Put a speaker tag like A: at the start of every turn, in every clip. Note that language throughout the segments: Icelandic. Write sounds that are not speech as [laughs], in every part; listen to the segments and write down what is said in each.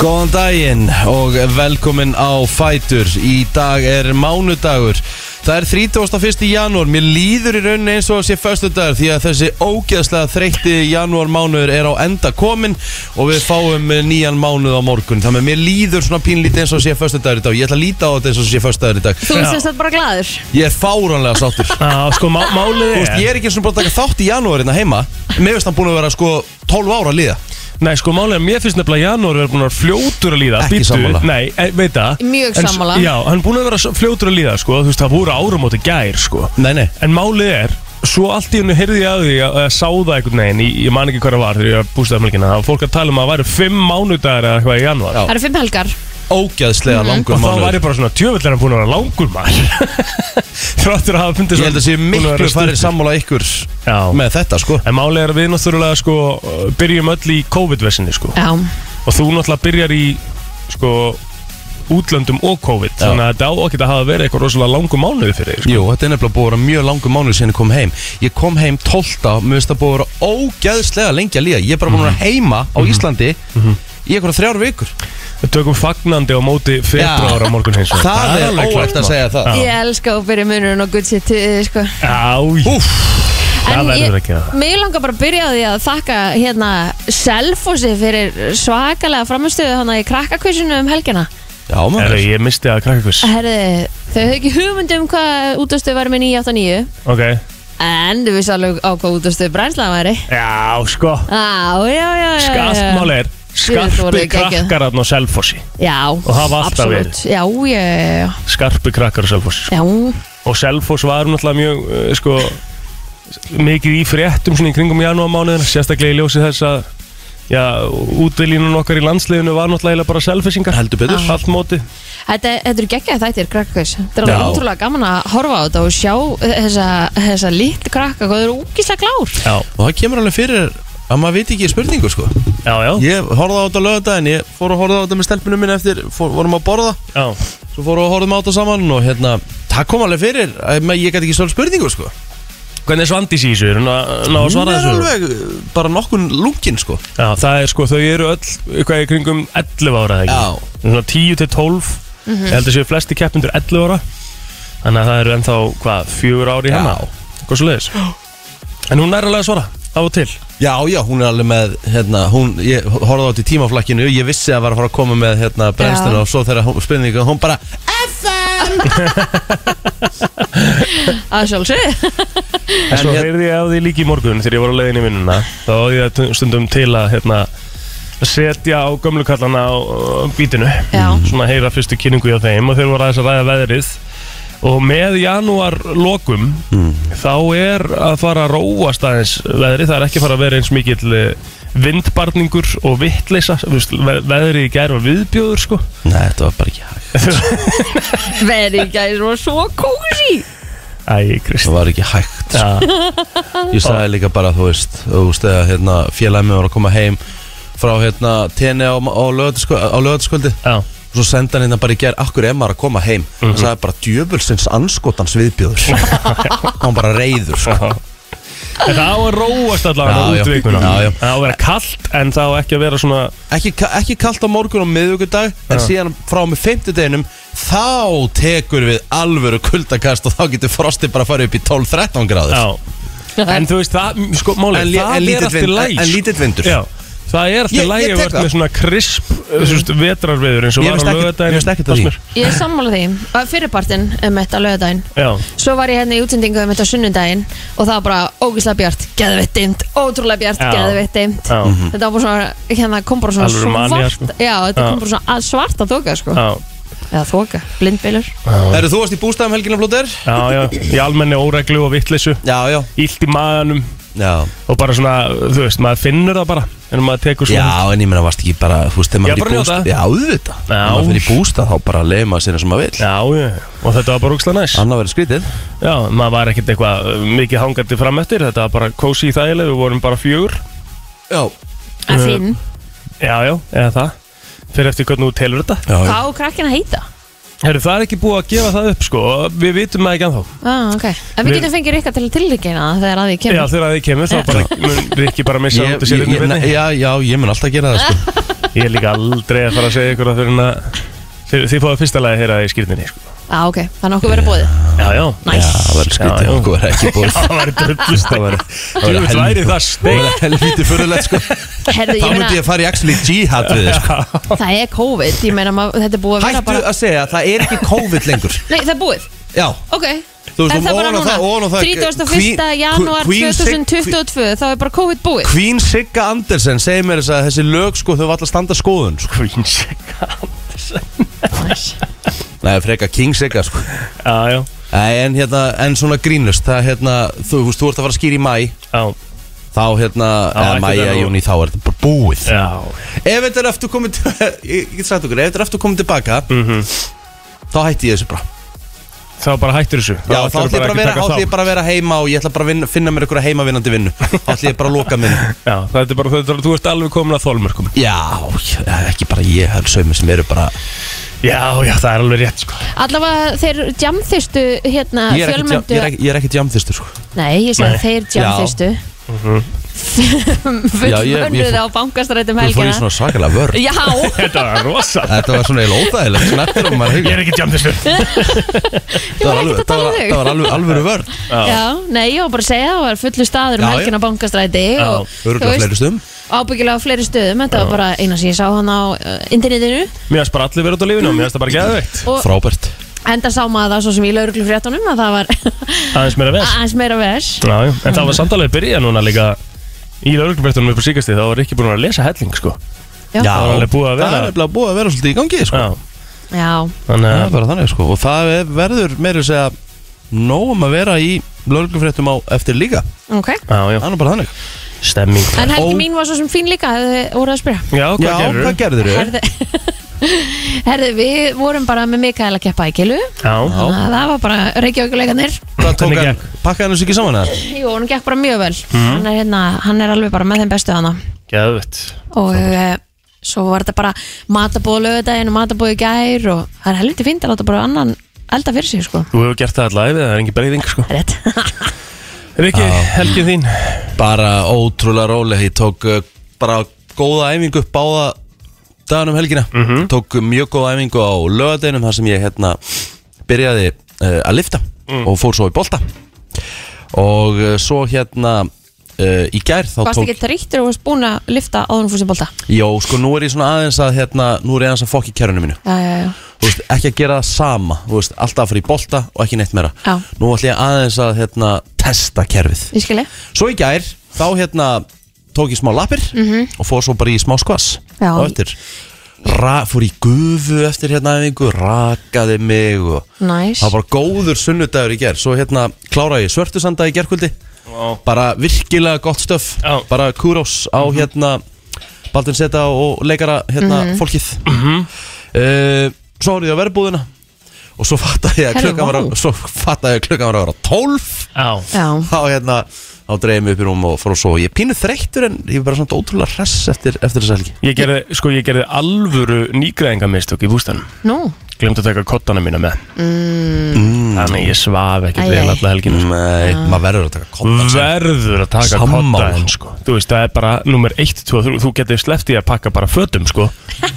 A: Góðan daginn og velkomin á Fætur Í dag er mánudagur Það er 31. janúar Mér líður í rauninni eins og sé föstudagur Því að þessi ógeðslega þreytti janúar mánuður er á enda komin Og við fáum nýjan mánuð á morgun Þannig að mér líður svona pínlítið eins og sé föstudagur í dag Ég ætla að líta á þetta eins og sé föstudagur í dag
B: Þú
C: Já.
B: sést þetta bara glaður
A: Ég er fáránlega sáttur
C: [laughs] Já, sko, má, málið
A: Þú
C: er
A: veist, ég er ekki eins og bara að taka þátt í janúar hérna heima Mér veist hann búin að vera sko 12 ára að líða
C: Nei, sko, málið er, mér finnst nefnilega janúar er búin að vera fljótur að líða
A: Ekki
C: Bíddu,
A: sammála.
C: Nei, e, veit það
B: Mjög
C: En s-
B: sammála.
C: Já, hann er búin að vera s- fljótur að líða, sko Þú veist, það voru áramóti gær, sko
A: Nei, nei,
C: En málið er, svo allt í hennu heyrði ég að því að, að sá það einhvern veginn Ég, ég man ekki hvað það var þegar ég bústaði mælgina Það var fólk að tala um að það væri fimm mánudagar eða eitthvað í janúar
A: Já.
B: Það eru fimm helgar Mhm.
A: ógeðslega langur
C: Og þá
A: mánuður
C: var ég bara svona, djöfull er hann búin að vera langur maður [laughs] Þráttur að hafa fundið
A: Ég held að sé miklu færri sammála ykkur
C: Já.
A: með þetta sko
C: En málið er að við náttúrulega sko uh, byrjum öll í COVID-vesinni sko
B: Já,
C: og þú náttúrulega byrjar í sko útlöndum og COVID
A: Já.
C: þannig að þetta á ekkert að hafa verið eitthvað rosalega langu mánuði fyrir þig sko.
A: Jú, þetta er nefnilega búið að vera mjög langur mánuð sinni kom heim Ég kom heim 12. Mér finnst það búið að vera ógeðslega lengi að líða Ég er bara búin
C: Mhm.
A: að vera heima á Íslandi Í einhverja þrjár vikur
C: Við tökum fagnandi á móti februar
A: Já.
C: á morgun hins vegar.
A: Það er
C: alveg klárt,
A: óægt að
C: maður.
A: segja það
B: ég elska að byrja munurinn og good shit eh, sko.
C: Já, já.
A: Úff,
C: Það
B: En
C: verður
B: ég-
C: að gera það.
B: mig langar bara að byrja á því að þakka hérna Selfossi fyrir svakalega framistöðu hana í krakkakvissinu um helgina
A: já maður
C: Herru, ég misti að krakka hvers
B: Herði, þau höfðu ekki hugmynd um hvað útastöðu væri með 989
C: Ok,
B: En þau vissu alveg á hvað útastöðu brænsla væri
C: já, sko
B: Á, já, já, já, já
C: Skastmál er
B: Jú, þú
C: skarpi
B: voru geggjuð.
C: krakkar hann á Selfossi
B: Já,
C: Og hafa alltaf verið.
B: absolutt. Já, já, já, já.
C: Skarpi krakkar á Selfossi sko.
B: já
C: Og Selfoss var náttúrulega mjög uh, sko, mikið í fréttum svona í kringum janúarmánuðin sérstaklega í ljósi þess að já, útilínun okkar í landsliðinu var náttúrulega eiginlega bara selfissingar
A: Heldur betur.
C: allt móti
B: Þetta, þetta eru geggjað þættir krakkakvís Þetta er
A: Já.
B: alveg ótrúlega gaman að horfa á þetta og sjá þessa, þessa lítið krakka hvað þau eru úkislega
C: [laughs]
B: klár
C: já,
A: Og það kemur alveg fyrir að maður veit ekki í spurningu sko
C: já, já,
A: Ég horfði á þetta lögða en ég fór að horfa á þetta með stelpunum minn eftir fór, Vorum að borða
C: já.
A: Svo fórum við að horfum á þetta saman og hérna Það kom alveg fyrir að ma- ég gæti ekki stóð spurningu sko
C: hvernig er Svandís í þessu, er hún að ná að
A: Hún
C: svara
A: er
C: þessu
A: alveg uh, bara nokkun lungin sko
C: já, það er sko, þau eru öll eitthvað í kringum 11 ára eða
A: Já.
C: ekki svona 10 til 12 ég held að séu flesti keppnundur 11 ára þannig að það eru ennþá, hvað, fjögur ári
A: Já.
C: hérna hvað svo leiðis en hún er alveg að svara, af og til
A: Já, já, hún er alveg með, hérna, hún, ég horfði átt í tímaflakkinu, ég vissi að var að fara að koma með, hérna, brennstuna
B: Já.
A: og svo þegar hún spurninga, hún bara,
B: að sjálfsög
C: En svo
A: hér-
C: heyrði ég af því líka í morgun þegar ég var á leiðin í vinnuna þá áði ég tu- stundum til að hérna, setja á gömlu kallana á á bítinu
B: Já.
C: svona heyra fyrstu kynningu hjá þeim og þeir voru aðeins að ræða veðrið og með janúar lokum
A: Mm.
C: þá er að fara að róast aðeins veðrið, það er ekki að fara að vera eins mikill eh, vindbarningur og vittleysa, veðrið í gær var viðbjóður sko
A: nei, þetta var bara ekki hægt,
B: Veri gæs og svo kósi
C: Æ, Kristi
A: það var ekki hægt,
C: Já,
A: ég sagði líka bara, þú veist, þú veist, þegar, hérna, félagið mér var að koma heim frá, hérna, tenni á, á lögataskvöldi,
C: já, Mhm.
A: svo senda hann hérna bara í gerð, akkur er maður að koma heim, það sagði bara, djöfulsins anskotans viðbjöður,
C: [laughs]
A: hann bara reyður, sko.
C: En það á að róast allavega
A: Já,
C: út
A: já.
C: vikuna
A: Já, já.
C: Það á að vera kallt en það á ekki að vera svona
A: ekki, ka- ekki kalt á morgun og miðvíkudag en síðan frá og með fymtudeginum þá tekur við alvöru kuldakast og þá getur frostið bara að fara upp í 12-13 gráður
C: já. En þú veist það, sko, máli
A: En li- en
C: Það
A: lítill
C: er allt í
A: vind-
C: læg
A: en- en lítill vindur.
C: Já Það er
A: Ég-
C: alltaf
A: ég
C: lægi
A: tek
C: að vera
A: það.
C: með svona krisp mm. vetrarveður eins og
A: Mér
C: var á
A: finnst ekkert- mér
C: lögadaginn
A: finnst ekkert að því.
B: Ég er sammála því Að Fyrirpartin um þetta lögadaginn
C: Já,
B: Svo var ég hérna í útsendingu um þetta á sunnudaginn og það var bara ógislega bjart, geðveitt dimt, ótrúlega bjart,
C: Já.
B: geðveitt dimt
C: já,
B: Þetta var bara svona, hérna kom bara svona
C: Alvöru manía, sko.
B: Já, þetta
C: Já.
B: kom bara svona að- svarta þoka sko
C: já
B: Eða þoka, blindbylur
A: Eru þú varst í bústæðum helgina blóter?
C: Já, já, í almenni óreglu og vittleysu
A: Já, já,
C: Ílt í maganum
A: já
C: Og bara svona, þú veist, maður finnur það bara En maður tekur svona
A: Já, en ég meina varst ekki bara, þú veist, þegar
C: Já,
A: maður er
C: bara
A: í
C: njóta.
A: bústað Já, auðvitað,
C: Já.
A: þegar maður er í bústað þá bara leiði maður sinna sem maður vil
C: Já, já, og þetta var bara úkslega næs
A: Annað verður skrítið
C: Já, maður var ekkert eitthvað uh, mikið hangandi fram eftir Þetta var bara kósi í þægileg, við vorum bara fjögur Uh,
A: Já,
B: Að
A: Eh,
B: finn,
C: Já, já, eða það Fyrir eftir hvernig þú telur þetta
A: já, já.
B: hvað á krakkin að heita?
C: Herru, það er ekki búið að gefa það upp sko Við vitum það ekki anþá
B: Ah, ok, en við
C: Við-
B: getum fengið Rikka til að tilíkina það þegar að því
C: Já,
B: kemur
C: þegar það kemur þá bara mun Rikki bara missa
A: Ég,
C: út af
A: ég,
C: sér
A: ég,
C: hérna í beinni.
A: já, já, ég mun alltaf gera það sko
C: Ég er líka aldrei að fara að segja ykkur að fyrir að Þið, þið fáið fyrsta lagi að heyra það í skýrninni sko.
B: Já, Ah, ok, þannig að okkur
A: [laughs]
B: verið bóðið
C: Já, já
B: Næs
A: Það var
C: Já,
A: skrítið,
C: já.
A: okkur er ekki búið
C: Það var drullust að vera Þú
A: væri
C: veist
A: helvíti-
C: væri það
A: Það
C: steik
A: var helvítið fyrirlegt sko Þá
B: Herðu,
A: myndi ég
B: ég meina,
A: að fara í actually jihad við þið sko [laughs]
B: það er COVID Ég meina, maður- þetta er búið að vera
A: Hættu
B: bara
A: að segja að það er ekki COVID lengur
B: Nei, það er búið,
A: Já
B: ok
A: Þú veist,
B: Er það
A: og ofan
B: bara
A: á það- ofan á
B: núna?
A: það-
B: 31.
A: Queen-
B: janúar
A: Queen- Queen-
B: 2022 Þá er bara COVID búið
A: Queen Sigga Andersen segir mér þess að þessi lög sko þau var alltaf standa skoðun sko.
C: Queen Sigga
A: Nei, freka King Sigga sko
C: Já, já,
A: Nei, en, hérna, en svona grínlust það, hérna, þú, þú, þú ert að fara að skýra í mæ
C: já,
A: þá hérna,
C: Já,
A: eða
C: ekki
A: mæ,
C: það
A: eða
C: nú.
A: júni þá er þetta bara búið
C: já.
A: Ef þetta er aftur komið til- [laughs] ég ég get sagt okkur, ef þetta er aftur komið tilbaka
C: Mhm.
A: þá hætti ég þessu bara
C: Þá bara hættur þessu
A: Já, þá ætti ég bara að
C: ekki
A: vera,
C: taka
A: ætli ég
C: þátt.
A: bara að vera heima og ég ætla bara að vinna, finna mér einhverja heimavinnandi
C: [laughs]
A: vinnu Þá ætla ég bara að loka minn
C: Já, þetta er bara, þetta er, þú ert alveg komin að þólmörkum
A: Já, ég- ekki bara ég, það er sömur sem eru bara
C: Já, já, það er alveg rétt, sko
B: Allavega þeir jamþistu
A: Ég er
B: hérna
A: ekkit jam-
B: fjölmöndu
A: ég er ekki- ég er ekkit jamþistur sko
B: Nei, ég
C: Nei.
B: segi þeir jamþistu
C: Mhm.
A: Já, ég- ég
B: Fullmönduð
A: fór-
B: á bankastrætum
A: Þú fór í
B: helgina
A: svona svakalega vörð
B: Já,
C: [laughs] Þetta var rosa
A: Þetta var svona eiginlega óþægilegt, snertir um maður
C: Ég
A: hugið
C: er ekki jam
B: [laughs]
C: þessu
B: ég var ekkert að
A: það
B: tala
A: var,
B: um
A: það
B: þig
A: var alveg alvöru vörð
B: Já, nei, ég var bara að segja það var fullu staður um
A: Já, já.
B: helgina á bankastræti
C: Já,
B: og þú
A: Öruglega
B: veist,
A: fleiri stum
B: ábyggilega á fleiri stöðum þetta var bara eina sem ég sá hann á uh, internetinu
C: Mér finnst bara allir verið út á lífinu og Mér finnst það bara geðveikt
B: og
A: Frábært
B: enda sá maður það svo sem í lauruglu fréttunum að það var
C: Aðeins meira
B: [laughs]
C: ves
B: aðeins meira vers
C: Já, já, en það var samtalið byrja núna líka Í lauruglubrettunum upp á síkastíð Þá var ekki búin að vera að lesa helling, sko
B: Já.
A: það
C: var alveg búið að vera-
A: Það er alveg búið að vera svolítið í gangi sko.
C: Já,
B: Já,
A: Það
C: þannig að
A: er bara þannig sko Og það er- verður meira að segja Nóum að vera í lörglufréttum á eftir líka
B: ok
C: Já, já,
A: Það er nú bara þannig
C: stemming
B: En helgi
A: Ó.
B: mín var svo sem fín líka hefði voruð að spyrja
C: Já, hvað
A: Já,
C: gerur?
A: hvað gerður þau?
B: Herði, [laughs] herði, við vorum bara með Mikael að keppa í kilu
C: Já,
B: þannig að það var bara reykjaukuleikanir
A: Hvað tók
C: Hvernig
A: hann? Pakkaði hann þessu ekki saman eða?
B: Jú, hann gekk bara mjög vel hann, er hérna, hann er alveg bara með þeim bestu hana
C: geðveikt
B: og uh, svo var þetta bara matabóð lögudaginn og matabóð í gær og það er helviti fínt að láta bara annan elda fyrir sig sko
C: Þú hefur gert það allavega við, það er engin breyðing, sko
B: Rétt.
C: Riki, helgin þín
A: Bara ótrúlega róleg Ég tók uh, bara góða æfingu Báða daganum helgina Tók mjög góða æfingu á lögadeinum Þar sem ég hérna Byrjaði uh, að lifta Og fór svo í bolta Og uh, svo hérna uh, Í gær þá
B: Varst
A: tók
B: ekki þrýttur og varst búin að lifta áður en fórst í bólta?
A: Jó, sko nú er ég svona aðeins að hérna Nú er ég aðeins að fokk í kærunum mínu
B: Já, já, já.
A: Þú veist, ekki að gera það sama Þú veist, alltaf að fara í bolta og ekki neitt meira
B: Já.
A: Nú ætlum ég aðeins að hérna, testa kerfið
B: Ég skilji.
A: Svo í gær, þá hérna tók ég smá lappir og fór svo bara í smá skvass
B: Já.
A: og eftir Ra, fór í gufu eftir hérna æfingu, rakaði mig og
B: Næs.
A: það var bara góður sunnudagur í gær svo hérna kláraði ég svörtusanda í gærkvöldi bara virkilega gott stöf
C: Já. Mhm.
A: bara kúrós á hérna Baldin Seta og leikara hérna fólkið
C: Mhm.
A: uh, svo horfði ég á verðbúðina og svo fattaði ég að
B: Herru,
A: klukkan var
B: vá.
A: að- svo fattaði ég að klukkan var að vera 12
C: Já
B: Já.
A: þá hérna þá dreifum við upp í rúm og fór og svo ég er pínu þreyttur en ég er bara svona ótrúlega hress eftir, eftir þessa helgi
C: Ég gerði, sko, ég gerði alvöru nýgræðingamistök í bústanum
B: Nú.
C: Glemt að taka kottana mína með mm. Þannig að ég svaf ekkert
B: Æ,
C: vel
B: æ.
C: alla helgina sko.
A: Nei, maður verður að taka kottan sem-
C: Verður að taka
A: Sammála.
C: kottaðin sko. Þú veist, það er bara nummer 1, 2, 3 Þú getur sleppt í að pakka bara fötum sko.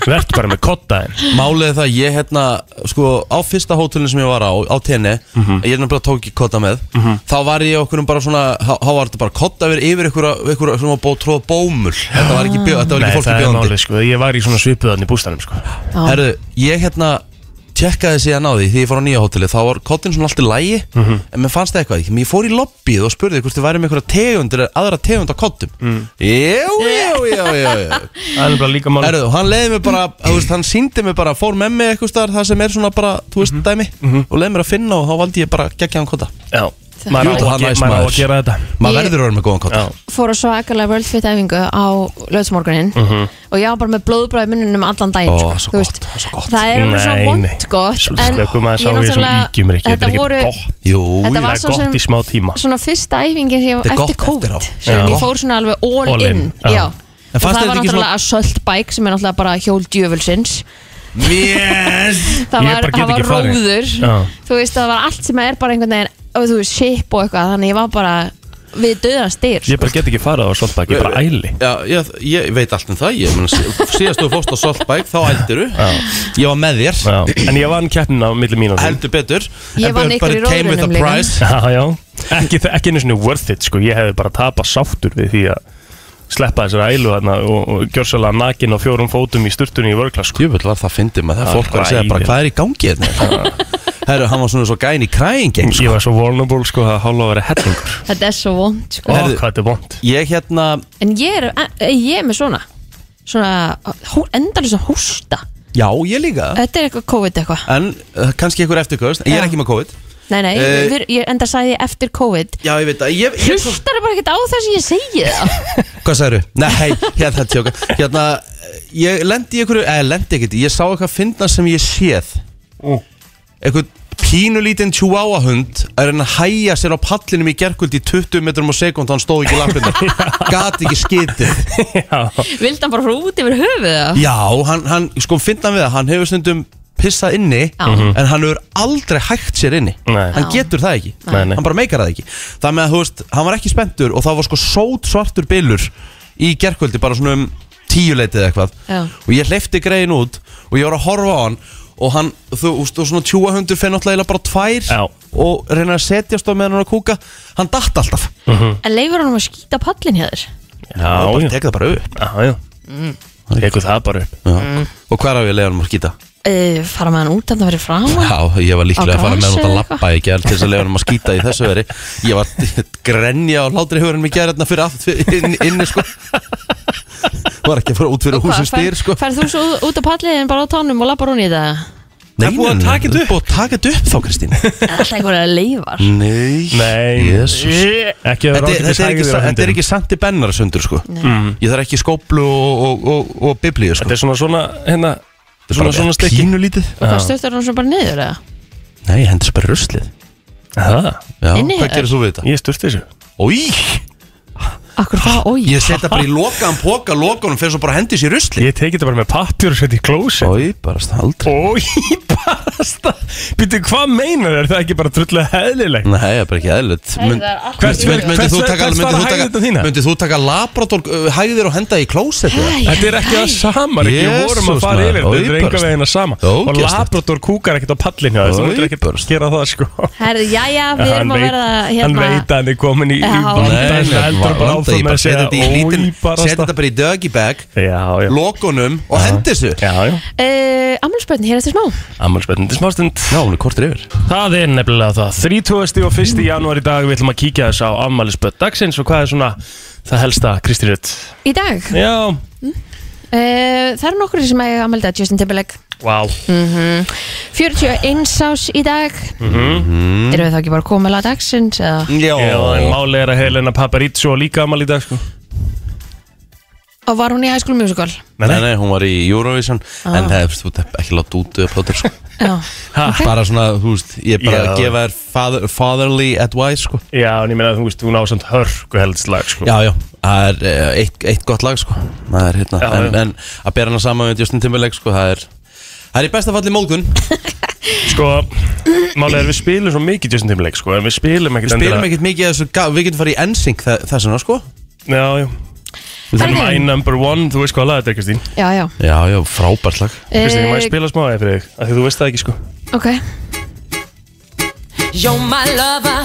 C: Vert bara með kottaðin
A: Málið er það, ég hérna sko á fyrsta hótelin sem ég var á, á tenni
C: Mhm.
A: ég er náttúrulega tók ekki kotta með þá var ég okkur um bara svona þá þá var þetta bara kotta yfir yfir ykkur, ykkur svona bó, tróða bómul þetta var ekki, bjó, þetta var
C: Nei,
A: ekki fólki
C: það er
A: bjóðandi
C: málið sko. Ég var í svona svipuðan í bústanum sko.
B: Já.
A: Herðu, ég hérna tjekkaði síðan á því því ég fór á nýja hóteli þá var kottin svona allt í lægi
C: Mhm.
A: en mér fannst það eitthvað ekki, mér fór í lobbyið og spurði hvort þið væri með einhverja tegundir aðra tegund á kottum mm. jú, jú, jú, jú, jú.
C: [laughs] Það er bara líka málið
A: Herðu, hann leiði mér bara, þú veist, hann síndi mér bara fór með mig eitthvað staðar það sem er svona bara, þú veist,
C: Mhm.
A: dæmi og leiði mér að finna og þá valdi ég bara geggja hann kotta
C: Já,
A: Jú,
C: maður á að
A: það
C: ge-
A: næs,
C: maður á að
A: maður.
C: gera þetta
A: maður
B: Ég-
A: verður að vera með góðan kotta
C: Já.
B: Fór á svakalega World Fit æfingu á löðsmorgunin
C: Mhm.
B: og ég var bara með blóðbræði mununum allan daginn.
A: Mhm. Ó,
B: sko.
A: svo
B: Þú
A: gott,
B: veist,
A: svo gott.
B: Það er alveg svo
C: Nei, nei.
B: vond gott.
C: Svo
B: en
C: slökum maður
B: ég
C: sá ég þessum
B: náttúrulega-
C: ígjum er ekki Þetta
B: Þetta
C: er
B: voru
C: ekki gott
A: jú,
B: Þetta
A: jú.
B: var
C: Það er
B: svo sem-
C: gott í smá tíma
B: svona fyrsta æfingin sem ég
A: Þetta er
B: eftir
A: gott eftir
B: COVID
A: á.
B: sem
C: Já.
B: ég fór svona alveg all,
C: All in,
B: in,
C: já.
B: Já.
A: En fannst þér
B: og það var
A: þetta ekki
B: náttúrulega assault bike sem er náttúrulega bara hjól djöfulsins
A: yes
B: það
C: Ég
B: var,
C: bara get
B: það var
C: ekki farið.
B: róður
C: Já.
B: þú veist það var allt sem er bara einhvern veginn og þú veist ship og eitthvað þannig ég var bara við döðan styr
C: Ég bara get ekki farið á Saltbæk, ég bara æli
A: Já, ég, ég veit allt um það ég, meni, Síðast þú fórst á Saltbæk, þá ældiru Ég var með þér
C: Já. En ég vann keppnina á milli mín og þín.
A: Heldur betur
B: Ég
A: En
B: vann
A: bara-
B: ykkur í
A: bara came with a
B: róðrinum líka.
A: prize.
C: Já, já Ekki, ekki einu svona worth it, sko Ég hefði bara tapað sáttur við því að sleppa þessari ælu þarna og, og gjörsalega nakin á fjórum fótum í sturtunni í vörkla, sko
A: Djúvill var það fyndið maður, það er
C: Það
A: fólk var að segja bara
C: hræðilegt.
A: hvað er í gangi
C: [laughs]
A: hérna Herru, hann var svona svo gæn í kræðing
C: Ég var svo vulnerable, sko, að hálfa að vera hellingur
B: Þetta er svo vond
C: Ó,
B: sko.
A: Herðu-
C: hvað þetta er vond
A: Ég hérna,
B: En ég er, eh, ég er með svona Svona hú, endalins að hústa
A: já ég líka
B: Þetta er eitthvað COVID eitthvað
A: En uh, kannski ykkur eftirkaust, ég
B: Já.
A: er ekki með COVID
B: Nei, nei,
A: Eh.
B: við, ég enda sagði ég eftir COVID
A: Já, ég veit það, ég, ég,
B: Hlustar bara ekkert á það sem ég segi það
A: Hvað sagðu? Nei, hérna tjóka Hérna, ég lendi í einhverju Eða lendi ekkert, ég sá eitthvað fyndna sem ég séð
C: Mm.
A: Eitthvað pínulítinn chihuahua hund að reyna að hæja sér á pallinum í gerkvöld í 20 metrum á sekund hann stóð ekki í lappinni Gat ekki skitið
B: Vildi hann bara frá út yfir höfuð
C: Ah.
B: það
A: Já, hann, hann sko fyndna við það Hann hefur stundum pissað inni
B: Já. Mhm.
A: En hann hefur aldrei hægt sér inni
C: Nei.
A: Hann
B: Já.
A: getur það ekki
C: Nei, nei.
A: Hann bara meikar það ekki Það með að, þú veist, hann var ekki spenntur Og það var sko sót svartur bylur Í gerkvöldi, bara svona um tíuleitið eitthvað
B: Já.
A: Og ég hleyfti greiðin út Og ég var að horfa á hann Og hann, þú veist, og svona tjúahundur Fenn náttúrulega bara tvær
C: Já.
A: Og reynir að setjast á meðan hann er að kúka Hann datt alltaf
B: En leifur hann að skýta pallin hjá þér
A: Og
C: Mhm. Já,
A: bara
C: já,
A: tek það bara upp
C: já, já
B: Mm.
C: Tekur það bara upp Mhm.
A: mm. Og hver af ég leiðanum að skýta?
B: uh, Fara með hann út að það verið fram
A: Já, ég var líklega
B: Á
A: að fara með
B: grasi
A: hann út að
B: eða
A: lappa í gerð til þess að leiða hann að skýta í þessu veri Ég var grenja á hlátri hugurinn mér gerðna hérna fyrir aft inn, inni sko Var ekki að fara út fyrir húsum styr sko
B: Færð þú svo út á pallin bara á tánum og lappar hún í
A: [laughs]
B: það
A: Nei,
C: Það er búið að
A: nei, nei,
C: taka þetta
A: það er Búið að taka þetta upp þá Kristín
B: Alltaf einhverja leifar
A: Nei,
C: Nei
A: Jesús
C: Ekki að
A: Þetta,
C: vera
A: er- þetta, er
C: ákveðis
A: ekki,
C: hægðir á
A: sa- þetta er
C: hendinni.
A: ekki sandi bennarasundur sko
B: Nei.
A: Ég þarf ekki skóplu og, og, og, og biblíu sko
C: Þetta er svona svona, hérna Svona
A: Bara
C: svona stykki
A: Pínulítið
B: Og hvað stöttur hann svo bara niður eða?
A: Nei, ég hendur bara í ruslið
C: Aha,
A: Já,
B: Inni
A: hvað
B: er-
A: gerir þú við þetta?
C: Ég sturti þessu
A: Ói,
B: Akkur það, oi
A: ég setja bara í lokaðan póka lokanum fyrir svo bara hendi sér í ruslið
C: Ég teki þetta bara með pappjur og seti í klósi
A: Ói, bara staldri
C: Ói, bara stað Býtu, hvað meinar þér? Það er ekki bara trullega heðlilegt
A: Nei, það er bara ekki eðlut
B: Nei, það er allt í lagi.
A: Myndið þú
C: Hvers-
A: taka,
C: hvers
A: myndi
C: fara
A: þú taka,
C: hægðirnar þínar?
A: myndi þú taka labrador uh, hægðir og henda í klósett
B: Æ,
C: Þetta er ekki
B: æ.
C: það sama, ekki við vorum að
A: Jesus,
C: fara
A: maður,
C: yfir Þetta
A: ógeðslegt.
C: er enga veginn að sama Og
A: Ógeðslegt.
C: Labrador kúkar ekkert á pallin hjá þér, Þú myndir ekkert
A: Ógeðslegt.
C: gera það sko
B: Herðu, jæja, við
C: Hann
B: erum að
C: veit-
B: verða
C: Hann
B: hérna
C: veit að hann er komin í
B: Já.
A: Nei,
C: vandan Heldur bara
A: vanda, ég
C: áfram
A: bara
C: að
A: setja
C: segja
A: þetta í lítinn
C: Ói, bara
A: Setja
C: stað
A: þetta bara í dögi bag
C: Já, já
A: Lokunum og hendi þessu
C: Já, já
B: uh, Amalspötn, hér eftir smá
C: Ammálspennandi smástund
A: Já, hún er kortur yfir
C: Það er nefnilega það 30. og 1. janúar í dag Við ætlum að kíkja þess á afmælisböð dagsins Og hvað er svona það helsta, Kristi Rutt
B: Í dag, uh,
C: Já,
B: það eru nokkur sem eiga amalda Justin Timberlake
C: vá
A: Mhm.
B: 41 ás í dag
A: Mm.
B: Erum við þá ekki bara komið að dagsins eða?
A: Mhm. Já,
C: Mhm. Já, en máli er að Helena Paparizzo líka afmæli í dag sko
B: Og var hún í High School Musical
A: Nei, nei, hún var í Eurovision En
B: Ah.
A: það er þú ert ekki látt út uh, plóter [laughs] sko.
B: Já,
C: Ha,
A: Bara svona, þú veist, ég er bara
C: Já.
A: að gefa þér father, fatherly advice sko.
C: Já, en ég meina að þú veist, hún á samt hörku heldslag sko
A: Já, já, það er eh, eitt, eitt gott lag sko Það er hérna
C: Já, já.
A: en, en að bera hana saman með Justin Timberlake sko Það er, það er í besta falli mógun
C: [laughs] Sko, máli er að við spilum svo mikið Justin Timberlake sko En við spilum ekkert
A: Spilum ekkert mikið af þessu, ga- við getum farið í NSYNC þa- þess vegna sko
C: ekkert Já, já Við þurfum
B: Herðu.
C: my number one, þú veist hvað lag þetta er Kristín
B: já, já
A: Já, já, frábært lag
C: Kristín, ég má ég
B: Eh,
C: spila smá eða fyrir þig af Því þú veist það ekki sko
B: Ok,
D: You're my lover,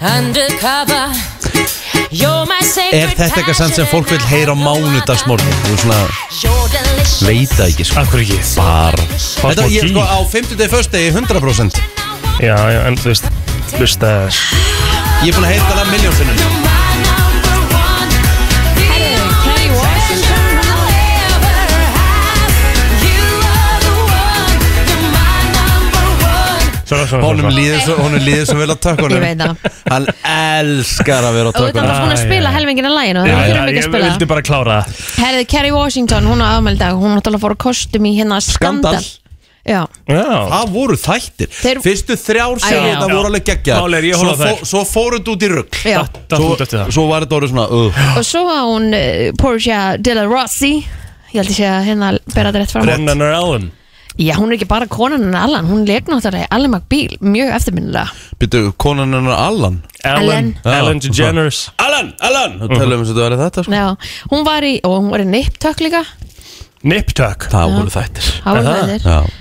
D: undercover You're my
A: Er
D: sacred
A: þetta eitthvað samt sem fólk vil heyra á mánudagsmorgun? Þú svona,
D: You're delicious
A: veit það ekki sko
C: Af hverju ekki?
A: Bara
C: Fá
A: Þetta
C: smá
A: ég er sko
C: gír.
A: á 50. föstudegi 100%
C: Já, já, en þú veist, hlusta þess
A: Ég er búin að heita það miljónsinnum
D: Kerry Washington
C: Svona, svona,
A: Honum líður svo, honum líður svo vel á tökkunum
B: Ég veit það.
A: Hann elskar að vera á
B: og þetta
A: tökkunum
B: var búin að
C: Æ,
B: spila
C: já.
B: helmingin að læginu
C: Já,
B: Það
C: já,
B: þurfum ekki
C: ég
B: að spila
C: vildi
B: það
C: bara klára það
B: Herði, Kerry Washington, hún á afmæli í dag Hún náttúrulega fór að kostum í hérna skandal,
A: Skandal.
B: Já,
C: Já,
A: Það voru þættir
B: Þeir-
A: Fyrstu þrjár
B: Æ,
A: sér
B: já.
A: þetta
C: Já.
A: voru alveg
C: Mál er,
A: geggjaðar
C: ég
A: Svo,
C: horfði á þær.
A: fó- svo fóru þetta út í rugg
B: já
C: það út eftir það
A: Svo var þetta orðið svona uh,
B: Og svo var hún eh, uh, Portia de la Rossi Ég held ég sé að hérna bera þetta rétt fram
C: Brennan er Ellen
B: Já, hún er ekki bara konan en Allan, hún leik náttúrulega Allen McBeal, mjög eftirminnilega
A: Býtu, konan hennar Allan
C: Ellen,
A: Ellen.
C: Ellen
A: Já.
C: DeGeneres
A: Allan, Allan Þá tölum við að þetta verið þetta sko.
B: Já, hún var í, og hún var í Niptök líka
C: Nip Tuck
A: Það voru þættir
B: Það var
C: Aha.
B: það
A: Já.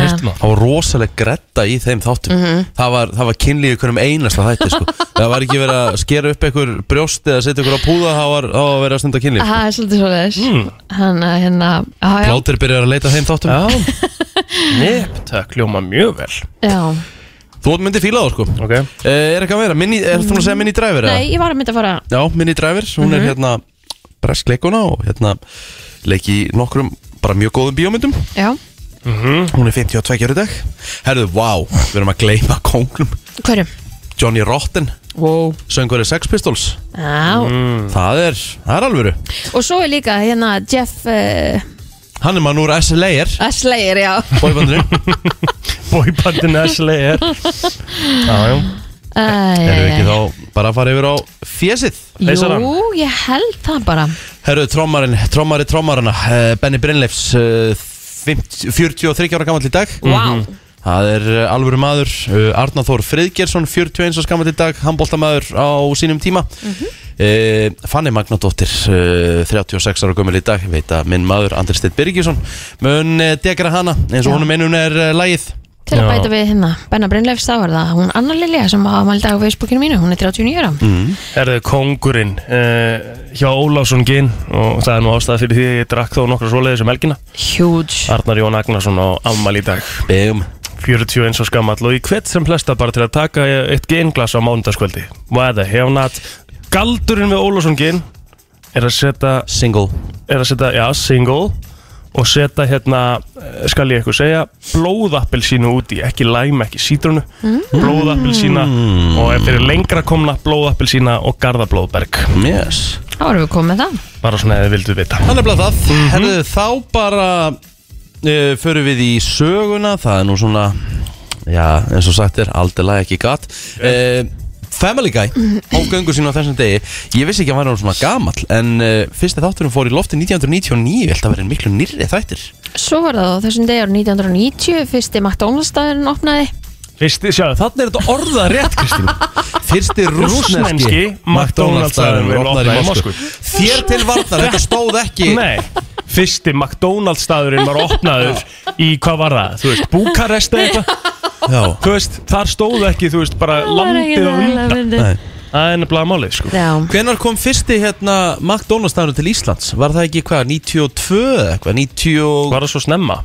B: eh,
C: heyrt um það.
A: Það var rosalega gretta í þeim þáttum það, var, það var kynlíf í hverjum einasta þætti
B: [laughs]
A: sko. Það var ekki verið að skera upp einhver brjóst eða setja einhver á púða Það var, það var verið að stunda kynlíf
B: Það er svolítið svo þess
C: Mm.
B: Hann, að hérna, á, já,
A: Plátir byrjar að leita að þeim þáttum
C: Hmm. Já Nip Tuck ljóma mjög vel
B: já
A: Þú átt myndi fíla þá sko
C: Ok
A: Eh, Er eitthvað meira? Minni, er þú að segja minni dræfir?
B: Nei, ég var að mynda að fara
A: Já, Minnie Driver, hún
B: Mhm.
A: er hérna breskleikuna og hérna leiki í nokkrum bara mjög góðum bíómyndum
B: Já, Mhm.
A: hún er 52 ára í dag Herðu, vá, við erum að gleyma kóngnum
B: hverjum?
A: Johnny Rotten,
B: Wow
A: söngveri Sex Pistols Mm.
B: Já,
A: það er, það er alvöru
B: og svo er líka hérna Jeff uh,
A: hann er mann úr SLA-er
B: Slayer,
A: [laughs]
B: já [laughs]
A: bóibandinu,
C: Boybandin Ashley er Já, já
B: Æ,
A: erum við ekki þá bara að fara yfir á fjesið
C: Leysarann?
B: Jú, ég held það bara
A: Herðu, trommarin, trommari trommarana eh, Benny Brynleifs eh, 50 43 ára gamall í dag Mhm.
B: Vá
A: Það er uh, alvöru maður, uh, Arnar Þór Friðgjersson, 41 og skammal í dag, handbóltamaður á sínum tíma. Mm
B: Mhm.
A: Fanny Magnadóttir, uh, 36 ára gömul í dag, Ég veit að minn maður Andri Steinn Birgisson, mun uh, degra hana eins og
B: Já.
A: honum einun er uh, lægið.
B: Til að
C: Já.
B: bæta við hérna, Benna Brynleifs þá er það hún Anna Lilja sem hafa mælt á Facebookinu mínu, hún er 39 ára
C: Erðu kongurinn uh, hjá Ólásson Ginn og það er nú ástæða fyrir því að ég drakk þó nokkra svoleiðis um helgina
B: Huge
C: Arnar Jón Agnarsson á afmæli í dag
A: Bum.
C: 41 og skamall og ég hvet sem flesta bara til að taka eitt genglas á mánudagskvöldi Why the hell not Galdurinn við Ólásson Ginn er að setja,
A: Single.
C: er að setja, já, single og setja hérna, eh, skal ég eitthvað segja blóðappelsínu út í, ekki læm, ekki sítrunu blóðappelsína og ef þeir eru lengra komna blóðappelsína og garðablóðberg
A: Yes.
B: Þá erum við komið með það
C: bara svona eða vildu vita Mhm.
A: Hann er blað það. Herðu, þá bara uh, förum við í söguna, það er nú svona, já, eins og sagt er, aldrei læg ekki gatt. Uh, Family Guy,
C: Mhm.
A: ágöngu sín á þessum degi Ég vissi ekki að hann var svona gamall En uh, fyrsti þátturinn fór í lofti 1999 Ég held að vera miklu nýrri þættir
B: Svo var það á þessum degi árið 1990 fyrsti McDonald's-staðurinn opnaði
C: Fyrsti, sjáðu, þannig er þetta orða rétt Kristín
A: Fyrsti rúsneski
C: Rússneski McDonald's-staðurinn
A: McDonald's-staðurinn opnaði í Moskvu Þér til varnar, þetta stóð ekki
C: Nei, fyrsti McDonalds staðurinn var opnaður í, hvað var það, þú veist, Búkarest eða eitthvað
A: Já,
C: Þú veist, þar stóðu ekki, þú veist, bara landið og undan
A: nei
C: Það er nefnilega málið, sko
B: Já,
A: Hvenar kom fyrsti hérna McDonald's-staðurinn til Íslands? Var það ekki hvað, 92 eða eitthvað, 93?
C: Var það svo snemma?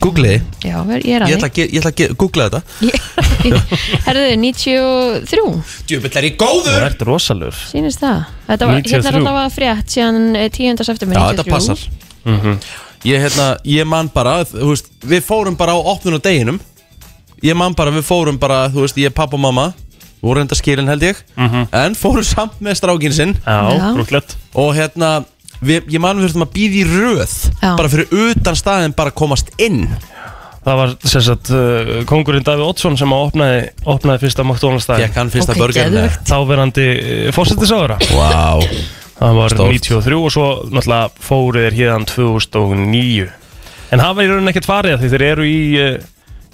A: Google
B: já, ég er
A: Ég
B: að
A: ætla
B: því
A: að, ge- ég ætla að ge- googla þetta
B: Herðu, 93
A: Djöfull er ég
C: Það
A: góður
C: ert rosalur
B: sínist það Þetta var, hérna er
C: 93.
B: alltaf að frétt síðan eh, 10. september
A: Já, þetta passar ég, hérna, ég man bara, þú veist, við fórum bara á opnun og deginum Ég man bara, við fórum bara, þú veist, ég, pappa og mamma voru enda skilin held ég En fórum samt með strákin sinn
C: Mhm. Já,
B: Já.
C: grúklegt
A: Og hérna, við, ég man við þurfum að býða í röð
B: Já.
A: Bara fyrir utan staðin, bara komast inn
C: Það var, sem sagt, uh, kongurinn Davíð Oddsson sem að opnaði, opnaði fyrsta McDonalds
A: Gekk
C: staðurinn
A: hann fyrsta
B: Ok,
A: okay, börgarinn
B: geðveikt.
C: Þáverandi fórsetisáðura
A: Vá
C: Það var
A: Stórt.
C: 93 og svo náttúrulega fóruð þeir hérðan 2009 En það var í rauninni ekkert farið af því þeir eru í eh,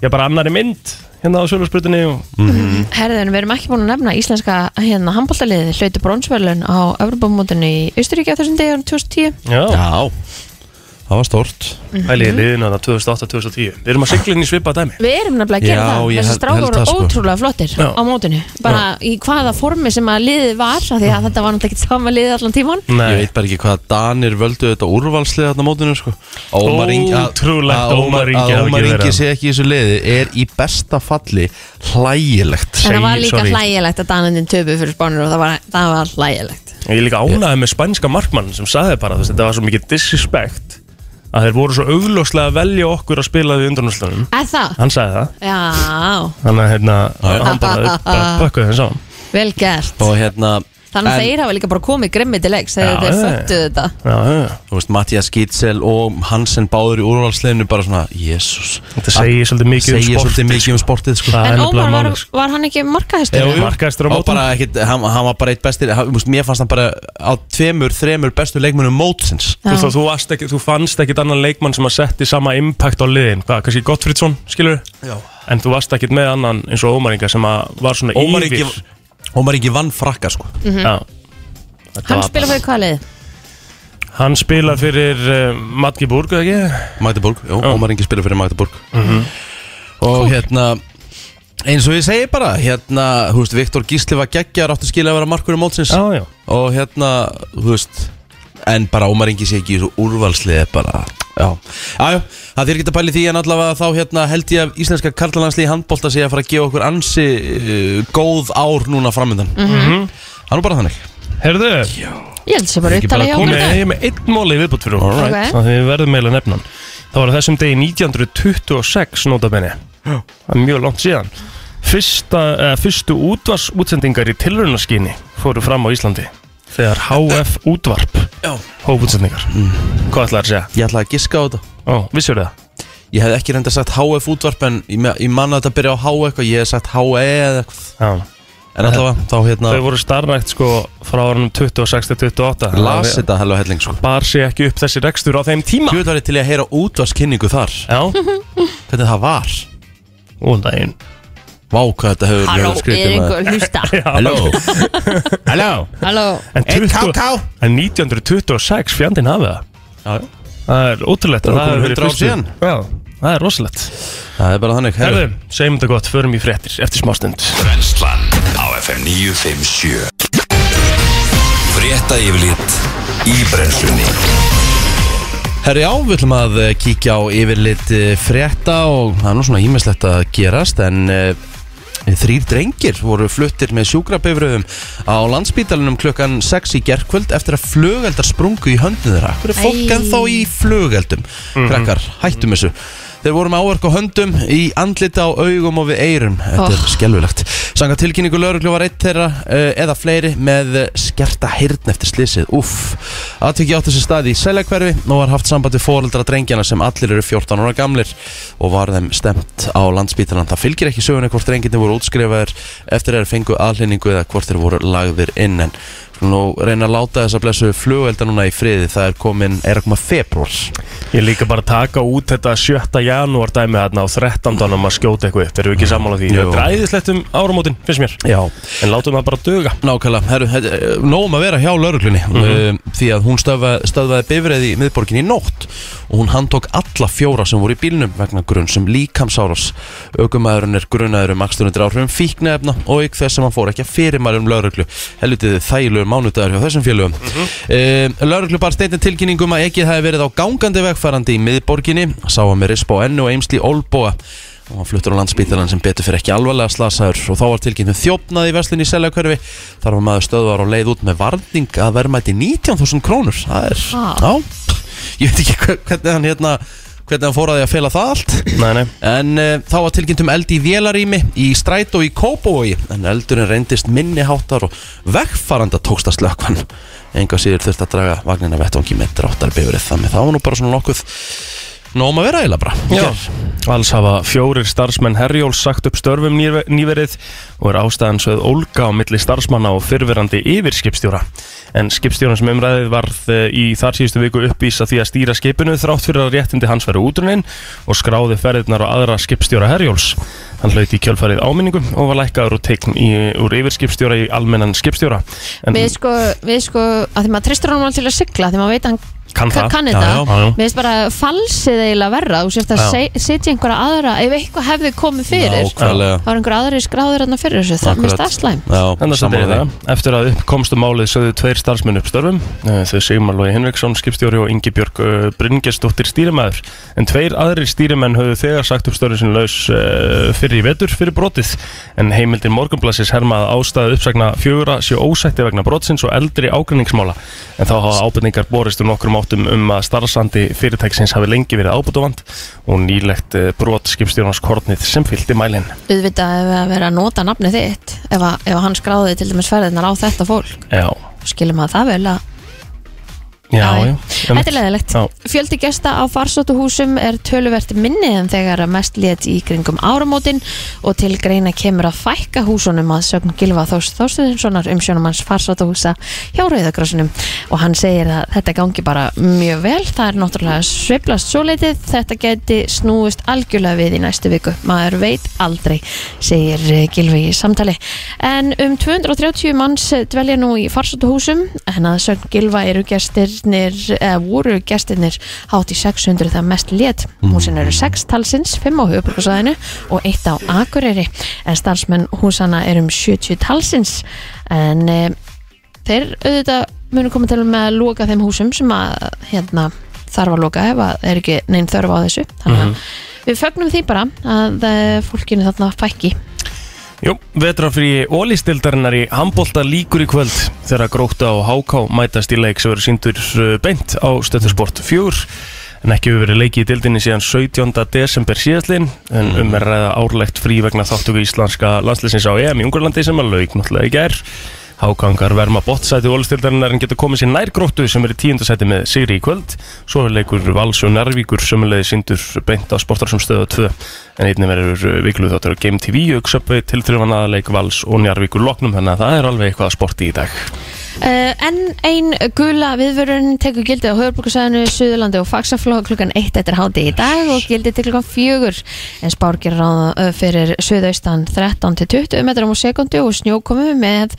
C: Já bara annari mynd hérna á Sölursbrutinni og
A: Mhm.
B: Herðu, en við erum ekki búin að nefna íslenska hérna handbóltaliði hlauti bronsverlun á Evropamótinu í Austuríki á þessum degi árið 2010
C: Já,
A: Já, það var stórt
C: pæliði liðinu þarna 2008-2010 Við erum að sigla inn í svipað dæmi
B: Við erum nefnilega að gera
A: Já,
B: það,
A: ég held-
B: þessi
A: held
B: strákar voru
A: það, sko.
B: ótrúlega flottir
C: Já.
B: á mótinu bara í hvaða formi sem að liðið var af því að þetta var náttúrulega ekki sama liðið allan tíman
A: Ég
C: Nei,
A: veit bara ekki hvað Danir völdu þetta úrvalslið þarna á mótinu sko. Að Ómar Ingi- að-
C: Ótrúlegt
A: að
C: Ómar Ingi
A: að
C: hafi
A: Ómar
C: ekki
A: Ingi
C: verið þarna.
A: sé ekki í þessu liði er í besta falli hlægilegt
B: en það var
C: Segi-
B: líka
C: sorry.
B: hlægilegt að Danandinn töpu fyrir spánur og það var, það var hlægilegt
C: ég líka ánæði með spænska markmann sem sagði bara þú veist, þetta var svo mikið disrespect að þeir voru svo augljóslega að velja okkur að spila við undanúslunum
B: Er það?
C: Hann sagði það
B: Já,
C: Þannig að hérna,
A: já.
C: hann bara, bara pökkuði þeim saman
B: vel gert
A: Og hérna
B: Þannig að
A: En-
B: þeir hafa líka bara komið grimmi til leiks þegar
C: Já,
B: þeir
C: já, já.
B: föttu þetta
C: Já, já.
A: Þú veist, Mattias Gitzel og Hansen báður í úrvalsleginu bara svona, jésús
C: Þetta segir svolítið mikið um
A: segir
C: sportið,
A: svolítið
C: sko.
A: mikið um sportið sko.
C: Það er
B: En
C: nefnilega
B: Ómar, var,
C: málið, sko.
B: var hann ekki markahæstur?
A: Jú, jú.
C: Markahæstur á
A: Og
C: mótum.
A: bara ekkit, hann, hann var bara eitt bestir hann, þú veist, Mér fannst hann bara á tveimur, þremur bestu leikmönum mótsins
C: Þú, veist að þú, varst ekki, þú fannst ekkit annan leikmann sem að setti sama impact á liðin Hvað, kannski Gottfridsson, skilur
A: Já.
C: En þú varst ekkit með annan eins og Ómaringa sem að var svona
A: Ómar
C: yfir Mhm.
A: ekki, Ómar ekki vann frakka sko.
C: Já. Þetta
B: Hann
C: var
B: spila
C: bara-
B: fyrir hvað lið?
C: Hann spilar fyrir uh, Matki Búrg, ekki?
A: Magdeburg, jú, Ómar Ingi spila fyrir Magdeburg
C: Mhm.
A: og hérna eins og ég segi bara hérna, þú veist, Viktor Gísli var geggjar áttu skilja að vera markur í mótsins
C: Já, já
A: og hérna, þú veist en bara Ómar Ingi sé ekki í svo úrvalslið bara, já, já, já það þér geta pæli því en allavega þá hérna held ég að íslenska karlalanslið í handbólta sé að fara að gefa okkur ansi uh, góð ár núna framöndan mm það er nú bara þannig
C: Mhm. Herðu,
B: Ég held sem bara
A: Ekki
B: upptalið
A: bara
B: hjá
C: hún
B: okkur í
C: er
B: dag
C: ég er með einn móli viðbútt fyrir hún
B: Alright.
C: Þannig að við verðum meila nefnan Það var á þessum degi 1926 notabenni Það er mjög langt síðan Fyrsta, eh, Fyrstu útvars útsendingar í tilraunaskyni fóru fram á Íslandi Þegar HF útvarp
A: já. Mm.
C: hóf útsendingar Hvað ætlaði að segja?
A: ég ætlaði að giska á þetta
C: Ó, vissur það?
A: Ég hef ekki reynda sagt HF útvarp en ég, me- ég manna þetta byrja á H eitthvað, ég hef sagt HE eða eitthvað
C: Já
A: En allavega, þá hérna,
C: Þau voru starrækt sko frá árunum 26 til 28
A: las þetta helga helling sko
C: Bar sig ekki upp þessi rekstur á þeim tíma
A: Hvað var ég til í að heyra útvarskynningu þar?
C: Já,
A: [laughs] Hvernig það var?
C: og daginn
A: Vá, hvað þetta hefur
B: Halló,
A: hefur
B: er
A: skrítið maður.
B: einhver að
C: [laughs]
B: hlusta?
A: Halló Halló
B: Halló
C: En, 20, en 1926 fjandinn hafið það
A: Já, já.
C: Það er ótrúlegt að
A: Það er
C: hafi
A: komið 100 ár
C: fyrstu-
A: síðan.
C: Já, það er rosalegt
A: Það er bara þannig,
C: Herðu,
A: herru
C: segjum þetta gott, förum í fréttir eftir smástund
E: Brennslan á FM 957 Frétta yfirlit í brennslunni
A: Herru, já, við ætlum að eh, kíkja á yfirlit eh, frétta og það er nú svona ímislegt að gerast en eh, Þrýr drengir voru fluttir með sjúkrabifröðum á landsbítalunum klukkan 6 í gerkvöld eftir að flugeldar sprungu í höndin þeirra. Hver er fólk
B: Æ.
A: ennþá í flugeldum? Krakkar, hættum þessu. Þeir voru með áverk á höndum, í andlita á augum og við eirum. Þetta er
B: Oh.
A: skelvilegt. Sanga tilkynningu lauruglu var eitt þeirra eh, eða fleiri með eh, skerta hirtn eftir slysið. Úff, atviki átti sér staði í seljakverfi og var haft samband við foreldra drengjana sem allir eru 14 ára gamlir og var þeim stemt á landsbítalan. Það fylgir ekki sögunni hvort drenginni voru útskrifaðir eftir að þeir fengu aðlýningu eða hvort þeir voru lagðir inn en skulum nú reyna að láta þess að blessu flugvelda núna í friði. Það er komin, er að koma februar.
C: Ég er líka bara að taka út þetta 7. janúar dæmi þarna á 13. um að skjóta eitthvað upp Erum við ekki sammála því?
A: Mm. Jú.
C: Þetta er æðislegt um áramótin, finnst mér
A: Já,
C: En látum það bara duga Mhm.
A: Nákvæmlega, herru, þetta er nógum að vera hjá lauruglunni uh, því að hún stöðva, stöðvaði bifræði í miðborginni í nótt og hún handtók alla fjóra sem voru í bílnum vegna grunn sem líkamsáras aukumæðurinn er grunnaður um akstunundir áhrifum fíknefna og auk þess sem hann fór ekki að fyrirmæri um lauruglu helvitið þægilegur mánudagur hjá þessum félögum mm
C: Mhm.
A: lauruglu bar steinni tilkynningum um að ekki hafi verið á gangandi vegfærandi í miðborginni sá hann með risp á ennu og eimsli olbóa og hann fluttur á landsbítalan sem betur fyrir ekki alvarlega slasaður og þá var tilkynntum þjófnað í veslun í seljakörfi þar var maður stöðvar og leið út með varning að verðmæti 19.000 krónur það er,
B: Ha.
A: já, ég veit ekki hve- hvernig hann hérna hvernig hann fór að því að fela það allt
C: Nei, nei
A: En uh, þá var tilkynntum eldi í vélarými í strætó í Kópavogi en eldurinn reyndist minniháttar og vegfaranda tókst að slökkvan enga síður þurfti að draga vagnina vettvangi með dráttar bifrið þannig það var nú bara svona nokkuð nóg um að vera eiginlega bara í
C: Já.
A: gær.
C: Alls hafa fjórir starfsmenn Herjóls sagt upp störfum nýr- nýverið og er ástæðan sögð ólga á milli starfsmanna og fyrverandi yfir skipstjóra. En skipstjóran sem umræðið varð eh, í þar síðustu viku uppvísa því að stýra skipinu þrátt fyrir að réttindi hans verið útrunin og skráði ferðirnar á aðra skipstjóra Herjóls. Hann hlaut í kjölfarið áminningu og var lækkaður úr, teikn í, úr yfir skipstjóra í almennan skipstjóra. En
B: Við sko, við sko, að því maður tristur honum alveg til að sigla því maður veit að hann
C: kann
B: Ka-
C: það.
B: kann
A: Já,
B: þetta
A: já.
C: Já, já.
B: Mér finnst bara falsið eiginlega verra Þú sérst að
A: Já.
B: se- setja einhverja aðra Ef eitthvað hefði komið fyrir
A: Nákvæmlega.
B: Þá er einhverja aðri skráður þarna fyrir þessu Það
A: Akkurat.
B: minnst afslæm
A: Já,
C: Þannig að
A: sammála
C: þetta
A: því.
C: er það. Eftir að uppkomstu málið sögðu tveir starfsmenn uppstörfum, eh, þau Sigmar Lói Hinriksson, skipstjóri og Ingi Björg eh, Bryngesdóttir stýrimæður. En tveir aðrir stýrimenn höfðu þegar sagt uppstörfum sinni laus eh, fyrir í vetur fyrir brotið. En heimildin Morgunblassis hermaði ástæðu uppsagna fjögura sé ósætti vegna brotsins og eldri ágrinningsmála. En þá hafa ábyrningar borist um nokkrum átt þáttum um að starfsandi fyrirtækisins hafi lengi verið ábútuvand og nýlegt eh, brot skipstjórnars kornið sem fylgdi mælinn.
B: auðvitað ef að vera að nota nafnið þitt ef, að, ef að hann skráði til dæmis ferðirnar á þetta fólk
C: Já,
B: skilum að það vel að
C: já,
B: Já,
C: já.
B: já. Þetta er leðilegt.
C: Já.
B: Fjöldi gesta á farsóttuhúsum er töluvert minni en þegar að mest lét í kringum áramótin og til greina kemur að fækka húsunum að sögn Gilva Þórs Þórstuðinssonar um sjónumanns farsóttuhúsa hjá Rauðakrossinum og hann segir að þetta gangi bara mjög vel. Það er náttúrulega sveiflast svo leitið. Þetta geti snúist algjörlega við í næstu viku. Maður veit aldrei, segir eh, Gilvi í samtali. En um 230 manns eh, dvelja nú í farsóttuhúsum en að sögn Gilva eru gestirnir eða voru gestirnir hátt í 600 það mest lét. Húsin eru 6 talsins, 5 á höfuborgarsvæðinu og 1 á Akureyri en starfsmenn húsana eru um 70 talsins en e, þeir auðvitað munu koma til með að loka þeim húsum sem að hérna, þarf að loka ef að er ekki neinn þörf á þessu þannig
C: Mhm.
B: að við fögnum því bara að eh, fólkinu þarna fækki
C: Jú, vetrafrí ólístildarinnar í handbólta líkur í kvöld þegar gróta og háká mætast í leik sem verður síndur uh, beint á stöðtusport 4 en ekki hefur verið leikið í dildinni síðan 17. desember síðastlinn en um er að ræða árlegt frí vegna þáttöku íslenska landsleysins á EM í Ungurlandi sem að lauk náttúrulega í gær Hákangar verma bottsæti ólstildarinnar en getur komið sér nær gróttu sem er í tíundasæti með sigri í kvöld svo er leikur Vals og Nærvíkur sömulegði sindur beint á sportarsum stöðu 2 en einnig verður vikluð þáttur á Game TV auksöpvi til þrjófanaðarleik Vals og Njarvíkur loknum þannig að það er alveg eitthvað að sporti í dag
B: Uh, enn ein gula viðvörun tekur gildi á Hörburgsæðinu, Suðurlandi og Faxaflóð klukkan 1 eftir háti í dag og gildi til klukkan 4 en spár gerir ráða uh, fyrir Suðaustan 13 til 20 metrum á sekundi og snjókomi með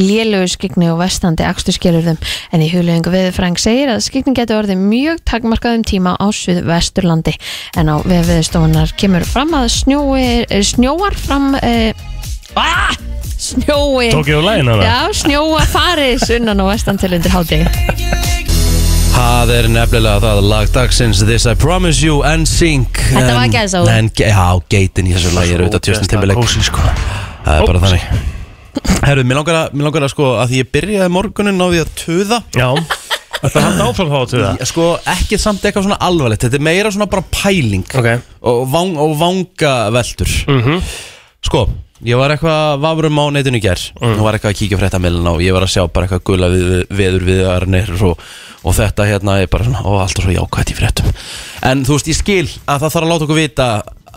B: lélögu skikni og vestandi aksturskilurðum en í huglegingu viðfræng segir að skikni getur orðið mjög takmarkaðum tíma á Suðvesturlandi en á veðviðstofunar kemur fram að snjói, eh, snjóar fram uh, ah, snjói
C: Tók ég á lægin hana?
B: Já, snjóa farið sunnan og vestan til undir hádegi
A: Það er nefnilega það lag dagsins This I Promise You and Sync
B: Þetta var
A: En-
B: gæsaúr.
A: en ge- Já, geitin í þessu lagi er auðvitað tjóðsins timbileg
C: Kósí, sko.
A: Það er bara þannig Herru, mér langar að, mér langar að sko að því ég byrjaði morgunin á því að tuða
C: Já, þetta hann áfram þá til það
A: Sko, ekki samt eitthvað svona alvarlegt Þetta er meira svona bara pæling
C: Ok. Mhm.
A: og, vang, og vangaveltur Sko, ég var eitthvað vafurum á netinu í gær
C: Mhm.
A: og var eitthvað að kíkja fréttamilin og ég var að sjá bara eitthvað gula við, veður viðarnir og, og þetta hérna er bara svona og alltaf svo jákvætt í fréttum En þú veist, ég skil að það þarf að láta okkur vita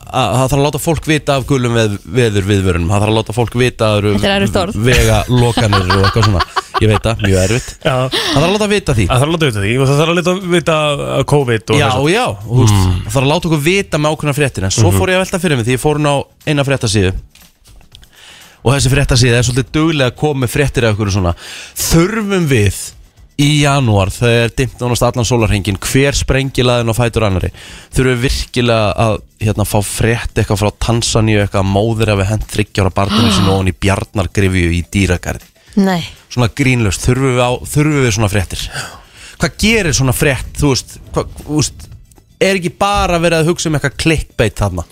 A: að það þarf að láta fólk vita af gulum veð, veður viðvörunum, það þarf að láta fólk vita að eru
B: Þetta er erfitt orð.
A: vega lokanir og eitthvað svona, ég veit það, mjög erfitt
C: Já,
A: það þarf að láta vita því
C: það þarf að láta auðvitað því og það þarf að láta vita af COVID og Mm.
A: Já,
C: þessu.
A: já, þú veist, það þarf að láta okkur vita með ákveðna fréttin En
C: Mhm.
A: svo fór ég að velta fyrir mig því ég fór hún á eina fréttasíðu Og þessi fréttasíða er svolítið duglega að koma með fréttir af okkur svona Þurfum við í janúar þegar dimmt nánast allan sólarhengin Hver sprengilaðin og fætur annari Þurfum við virkilega að hérna, fá frétt eitthvað frá Tansaníu Eitthvað að móðir að við hent þryggjára barninu sinni ofan í Bjarnargrifju í dýragarði
B: Nei,
A: svona grínlöst, þurfum við, á, þurfum við svona fréttir hvað gerir svona frétt þú veist, hvað, þú veist er ekki bara verið að hugsa um eitthvað clickbait þarna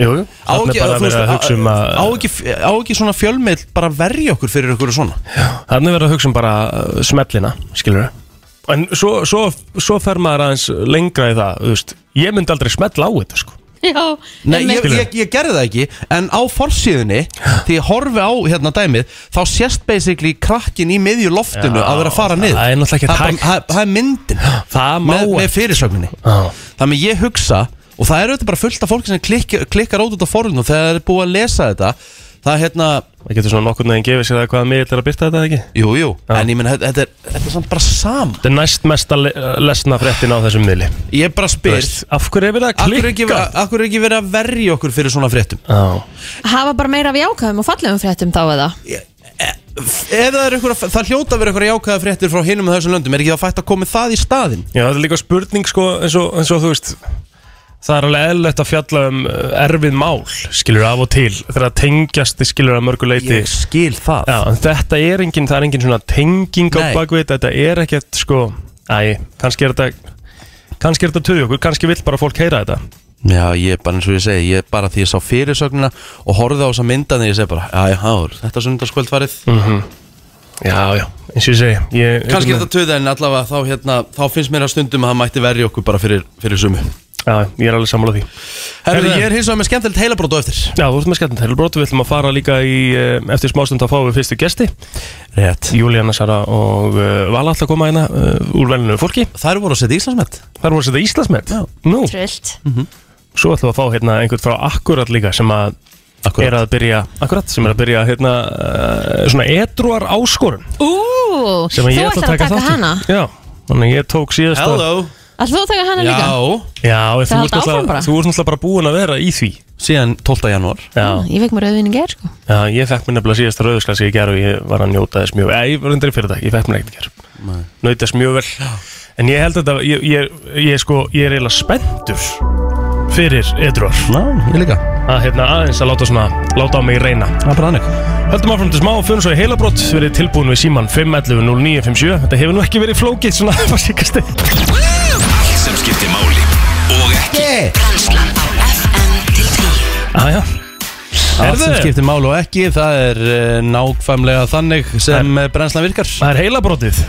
C: Jú, jú,
A: á
C: þarna
A: ekki,
C: er bara
A: þú
C: verið að hugsa um að
A: á, ekki, á ekki svona fjölmiðl bara verja okkur fyrir okkur og svona
C: Þannig verður að hugsa um bara uh, smellina, skilur við En svo, svo, svo fer maður aðeins lengra í það, þú veist Ég myndi aldrei smella á þetta, sko
B: já
A: Nei, ég,
C: Skilurðu?
A: ég, ég gerði það ekki, en á forsíðunni því ég horfi á hérna dæmið þá sést basically krakkin í miðju loftinu
C: Já,
A: að vera að fara
C: það
A: niður
C: er náttúrulega ekki
A: Það er
C: hægt.
A: bara- það- Það er myndin
C: Það má
A: með, með fyrirsögninni
C: Já.
A: Þannig að ég hugsa og það er auðvitað bara fullt af fólki sem klikk, klikkar út út af forðinu og þegar það er búið að lesa þetta það er hérna,
C: Það getur svona nokkurn veginn gefið sér það hvaða miðill er að byrta þetta, ekki?
A: jú, jú en ég menn, þetta er, þetta er samt bara sam
C: Þetta er næst mesta le lesna fréttin á þessum miðli
A: ég bara
C: Þú
A: spyr,
C: veist, Af hverju er verið að
A: akkur er, ekki,
C: klikka?
A: akkur er ekki verið að verja okkur fyrir svona fréttum
C: Já,
B: Hafa bara meira af jákvæðum og fallegum fréttum þá eða
A: ef það er ykkur, það hljóta að vera ykkur jákvæða fréttir frá hinum og þessum löndum, er ekki það fætt að koma það í staðin
C: Já þetta er líka spurning sko eins og, eins og þú veist Það er alveg eðlögt að fjalla um uh, erfið mál skilur af og til þegar það tengjast skilur að mörgu leiti
A: ég skil það
C: Já, en þetta er engin, það er engin svona tenging á
A: Nei.
C: bakvið, þetta er ekkert sko, æ, kannski er þetta kannski er þetta töðu okkur, kannski vill bara fólk heyra þetta
A: Já, ég er bara eins og ég segi, ég er bara því ég sá fyrirsögnina og horfði á þessa mynda þegar ég segi bara, já, já, þetta er sundarskvöldfarið mm
C: Mhm. Já, já, eins og ég segi ég,
A: Kanski er þetta töða en allavega þá, hérna, þá finnst mér að stundum að það mætti verja okkur bara fyrir, fyrir sumu
C: Já, ég er alveg sammála því
A: Herru,
C: Herðu,
A: ég er hins vegar með skemmtilegt heilabrót á eftir
C: Já, þú ert með skemmtinn Helbrot, við ætlum að fara líka í eh, eftir smástund að fá við fyrstu gesti
A: Rétt
C: Júlíana Sara og uh, Vala ætla að koma hérna uh, úr velinu fólki
A: Þær voru að setja Íslandsmet
C: Þar voru að setja Íslandsmet
A: Já. Mhm.
C: Nú,
B: Trillt
C: svo ætlum við að fá hérna einhvern frá Akkurat líka sem að er að byrja Akkurat, sem er að byrja hérna uh, svona edruar áskorun
B: Ú,
C: sem
B: þú
C: að ég ætla að taka,
B: taka
C: þátt í.
B: hana
C: Já, þannig að ég tók síðast
A: Hello
B: Ætlar þú að taka hana líka?
A: Já,
C: Já,
B: Það
C: ef þú
B: halda
C: ert
B: áfram bara.
C: náttúrulega þú ert náttúrulega bara búin að vera í því
A: síðan 12. janúar
C: Já,
B: Ah, Ég vekk mér auðvinni ger sko
C: já ég fekk mér nefnilega síðasta rauðsklasi í gerð og ég var að njóta þess mjög Ég, ég var undir í fyrir dag, ég fekk mér ekkert í gerð Naut þess mjög vel En ég held að þetta, ég, ég, ég, sko, ég er eiginlega spenntur fyrir Edruar
A: Ná, ég líka
C: að hérna aðeins að láta svona, láta á mig reyna
A: Það er bara þannig
C: Höldum áfram til smá og fyrir svo í heilabrótt verið tilbúin við síman 511-0957 Þetta hefur nú ekki verið flókið svona [laughs] að var síkast
E: Allt sem skiptir máli og ekki
F: Brennslan á FM til 10
C: Aja,
A: Allt sem
C: Herðu.
A: skiptir mál og ekki, það er uh, nákvæmlega þannig sem er... brennslan virkar
C: það er heilabrótið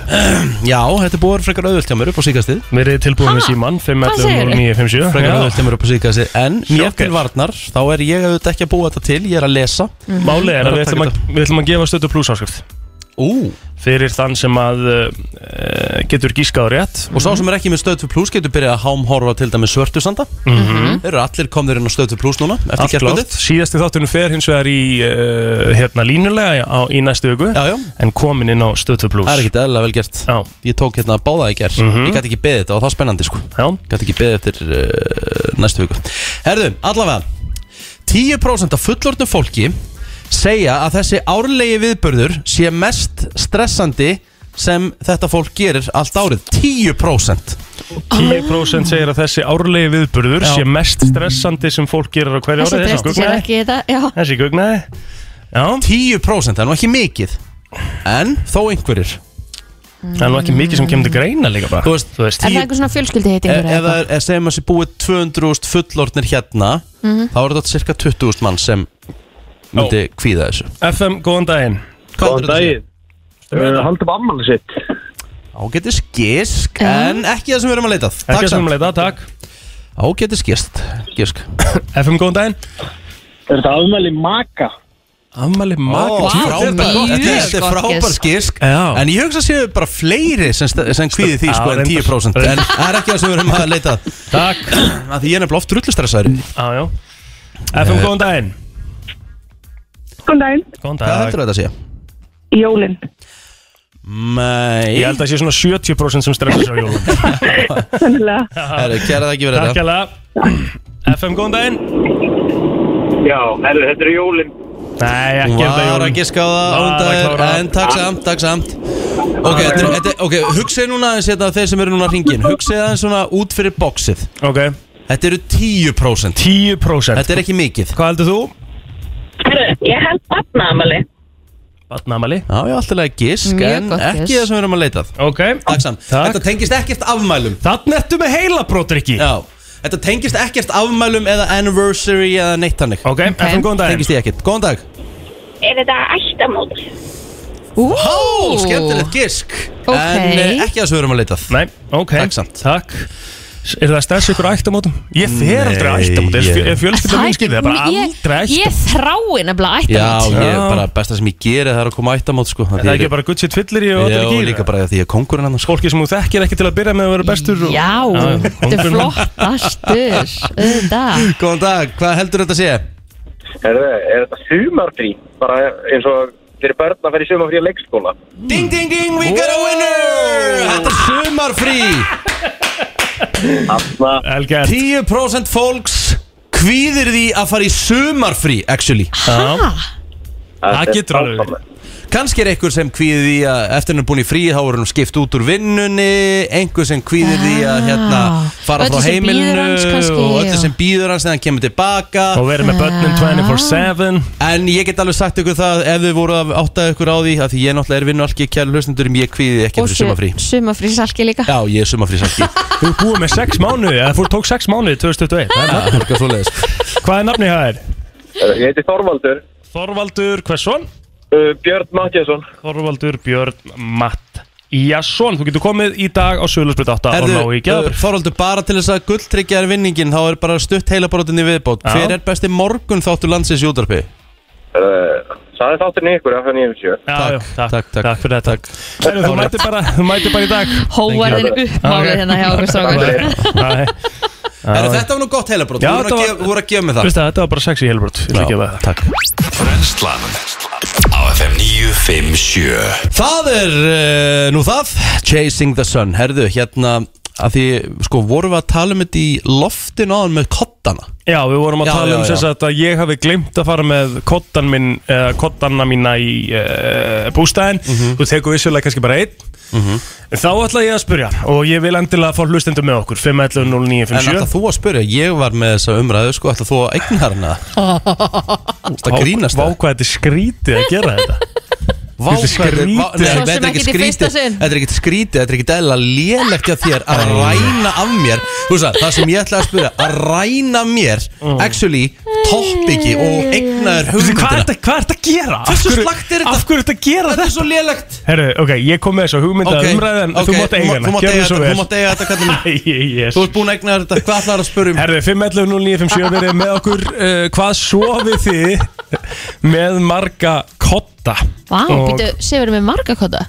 A: Já, þetta er búið frekar auðvöld hjá mér upp á síkastið
C: Verið tilbúin við
B: Ha?
C: síman
B: Hvað segirðu?
C: 511-0957
A: Frekar
C: Já.
A: auðvöld hjá mér upp á síkastið En mér til
C: Sjokker.
A: varnar, þá er ég auðvitað ekki að búa þetta til Ég er að lesa
B: Mhm.
C: Málið er að við
A: Bara
C: ætlum
A: taka
C: að, við ætlum að gefa stötu pluss áskrift
A: Ú,
C: fyrir þann sem að uh, getur gískað rétt
A: og sá sem er ekki með stöð 2 plus getur byrjað að hámhorfa til dæmi svörtu sanda
C: Mhm.
A: Þeir eru allir komnir inn á stöð 2 plus núna Eftir gerkvöldið
C: Síðasti þáttunum fer hins vegar í uh, hérna línulega á, í næstu viku
A: Já, já,
C: en komin inn á stötu
A: það er
C: pluss
A: ekkert eðlilega vel gert
C: Já, Mhm.
A: Ég tók hérna báða í ger Ég gæti ekki beðið þetta og það var spennandi sko
C: já,
A: Gæti ekki beðið eftir uh, næstu viku Herðu, allavega 10% af fullorðnu fólki segja að þessi árlegi viðbörður sé mest stressandi sem þetta fólk gerir allt árið 10%
C: 10% segir að þessi árlegi viðburður
A: Já.
C: sé mest stressandi sem fólk gerir á hverju
B: Þessi
C: árið
B: treysti sér ekki í þetta Já,
C: þessi gugnaði Já,
A: 10% það er nú ekki mikið En þó einhverjir
C: það er nú ekki mikið sem kemur til greina líka bara
A: Þú veist,
C: þú veist
B: Er það
A: Tíu-
B: eitthvað svona fjölskyldi
C: E-
A: Ef ef
B: eitthvað?
A: það E- er, ef segjum að sé búið 200.000 fullorðnir hérna Þá er þetta cirka 20.000 mann sem myndi kvíða þessu
C: FM, góðan daginn
A: Góðan daginn Eh,
G: Haldum amman sitt
A: Ágætis gisk, en ekki það sem við erum að leitað
C: Ekki
A: Takk
C: sem
A: samt,
C: leita, takk
A: ágætis gisk, gisk.
C: FM, góðan daginn
G: Er þetta afmæli maka?
C: Ammali
A: Ó,
C: maka
A: frábær- Þetta er
B: gott
A: frábær
B: gisk.
A: gisk
C: Já.
A: En ég hugsa að séu bara fleiri sem, sta- sem kvíði því
C: Já,
A: sko, en
C: reyndar.
A: 10% En það er ekki það sem við erum að leita að.
C: Takk
A: Af Því ég er nefnilega oft rullustressaður Eh,
C: Já, já FM, góðan daginn
H: Góðan daginn,
C: Góðan
A: Hvað
C: dag
A: heldur þetta að sé?
H: jólinn.
A: Nei,
C: Ég held að sé svona 70% sem stressar sér á jólum
H: Sennilega.
A: Herru, kæra það ekki verið
C: Takk
A: þetta
C: alveg FM, góðan daginn
G: Já, herru, þetta er jólinn
C: Nei, ekki
A: Hún
C: held að
A: var
C: jólum
A: að giska á það
C: Var að
A: ándagur,
C: klára.
A: en takk samt, takk samt Ok, þetta er- þetta er- ok, hugsið núna aðeins þetta þeir sem eru núna að hringin Hugsið aðeins svona út fyrir boxið
C: Ok,
A: Þetta eru 10%
C: 10%
A: Þetta er ekki mikið
C: Hvað heldur þú?
H: Ég held barnaamali.
C: Batnamali
A: Já, já, alltaf lega gisk,
B: Mjög
A: en
B: gott
A: ekki
B: gisk.
A: það sem við erum að leitað
C: Ok
A: Takk samt,
C: Takk.
A: þetta tengist ekkert afmælum
C: Þannig ertu með heilabrót, Rikki
A: Já, þetta tengist ekkert afmælum eða anniversary eða neitt hannig
C: Ok, FM, góðan daginn
A: Tengist ég ekkert, góðan dag
H: Er þetta ættamót?
B: Ú,
A: Ó, skemmtilegt gisk
B: Ok.
A: En eh, ekki það sem við erum að leitað
C: Nei, ok
A: Takk samt.
C: Takk Er það stærst ykkur á ættamótum? Ég fer aldrei á
A: Nei,
C: ættamótum
A: ég-
C: Er fjölskylda
B: Það
C: mín skilðið? Það er bara
B: ég-
C: aldrei á
B: Ég
C: ættamótum
B: þrái nefnilega
A: Já,
B: ættamót
A: ég er
C: Já.
A: bara besta sem ég geri það er að koma ættamót sko
C: Er það ekki bara gutt sér tvillir í
A: Já,
C: og allir
A: og
C: ekki
A: líka bara því að kongurinn annars sko.
C: Fólki sem þú þekkir ekki til að byrja með að vera bestur og...
B: Já, þetta er flottastur Auðvitað
A: [laughs] Góðan dag, hvað heldur þetta að sé?
G: Herru, er þetta sumardrí? Bara eins og fyrir börn að fara í sumarfrí að leikskóla
A: Ding, ding, ding, we got a winner! Þetta er sumarfrí
G: Þarna,
C: Elga
A: 10% fólks kvíðir því að fara í sumarfrí, actually
C: Já,
G: þetta er
C: getur alveg verið.
G: áfram.
A: Kanski er einhver sem kvíðir því að eftir hann er búin í frí þá er hann skipt út úr vinnunni einhver sem kvíðir því að hérna, fara
B: Öllu
A: frá
B: sem bíður
A: heimilinu
B: hans kannski,
A: og öllu
B: já.
A: sem býður hans þegar hann kemur tilbaka
C: Og verið með börnin 24-7
A: En ég get alveg sagt ykkur það ef þið voru að áttaði ykkur á því að því ég náttúrulega er vinnalki kjælu hlustendur um ég kvíði ekki
B: Og
A: fyrir sumarfrí
B: sumafrí salki líka
A: Já, ég er sumarfrí salki
C: Þú ert búið með 6 mánuði Eða þú tók 6 mánuði 2021 Það er nafn-
A: Eitthvað svoleiðis
C: Hvað er nafnið það er?
G: Herru, Ég heiti Þorvaldur
C: Þorvaldur Hversson
G: Uh, Björn Mattiasson
C: Þorvaldur Björn Matt Jasson, þú getur komið í dag á Sölusbrit 8 og ná
A: Herðu, uh,
C: í gæðabrif
A: Þorvaldur, bara til þess að gulltryggja er vinningin þá er bara stutt heilabrótin í viðbót
C: Já.
A: Hver er besti morgun þáttu landsins júdarpi?
G: uh, Það er þátturinn í ykkur af henni yfir sjö
A: Takk,
C: takk,
A: takk,
C: takk,
A: takk.
C: fyrir þetta
A: Takk.
C: Herru, þú mætir bara, þú mætir bara
B: [laughs]
C: í dag
B: Hóvarðin uppmálið
C: Ok.
B: hérna hjá okkur strákar
C: Nei, nei.
A: Er þetta var nú gott heilabrót?
C: Já,
A: Þú voru
C: þetta
A: að,
C: var-
A: gef- þú voru að gefa mig það
C: Veistu það, þetta var bara sex í helbrot
A: takk
E: Brennslan Á FM 957
A: Það er uh, nú það Chasing the Sun, herðu, hérna að því, sko, vorum við að tala um þetta í loftin áðan með kottana
C: Já, við vorum að
A: Já,
C: tala
A: já,
C: um
A: já.
C: þess að ég hafi glemt að fara með kottan minn, uh, kottana mína í uh, bústæðin
A: Mhm.
C: Þú tekur vissulega kannski bara einn Þá ætla ég að spyrja og ég vil endilega fá hlustendur með okkur
A: En
C: 511
A: ætla þú að spyrja, ég var með þessa umræðu, sko, ætla þú að eigna hana Það grínast
C: Vá
A: það
C: hvað þetta er skrítið að gera þetta
A: [laughs] Vá,
C: Þetta er
A: hvað þetta er- vá-
C: skrítið.
A: nei,
B: Svo sem
A: þetta er
B: ekkert í fyrsta sinn.
A: Þetta er ekkert skrítið, þetta er ekkert eðla lélegt hjá þér að ræna af mér Þú veist það, það sem ég ætlaði að spyrja að ræna mér, actually toppiki og eignaður
C: Þú veist, Mm. Hvað er
A: hugmyndina
C: þetta hvað er þetta að gera? Af
A: Hversu
C: hverju-
A: slakt er þetta?
C: Af hverju er þetta að
A: Þetta
C: gera þetta?
A: er svo lélegt
C: Herru, ok, ég kom með þessu hugmynda
A: Ok,
C: okay, umræði en
A: ok,
C: þú mátt eiga
A: þú
C: hana
A: mátt
C: Gjörðu
A: eiga
C: svo
A: þetta,
C: vel.
A: þú mátt eiga þetta, kallinn minn.
C: [laughs] Æ, yes.
A: Þú ert búin að eigna þér þetta, hvað ætlaður að spyrja um?
C: Herru, 511-0957 verið með okkur uh, Hvað sofið þið með marga kotta?
B: Vá,
C: Og
B: býttu, séu með marga kota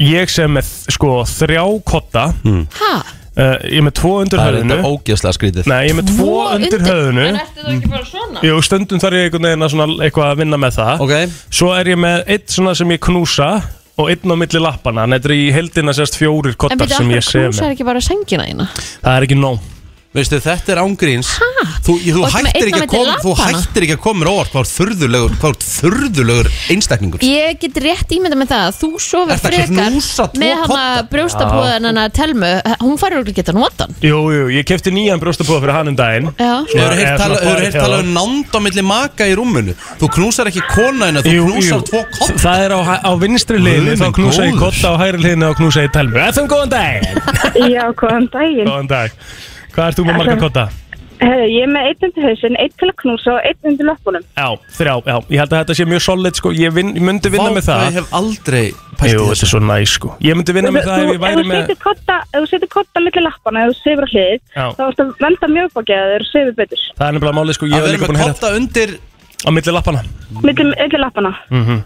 C: Ég sem með sko þrjá kotta
A: Hmm.
B: Ha?
C: uh, Ég er með tvo undir
A: Það er þetta
C: höfðinu
A: ógeðslega skrítið
C: Nei, ég er með tvo undir höfðinu
B: En ertu þú ekki bara svona?
C: Jú, stundum þarf ég einhvern veginn að svona eitthvað að vinna með það
A: Ok,
C: Svo er ég með eitt svona sem ég knúsa og einn á milli lappana en þetta er í heldina sérst fjórir
B: En
C: kottar
B: býttu,
C: sem ég
B: akkur
C: sé
B: knúsar
C: með
B: ekki bara sængina þína?
C: Það er ekki nóg
A: veistu þetta er ángríns Þú, þú,
B: Og þetta með
A: hættir
B: einn
A: ekki
B: á
A: að
B: milli
A: koma- þú
B: lappanna?
A: hættir ekki að koma mér á óvart hvað þú ert þurðulegur, hvað þú ert þurðulegur einstakningur
B: Ég get rétt ímynda með það að Þú sofur
A: Ertu ekki að
B: frekar
A: knúsa tvo
B: með hana
A: kodda?
B: brjóstapóðan hana telmu Hún færur okkur geta notan
C: Jú, jú, ég kefti nýjan brjóstapóða fyrir hann um daginn
B: Já
A: Þú hefur heyrt
C: Eða
A: tala,
C: svona
A: hefur heyrt
C: parið,
A: tala
C: já.
A: um nánd á milli maka í rúminu Þú knúsar ekki konaðina, þú
C: Jú, jú.
A: knúsar tvo
C: Þa-
A: kotta
C: Það er á, hæ- á vinstri
A: Guð
C: liðinu Þá
A: minn
C: knúsa ég
A: góður.
C: kotta á hægri liðinu og knúsa ég telmu FM, góðan dag
H: [laughs]
B: [laughs]
H: Já, hvaðan daginn.
C: Góðan dag Hvað ert þú með marga kotta?
H: Herru, ég er með einn undir hausin, einn til að knúsa og einn undir löpunum.
C: Já, þrjá, já Ég held að þetta sé mjög solid sko Ég, vin, ég myndi vinna með
A: Ég
C: það
A: hef aldrei pælt í
C: Jú, þetta
A: þessu
C: er svo næ sko Ég myndi vinna með það ef ég væri með
H: Ef þú setur kodda, ef þú setur kodda millir lappana, ef þú sefur á hlið,
C: Já.
H: þá ertu að venda mjög bakið að þeir sefur betur.
C: Það er nefnilega málið sko Ég
A: Að
C: hef
A: vera
C: líka
A: með
C: búin að hérna
A: kotta undir
C: Á milli lappana
H: Millir, millir lappana.
C: Mhm.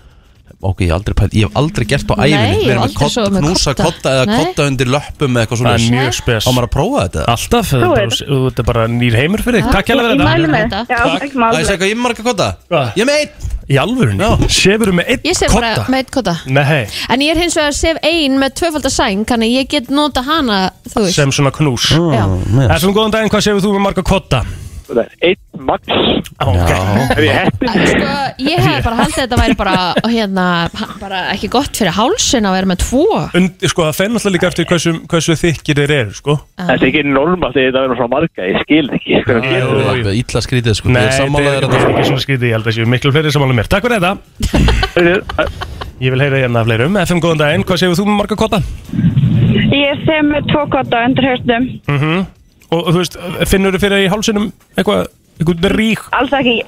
A: Ok, ég hef aldrei pælt, ég hef aldrei gert á
B: Nei,
A: æfinni
B: ég
A: Verið
B: hef
A: með
B: aldrei
A: kotta,
B: sofið með
A: knúsa
B: kodda.
A: kotta eða
B: Nei.
A: kotta undir löppum eða eitthvað
C: Það er
A: svona
C: mjög spes
A: Á maður að prófa þetta
C: Alltaf, þetta er
H: Prófið
C: bara- þú- þetta er bara nýr heimur fyrir þig Takk hérlega
H: Ég mælu
C: fyrir
H: með.
B: Þetta.
H: Já,
C: Takk.
H: ekki mál.
A: Það er eitthvað, ég er með marga kotta
C: Hvað?
A: Ég er með einn
C: þetta Í alvörunni
A: Já.
C: Sefur með einn
B: Ég sef bara
C: kotta
B: með eitt kota
C: Nei,
B: En ég er hins vegar sef ein með tvöfaldar sæng Þannig að ég get nota hana, þú veist
C: sem svona knús
B: Já.
C: FM, góðan daginn, hvað sefur þú með marga kotta?
G: Einn max
C: Okay.
G: Ef ég heppin
B: Sko, ég hef bara haldið að þetta væri bara, hérna, bara ekki gott fyrir hálsin að vera með tvo
C: Und, sko, það fenn alltaf líka eftir hversu, hversu þykkir þeir eru, sko.
G: Þetta er ekki norma þegar þetta verður svona marga Ég skil ekki hvernig
C: Jú,
G: gerir
C: jú.
G: þetta.
A: Alveg Ítla skrítið, sko Ég er
C: þetta
A: sammálaður hérna.
C: er
A: að þetta
C: ekki svona skrítið, ég held að séu miklu fleiri sammála mér. Takk fyrir þetta.
G: Heyrðu,
C: Ég vil heyra hérna af fleirum. FM, góðan daginn, hvað séu þú með marga kotta?
H: Ég sef með tvo kodda undir hausnum.
C: Mhm. Og, og þú veist, finnur þú fyrir í hálsinum eitthvað, eitthvað rík?
H: Alls ekki,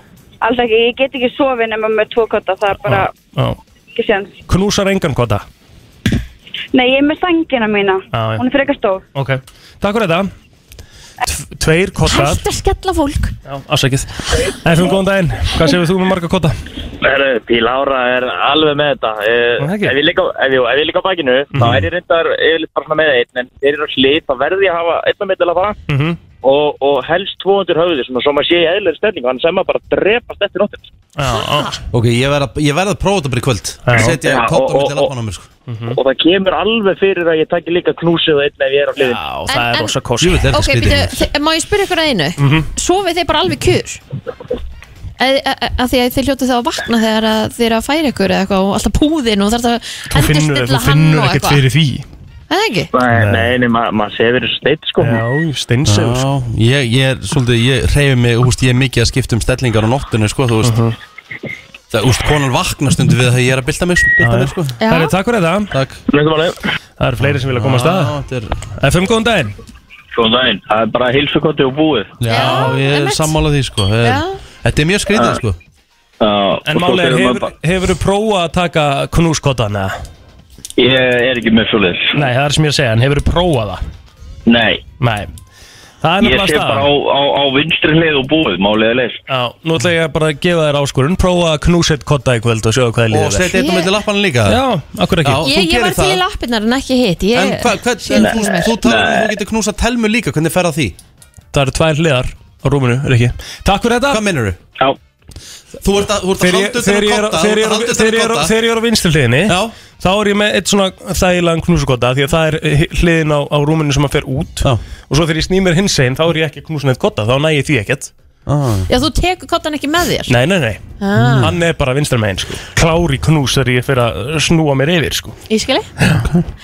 H: alls ekki, ég get ekki sofið nema með tvo kotta, það er bara
C: Já.
H: ekki séns.
C: Knúsar engan kotta.
H: Nei, ég er með sængina mína,
C: Já, já.
H: hún er frekar stór.
C: Ok, takk fyrir þetta. Tv- Tveir kottar.
B: Hætt að skella fólk
C: Já, afsækið. FM, góðan daginn, hvað séu þú með marga kotta?
G: Herru, Píl Ára er alveg með þetta Eh,
C: Nú, það ekki.
G: Ef ég ligg á- ef ég- ef ég ligg á bakinu Þá er ég reyndar yfirleitt bara svona með einn En þeir eru á slið, þá verði ég að hafa einn að meðdala bara
C: Mm
G: og, og helst 200 höfði svona svo maður sé í eðlir stemningu hann sem maður bara drepast eftir nóttin
C: Já, já.
A: Ok, ég verð að- ég verð að prófa þetta bara í kvöld
C: Já.
A: Setja
G: Já,
A: kotta
G: og-
A: undir
G: og-
A: lappan á mér, sko
G: og það kemur alveg fyrir að ég takki líka knúsið einn ef ég er á hliðin
C: Já, það
B: En-
C: er
B: en-
C: rosa kosi.
A: Jú, þetta er Mhm.
B: Ok,
A: skrítið
B: býtu, þi- má ég spyrja ykkur að einu Sofið þið bara alveg kjur? Að, að, að því að þið hljótu þá að vakna þegar að þið eru að færa ykkur eða eitthvað og alltaf púðin og þarf það
C: Þú
B: að
C: finnur, þú
B: endurstilla hann
C: finnur
B: og
C: ekkert
B: eitthvað
C: fyrir því.
B: Er Það ekki?
G: Nei, nei, nei, ma maður sefir þessu steit sko
C: Já, steinsefur, sko.
A: Já, ég, ég er svolítið, ég reyfi mig, húst, ég er mikið að skipta um stellingar á nóttunni, sko, þú veist
C: Mhm.
A: Það, húst, konan vaknar stundu við það ég er að bylta mig, sko, bylta mig, sko
B: Já.
C: Það er takk fyrir það.
A: Takk
G: Nefnum alveg
C: Það eru fleiri sem vilja koma að
A: Já,
C: staða.
A: þetta er-
C: FM, góðan daginn.
G: Góðan daginn Það er bara hilsukoti og búið
A: Já,
B: Já,
A: ég er
B: einmitt.
A: sammálað því, sko Það er-
B: Já.
A: Þetta er mjög skrítið, sko
G: En
C: En málega,
A: um
C: hefur, hefur þú prófað að taka knúskotan eða?
G: Ég er ekki með svo leir
C: Nei, það er sem ég er að segja, en hefur þú prófað það?
G: Nei,
C: Nei Það er
G: ég
C: nefnilega
G: sé bara á,
C: staðan
G: á, á vinstri hlið og búið Málega leir
C: Já, nú ætla ég bara að gefa þér áskorun Prófa að knúsa eitt kotta í kvöld og sjóðu hvað
A: Og
C: liðið er
A: setja eitt á
B: Ég-
A: milli lappan líka
C: Já, akkur ekki
A: Já. þú
B: Ég, ég
A: gerir
B: var
A: það.
B: til lappirnar en ekki hitt ég,
A: En hvað, hvað,
B: ég er fús
A: þú,
B: með.
A: þú talar um að þú getur knúsa telmu líka, hvernig fer það því?
C: Það eru tvær hliðar á rúminu, er ekki Takk fyrir þetta
A: Hvað minnur þú?
G: Já,
A: Þú ert að, þú ert að
C: Þegar ég-
A: halda utan
C: þegar ég
A: að kotta, þú ert að
C: er á- þegar ég er á-
A: halda utan
C: þegar ég er á-
A: að kotta
C: þegar ég er á vinstri hliðinni
A: Já.
C: þá er ég með eitt svona þægilegan knúsukotta því að það er hi- hliðin á, á rúminu sem að fer út
A: Já.
C: og svo þegar ég snýmir hins einn þá er ég ekki knúsun eitt kotta, þá næ ég því ekkert
A: Ah.
B: Já, þú tekur kottan ekki með þér
C: Nei, nei, nei,
B: Ah.
C: hann er bara vinstra megin sko. klári knús þegar ég fyrir að snúa mér yfir sko.
B: Ég skilji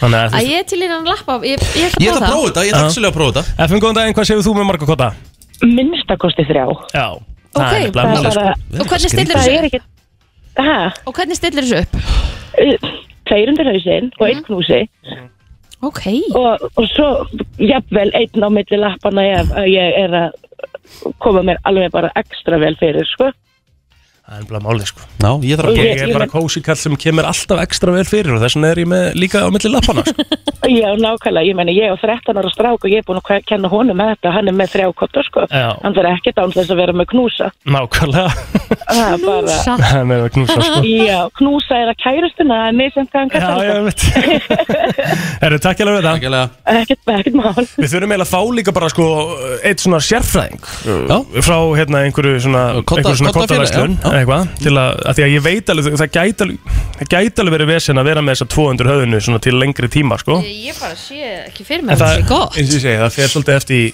C: Þannig að þú
B: Að
C: veist
B: ég er til í hann lappa Ég, ég,
A: Ég ætla að
B: það.
A: prófa þetta, ég ætla actually að prófa þetta
C: FM, góðan daginn, hvað séu þú með marga kotta?
I: minnstakosti þrjá
C: Já,
B: Ok,
C: það er nefnilega
I: það er
C: málið, sko.
I: bara,
B: Og hvernig stillir
I: það er
B: þessu upp?
I: ekki ha,
B: Og hvernig stillir þessu upp? Mhm.
I: tveir undir hausinn og einn knúsi
B: Ok
I: og, og svo jafnvel einn á milli lappana ef að ég er að koma mér alveg bara ekstra vel fyrir sko.
C: Það er nefnilega málið sko.
A: Já, ég þarf að
I: Ég-
A: prófa
C: Ég er bara kósi kall sem kemur alltaf ekstra vel fyrir og þess vegna er ég með líka á milli lappana sko.
I: já, nákvæmlega, ég meina ég er 13 ára strák og ég er búin að kve- kenna honum með þetta hann er með þrjá kotta sko.
C: Já.
I: hann verður ekkert án þess að vera með knúsa
C: Nákvæmlega
I: Það er bara,
B: Sa-
C: Hann er að knúsa sko.
I: já, knúsa er að kærustuna það er misjant hvað hann
C: Já,
I: kallar
C: ég veit Herru, takk ég alveg við það
A: Ægælega
I: þetta ekkert, [laughs] ekkert mál
C: Við þurfum eiginlega að fá líka bara sko eitt svona sérfræðing
A: Já.
C: frá hérna einhverju svona,
A: Kodda-
C: einhverju svona
A: koddafélag,
C: kottaverslun
A: já, já.
C: eða eitthvað til að, að því að ég veit alveg það gæti alveg, það gæti alveg verið vesen að vera með þessa 200 höfðinu svona til lengri tíma sko
B: Ég bara sé ekki fyrir
C: En
B: mér Það er gott
C: eins og ég segi, það fer svolítið eftir í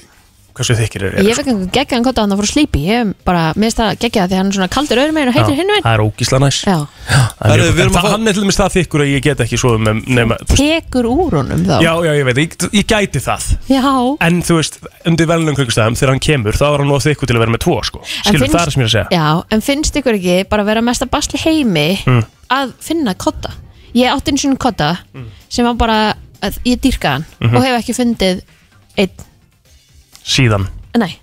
C: hversu þykir er
B: Ég hef ekki geggjað hann kotta hann að fór að slípi Ég hef bara, mér finnst það geggjað því hann er svona kaldur öðrum meginn og heitir hinn meginn
C: Það er ógísla næs
B: Já,
C: Það er
A: Herru,
C: mjög
A: við erum
C: gott. En
A: að
C: það-
A: fá-
C: Hann er til dæmis það þykkur að ég get ekki svo með nema þú veist-
B: tekur úr honum þá
C: Já, já, ég veit, ég, ég gæti það
B: Já.
C: En þú veist, undir velnum kringstæðum þegar hann kemur, þá er hann of þykku til að vera með tvo sko.
B: En
C: Skilur, það er sem ég er að segja
B: Já, en finnst ykkur ekki bara vera mesta basli heimi
C: Mm,
B: að finna kotta Ég átti eins og kotta
C: Mm.
B: sem var bara, að, ég dýrkaði hann
C: Mhm.
B: og hef ekki fundið einn,
C: Síðan,
B: nei,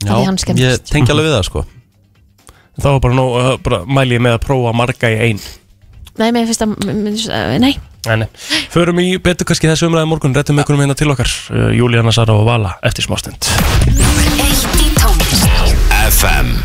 B: Því hann
A: Já,
B: skemmtist.
A: ég tengi alveg við það sko
C: þá er bara, nóg, uh, bara mæli ég með að prófa marga í ein
B: nei, mér finnst það mér finnst það- nei,
C: En förum í betur kannski þessu umræði morgun Rettum einhvernum hérna til okkar uh, Júlíana Sara og Vala eftir smástund
F: Eitt í tónlist
E: FM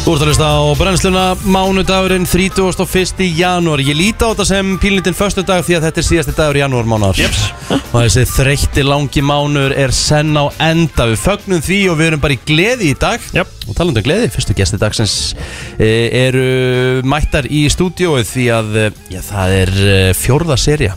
A: Þú ert að hlusta á brennsluna mánudagurinn 31. janúar Ég líti á þetta sem pílnitin förstu dag því að þetta er síðasti dagur janúar mánar Jeps Og þessi þreytti langi mánur er senn á enda Við fögnum því og við erum bara í gleði í dag
C: Jep.
A: Og talandi um gleði, fyrstu gesti dagsins e, eru mættar í stúdíóið því að e, já, það er e, fjórða serja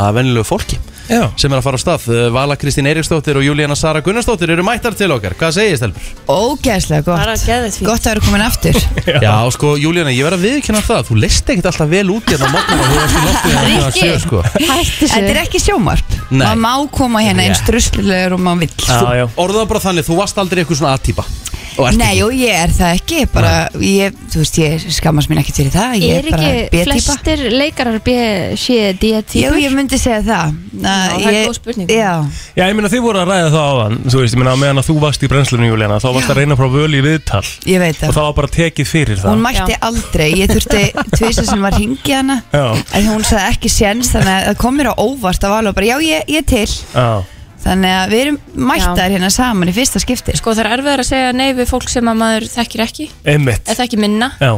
A: af venjulegu fólki
C: Já.
A: sem er að fara á stað E, Vala Kristín Eiríksdóttir og Júlíana Sara Gunnarsdóttir eru mættar til okkar Hvað segir Stelbur?
J: Ógæðslega
B: bara
J: gott
B: geðið fín
J: Gott að vera komin aftur
A: Já, sko, Júlíana, ég verð að viðkynna það Þú leist ekkert alltaf vel út hérna á morgun og þú varst í loftið hérna að
J: Rikki.
A: sjö, sko
B: Hætti
J: Þetta er
B: sér
J: ekki sjómarp
A: Nei.
J: Maður má koma hérna eins druslulegur og maður vill
C: Já, já,
A: Orðaðu bara þannig, þú varst aldrei eitthvað svona aðtýpa Og ert
J: Nei
A: ekki
J: og ég er það ekki bara, ég, Þú veist ég skammast mín ekkert fyrir það Ég
B: Er
J: er bara
B: ekki
J: B-típa
B: flestir leikarar B, C, D,
J: Jú,
B: típur?
J: ég myndi segja það
B: Já, það er góð spurning.
J: Já,
C: já, ég meina þið voru að ræða það áðan Þú veist, ég meina á meðan að þú varst í brennslunum Júlíana Þá varst að reyna frá völu í viðtal
J: ég veit
C: Og
J: það
C: það var bara tekið fyrir það
J: Hún mætti aldrei, ég þurfti tvisa sem var hringi hana
C: Já.
J: En hún sagði ekki séns Þannig að það kom mér á óvart að vala bara Já, ég, ég er til
C: Já,
J: Þannig að við erum mættar hérna saman í fyrsta skipti
K: Sko það er erfiðar að segja nei við fólk sem að maður þekkir ekki
C: einmitt
K: eða þekkir minna
C: Já,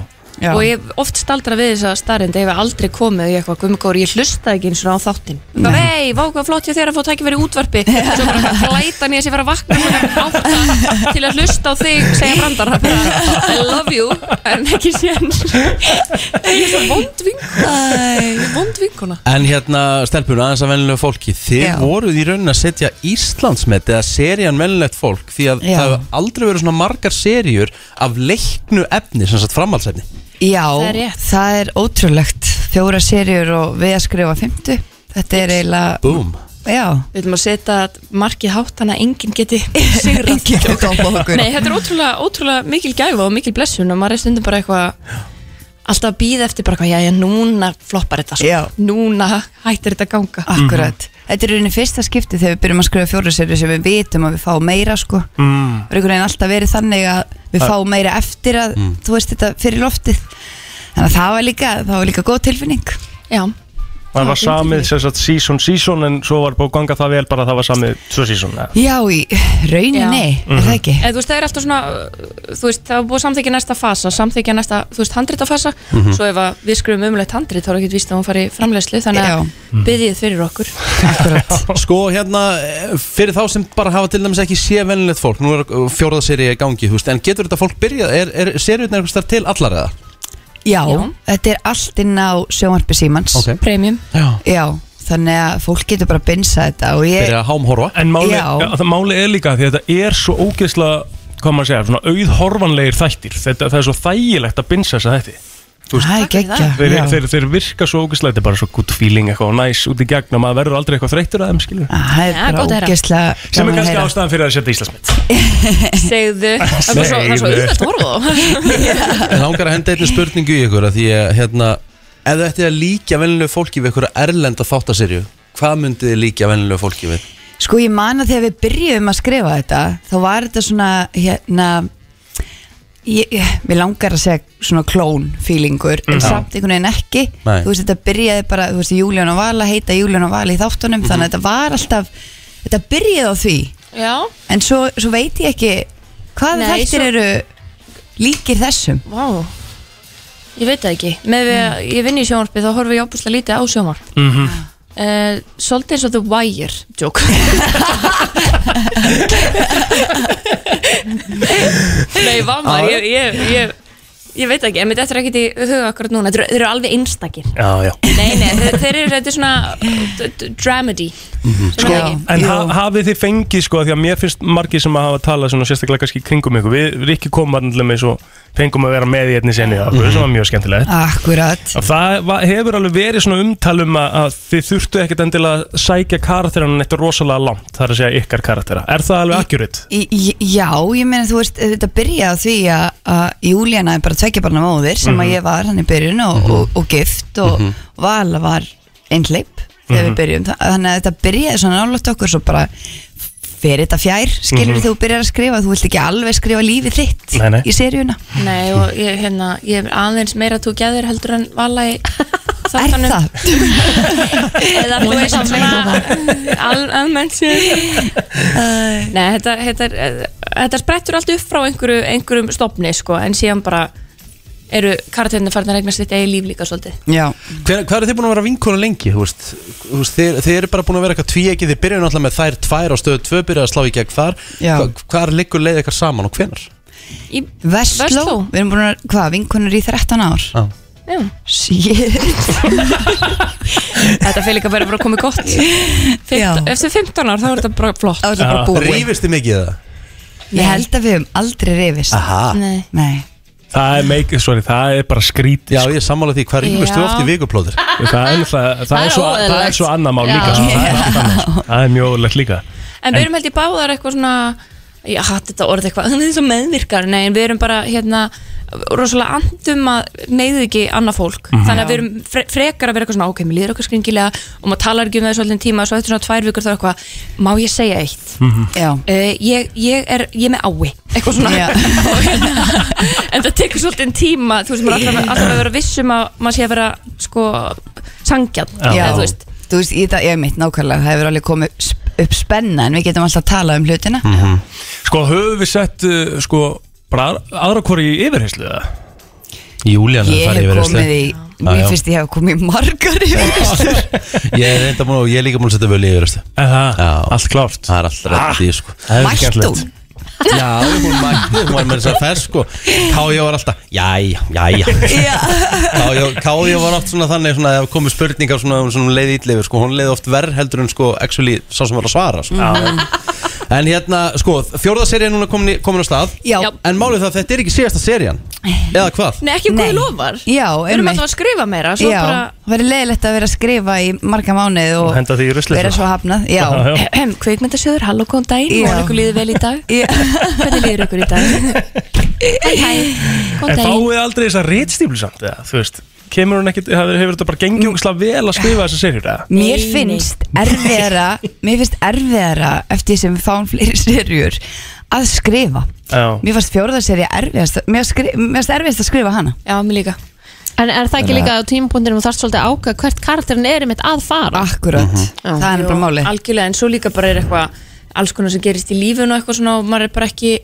J: Já.
K: og ég hef oft staldra við þess að starrend ef ég hef aldrei komið í eitthvað gummikóri, ég hlustaði ekki eins og á þáttin bara vei, vá hvað flott ég þér að fá tæki verið útvarpi svo bara eitthvað glæta nýja sem vera að vakna klukkan átta til að hlusta á þig segja brandar það bara, I love you en ekki sér ég er svo vond vinkona vond vinkona
A: En hérna, stelpun, aðeins að venlulegu fólki Þið
J: Já.
A: voruð í raunin að setja Íslandsmet eða serían venlulegt fólk Því að
J: Já.
A: það hefur aldrei verið svona margar seríur af leiknu efni, sem sagt framhaldsefni
J: Já,
K: Það er rétt.
J: það er ótrúlegt Fjóra serjur og við að skrifa fymtu Þetta er eiginlega
A: Búm
J: Já.
K: Við viljum að setja markið hátt þannig að enginn geti sigrað.
J: Enginn geti doppað okkur.
K: Nei, þetta er ótrúlega, ótrúlega mikil gæfa og mikil blessun og maður er stundum bara eitthvað alltaf að býða eftir bara hvað, já, já, núna floppar þetta sko.
J: Já.
K: Núna hættir þetta að ganga.
J: Akkurat. Þetta er rauninni fyrsta skipti þegar við byrjum að skrifa fjóruðseri sem við vitum að við fáum meira sko.
C: Mm.
J: Það er einhvern veginn alltaf verið þannig að við
C: Það-
J: fáum meira eftir að
C: Mm.
J: þú veist þetta fyrir loftið. Þannig að það var líka, það var líka góð tilfinning.
K: Já.
C: Það var samið sem sagt season season en svo var búið að ganga það vel bara að það var samið tvö season eða?
J: Já, í rauninni,
C: Mhm.
J: er það ekki?
K: Eða, þú veist, það er alltaf svona, uh, þú veist, það er búið að samþykja næsta fasa, samþykja næsta, þú veist, handritafasa,
J: Mhm.
K: svo ef að við skrifum umlegt handrit, þá er ekki víst að hún fari í framleiðslu, þannig að byrðið fyrir
J: [laughs]
A: [laughs]
K: okkur.
A: Sko hérna, eh, fyrir þá sem bara hafa til dæmis ekki sé venilegt fólk Nú er fjóraðseri í gangi, þú veist En getur þetta fólk byrjað, er, er seriðin eitthvað starf til allar eða?
J: Já, þetta er allt inn á sjónvarpi símans.
A: Ok.
K: Premium.
A: Já.
J: þannig að fólk getur bara að binsa þetta og ég...
A: Byrja að hámhorfa
C: En máli,
J: Já.
C: ja, það máli er líka því að þetta er svo ógeðslega hvað maður að segja, svona auðhorfanlegir þættir þetta, það er svo þægilegt að binsa þessa þætti Þú
J: Það er geggja.
C: þeir,
J: Eh, já.
C: þeir, þeir virka svo ógeðslega, þetta er bara svo good feeling eitthvað og næs út í gegn og maður verður aldrei eitthvað þreyttur að þeim skilur
J: Ah, Það er
K: Já, gott að
J: bara
K: heyra.
J: ógeðslega
C: sem
J: gaman
C: er
J: að
C: kannski
J: heyra.
C: ástæðan fyrir að setja Íslandsmynd
K: Segðu, það er bara svo, það er svo
A: Segðu.
K: auðvelt að
J: [laughs]
K: horfa á.
A: En langar að henda einnig spurningu í ykkur að Því að hérna, ef þetta er að líkja venilegu fólki við ykkur erlenda þáttaserju Hvað myndið þið líkja venilegu fólki við?
J: Sko ég man að þegar við byrjuðum að skrifa þetta þá var þetta svona hérna ég, ég, mér langar að segja svona klón feelingur
A: Mm.
J: en
K: Mhm.
J: samt einhvern veginn ekki
K: Nei.
J: þú veist þetta byrjaði bara, þú veist Júlíun og Vala heita Júlíun og Vala í þáttunum
A: Mhm.
J: þannig að þetta var alltaf, þetta byrjaði á því
K: Já.
J: en svo, svo veit ég ekki hvaða
K: Nei,
J: þættir
K: svo-
J: eru líkir þessum
K: Vá, ég veit það ekki. Með við að ég vinn í sjónvarpi þá horfum ég ábúslega lítið á sjónvarp.
A: Mhm.
K: Uh, svolítið eins og The Wire, joke. Nei, vama,
C: Já, já.
K: ég, ég, ég, ég veit það ekki, en mér þetta er ekkert í huga akkurat núna. Þeir, eru- þeir eru alveg einstakir.
C: Já, já
K: Nei, nei, þeir, þeir eru, þetta er svona d- d- dramedy.
J: Mm.
C: Sko,
K: Já.
C: en ha, hafið þið fengið sko, því að mér finnst margir sem hafa talað svona sérstaklega kannski í kringum ykkur, við, við ekki komum allir með svo, fengum að vera með í einni senni og
J: Mhm.
C: okkur, sem var mjög skemmtilegt
J: Akkurat
C: Að Það va- hefur alveg verið svona umtalum að, að þið þurftu ekkert endilega að sækja karakterinu neitt rosalega langt, það er að segja ykkar karaktera. Er það alveg akkurat?
J: Í, í- já, ég meina þú veist þetta byrjaði á því að, að Júlíana er bara tvekja barna móðir sem
C: Mhm.
J: að ég var hann í byrjun og, og, og gift og
C: Mhm.
J: Vala var einhleip þegar við
C: Mhm.
J: byrjum, Þa- þannig að þetta byrjaði svona nálægt okkur svo bara fer þetta fjær, skilur
K: Mhm.
J: þú byrjar að skrifa þú vilt ekki alveg skrifa lífið þitt
K: Nei, nei.
J: í seríuna
K: Nei, og ég, hérna, ég er aðeins meira tók gæðir heldur en vala í þáttanum. Er
L: [laughs]
K: það? Eða þú veist svona al- almennt
J: [laughs]
K: séð. Nei, þetta, þetta, er- þetta sprettur allt upp frá einhverju, einhverjum stopni, sko, en síðan bara eru karatirnir farin að regna sitt eigi líf líka svolítið.
J: Já
A: Hver, Hvað eru þið búin að vera vinkona lengi? Þú veist, þú veist, þið, þið eru bara búin að vera eitthvað tvíegið Þið byrjuðu náttúrulega með þær tvær á stöðu tvö Byrjuðu að slá í gegn þar
J: Já.
A: Hva, Hvar liggur leið eitthvað saman og hvenar?
K: Í
J: Vestló, við erum búin að, hvað, vinkonur í 13 ár
A: Já.
K: Já.
J: Shit
K: Þetta fyrir líka bara að koma gott.
J: [laughs]
K: Fimt, eftir 15 ár þá er þetta bara flott.
J: Þá er þetta bara búið.
A: Rífist þið mikið það?
J: Ég held að við höfum aldrei reyfist
A: Aha.
K: Nei.
J: Nei.
C: Það er, make, sorry, það er bara skrít Já,
A: ég er sammála því, hvað
J: rífust þið Já. oft í
A: vikuplóðir?
C: Það er, það, það
K: Það
C: er,
K: er
C: svo, það
K: óeðlilegt.
C: er svo annað mál
K: Já.
C: líka sko. það, er allt annað. það er mjög ólega líka
K: En við erum held ég báðar eitthvað svona Ég hatt þetta orð eitthvað, [laughs] það er svo meðvirkar Nei, en við erum bara hérna rosalega andum að neyðu ekki annað fólk,
M: Mhm.
K: þannig að
M: Já.
K: við erum fre frekar að vera eitthvað svona, ok, mér líður okkar skringilega og maður talar ekki um það í svolítið tíma og svo eftir svona tvær vikur þá er eitthvað, má ég segja eitt
J: Já
K: uh, ég, ég er, ég er með ái eitthvað svona
J: Já.
K: [laughs] Og hérna, en það tekur svolítið tíma þú veist, maður er alltaf, alltaf að vera vissum að maður sé að vera, sko, sangjarn
J: Já,
K: eða þú
J: þú
K: veist,
J: veist, þú veist ég, ég mitt nákvæmlega, það hefur alveg komið sp- upp spenna en við getum alltaf að tala um hlutina
A: Mhm.
C: Sko, höfum við sett uh, sko, bara aðra- aðra hvori í yfirheyslu eða?
A: Júlíana
J: Ég hef komið í, mér finnst ég hef komið í margar yfirheyrslur.
A: Ég er reynda múin og ég er líka múin að setja völu í yfirherslu
C: Allt klárt
A: Það er allt rætt í sko
C: er Mætti skemmtilegt. hún?
A: Já, hún mætti, hún var með þess að fersk sko Kája var alltaf, jæja, jæja Kája- Kája var oft svona þannig svona, ef komið spurningar svona, hún svona leið ítleifir sko, hún leið oft verð heldur en sko actually sá sem var að svara sko.
C: Já.
A: En hérna, sko, fjórða serið núna komin, í- komin á stað
J: Já.
A: En málið það, að þetta er ekki síðasta serían Eða hvað?
K: [laughs] Nei, ekki um hvað lofar
J: Já,
K: Við erum alltaf að skrifa meira svo
J: Já,
K: bara,
J: það verður leiðilegt að vera að skrifa í marga mánuð og
C: Henda því í ruslið sko.
J: vera svo hafnað Já,
K: [clears throat] Kveikmyndasjóður, halló, góðan daginn
J: Já.
K: Mónu ykkur líður vel í dag Hvernig líður ykkur í dag?
J: [laughs]
K: Hæ, hæ,
C: En
K: góðan daginn
C: fáið aldrei þessa ritstíflu samt eða, þú veist Kemur hún ekkit, hefur, hefur þetta bara gengið ógislega vel að skrifa þessa serjur eða?
J: [laughs] Mm. Mér finnst
K: [laughs]
J: erfiðara Mér finnst erfiðara eftir sem við fáum fleiri [laughs] serjur að skrifa
C: Já.
J: Mér fannst fjórðarserja erfiðast Mér fannst skri- mér fannst erfiðast að skrifa hana
K: Já, mér líka
B: En er það
J: Þannig
B: ekki
J: að-
B: líka á tímapunktinu og þarf svolítið að áka hvert karakterin er mitt að fara?
J: Akkurat, það er bara máli
K: Mhm. Algjörlega, en svo líka bara er eitthvað alls konar sem gerist í lífinu og eitthvað svona og maður er bara ekki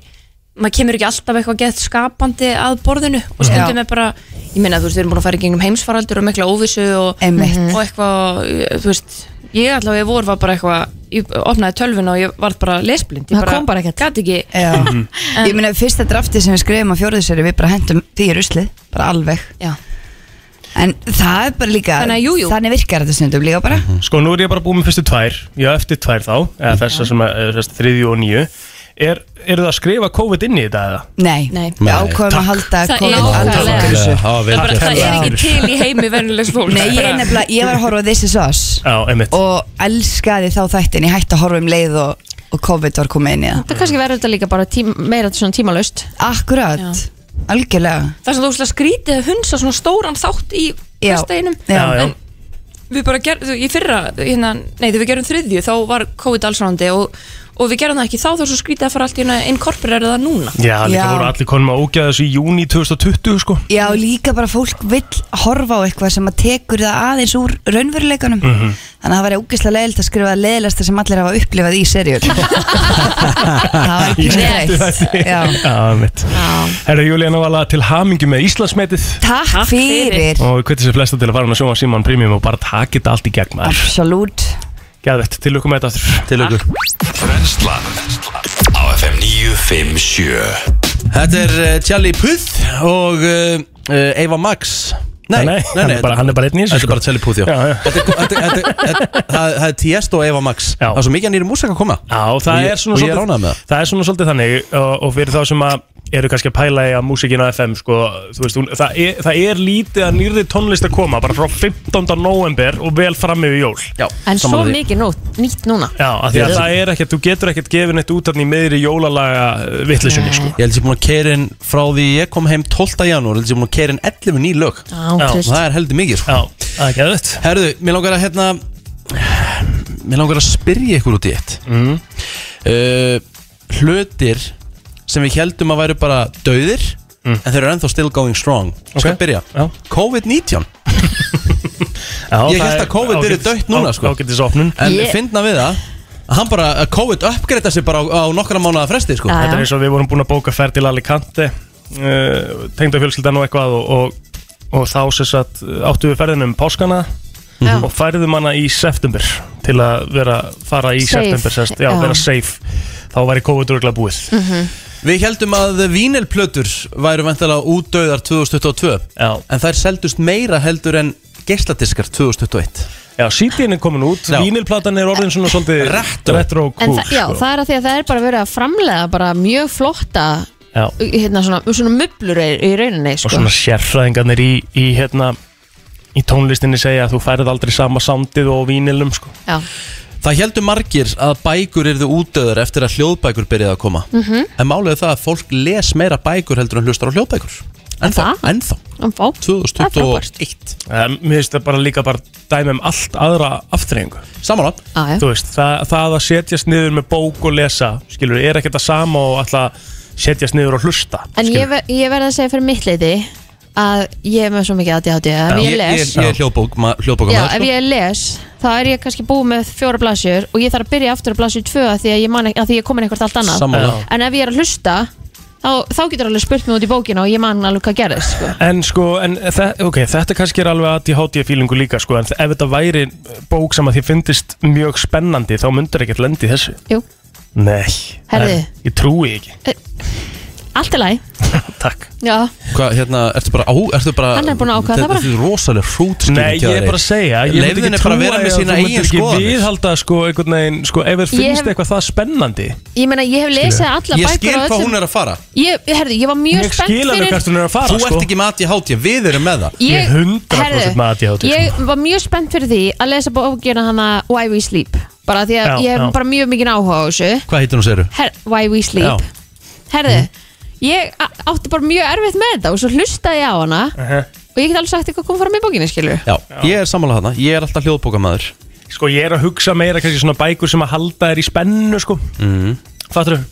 K: maður kemur ekki alltaf eitthvað gett skapandi að borðinu og stundum er bara ég meina þú veist, við erum búin að fara í gegnum heimsfaraldur og mikla óvissu og,
J: Einmitt.
K: og eitthvað, þú veist ég allavega í vor var bara eitthvað ég opnaði tölvun og ég varð bara lesblind ég
J: Það kom
K: bara ekkert gat ekki Mhm.
J: Já. Ég meina fyrsta drafti sem við skrifum á fjórðarserju við bara hendum því í ruslið, bara alveg
K: Já.
J: En það er bara líka
K: Þannig að jú, jú.
J: Þannig virkar þetta stundum líka bara
C: Sko, nú er ég bara búið með fyrstu tvær Já, eftir tvær þá, eða
J: Mhm.
C: þessa sem að, eða þessa þriðju og nýju Er, eru það að skrifa COVID inn í þetta eða?
J: Nei,
K: Nei.
J: við ákvaðum að halda
K: Það er
J: COVID aldrei
K: nákvæmlega.
J: út úr þessu.
C: Það
K: það, er bara, það er ekki til í heimi vennilegs fólk
J: Nei, ég er nefnilega, ég var að horfa á This Is Us
C: Já, einmitt
J: og elskaði þá þættin ég hætti að horfa um leið og, og COVID var komið inn í það
B: Það kannski verður þetta líka bara tím, meira svona tímalust
J: Akkurat, algjörlega
K: það er svona óslega skrítið að hunsa svona stóran þátt í
J: Já.
K: fyrsteginum
J: Já.
K: en við bara gerðum, í fyrra hérna, nei þegar við gerum þriðju þá var COVID allsrándi og, og við gerum það ekki þá þá er svo skrítið að fara allt í hérna inkorporera það núna
C: Já, líka
J: Já.
C: voru allir konum að ógæða þessu í júni 2020 sko
J: Já, líka bara fólk vill horfa á eitthvað sem að tekur það aðeins úr raunveruleikunum
C: Mhm.
J: Þannig að það var ógeðslega leiðilt að skrifa leiðilegsta sem allir hafa upplifað í [laughs] seriur Það
C: [laughs]
J: var ekki neitt Já.
C: Já, mitt Herra Júlíana Vala til hamingu með Íslandsmetið
J: Takk fyrir
C: Og við kvittum sér flesta til að fara hann að sjóma Simon Premium og bara taka þetta allt í gegn maður
J: Absolutt
C: Gæðvett, til okkur með þetta aftur Til okkur
E: Brennslan Á FM 957
A: Þetta er uh, Charlie Puth og uh, uh, Eva Max Nei, nei, nei,
C: hann er bara- hann er bara einn í
A: Þetta
C: þessu, sko.
A: er bara Charlie Puth, já,
C: Já, já.
A: Þetta, er- þetta, þetta, þetta, þetta, það, það er Tiesto og Eva Max Það er svo mikið hann er í músika að koma
C: Já, og það
A: Og ég-
C: er svona
A: og ég er ánægður með það.
C: er svona svolítið þannig og, og fyrir þá sem að eru kannski að pæla í að músikina FM sko, þú veist, hún, það, er, það er lítið að nýrði tónlist að koma bara frá 15. november og vel fram yfir jól Já,
B: En svo mikið nú, nýtt núna
C: Já, af því að það er ekkert, þú getur ekkert gefið neitt út af því meðri jólalaga vittlisunni sko.
A: Ég held sér búin að keira inn frá því ég kom heim 12. janúar Ég held sér búin að keira inn 11 ný lög
B: Já, trist.
A: Það er heldur mikið sko.
C: Já, það er geðvægt
A: Herðu, mér langar að hérna Mér langar að spyrja ykkur út í eitt mm. Hlutir sem við heldum að væru bara dauðir En þeir eru ennþá still going strong Ég Skal
C: Mm. Ok.
A: byrja COVID-19
C: [laughs] Já,
A: Ég
C: það
A: held
C: er
A: að COVID eru
C: ágætis-
A: dött núna
C: á-
A: sko.
C: Ágætisopnun
A: En yeah. finna við það að Hann bara, að COVID uppgreita sig bara á, á nokkra mánuða fresti sko.
C: Þetta er eins og við vorum búin að bóka ferð til Alicante uh, tengda fjölskyldan og eitthvað og, og, og þá sem sagt áttu við ferðinum páskana
B: Já.
C: og færðum hana í september til að vera, fara í
B: Safe,
C: september sest, já,
B: já.
C: vera safe þá væri COVID örgulega búið
A: Við heldum að vínelplötur væru vantilega útdauðar 2022
C: Já.
A: En þær seldust meira heldur en geisladiskar 2021
C: Já, CD-in er komin út,
A: Já.
C: vínilplatan er orðin svona svolítið
A: Retro.
C: retro
B: En
C: cool, sko.
B: það, já, það er að því að það er bara verið að framlega bara mjög flotta
C: Já.
B: hérna svona, svona möblur í í rauninni
C: og
B: sko.
C: svona sérfræðingarnir í, í hérna í tónlistinni segja að þú færið aldrei sama samtið og á vínilum sko.
B: Já.
A: Það heldur margir að bækur eru útdauðar eftir að hljóðbækur byrjaði að koma
B: Mhm.
A: En málið er það að fólk les meira bækur heldur en hlustar á hljóðbækur Ennþá, ennþá
B: En fá, það er frábært
A: 2021
C: Um, mér finnst það bara líka bara dæmi um allt aðra aftreyingu
A: Samanlá
B: Já, já.
C: Þú veist, það, það að setjast niður með bók og lesa Skilur, er ekkert það sama og alltaf setjast niður og hlusta
B: En ég,
C: skilurðu.
B: ver, ég verð að segja fyrir mitt leiti að ég er með svo mikið ADHD að ef
A: ég,
B: ég les
A: ég, ég er hljóðbók, hljóðbók
B: Já, ef ég les, þá er ég kannski búið með fjóra blásjur og ég þarf að byrja aftur að blásjur tvö að því að ég, man, ekki- að því ég er komin eitthvað allt annað
C: Sammála. Já.
B: En ef ég er að hlusta, þá, þá getur alveg spurt mig út í bókina og ég man alveg hvað
A: [laughs]
B: gerðist sko.
C: En sko, en þe okay, þetta kannski er alveg ADHD fílingu líka sko, En ef þetta væri bók sem að þið fyndist mjög spennandi Þá myndur ekkert lendi þessu
B: Jú.
C: Nei
B: Herðu.
C: en Ég trúi ekki
B: Allt er læg
C: Takk
B: Já,
A: Hvað, hérna, ertu bara á, ertu bara
B: Hann er búinn að ákveða það bara.
A: Þetta er rosalega hrútskýring
C: Nei, ég er bara að segja ég myndi ekki
A: Leifðin er bara að
C: trúa
A: vera með
C: því
A: sína
C: þú
A: eigin
C: myndir ekki
A: skoðanir
C: viðhalda sko, einhvern veginn, sko, ef þér
B: Ég
C: finnst
B: hef-
C: eitthvað það spennandi
B: ég meina, ég hef lesið alla
A: Ég
B: bækur
A: skil
B: á
A: hvað
B: öllum-
A: hún er að fara
B: Ég, herðu, ég var mjög spennt fyrir
A: Þú
C: sko.
A: ert ekki með ADHD, við erum með það
B: Ég- Ég er 100% herðu, með
C: sko.
B: Ég var mjög spennt fyrir því að lesa bókina hana Why We Sleep bara því að
A: Já,
B: ég hef
A: já.
B: bara mjög mikið áhuga á þessu
A: Hvað heitir hún séru?
B: Her, Why We Sleep
A: Já.
B: Herðu,
C: Mm.
B: ég a- átti bara mjög erfitt með þetta og svo hlustaði ég á hana og ég get alveg sagt eitthvað kom fram í bókinni skilur
A: Já, ég er sammála þarna, ég er alltaf hljóðbókamæður
C: Sko, ég er að hugsa meira kannski svona bækur sem að halda þér í spennu, sko
A: mm.
C: Fattur þau?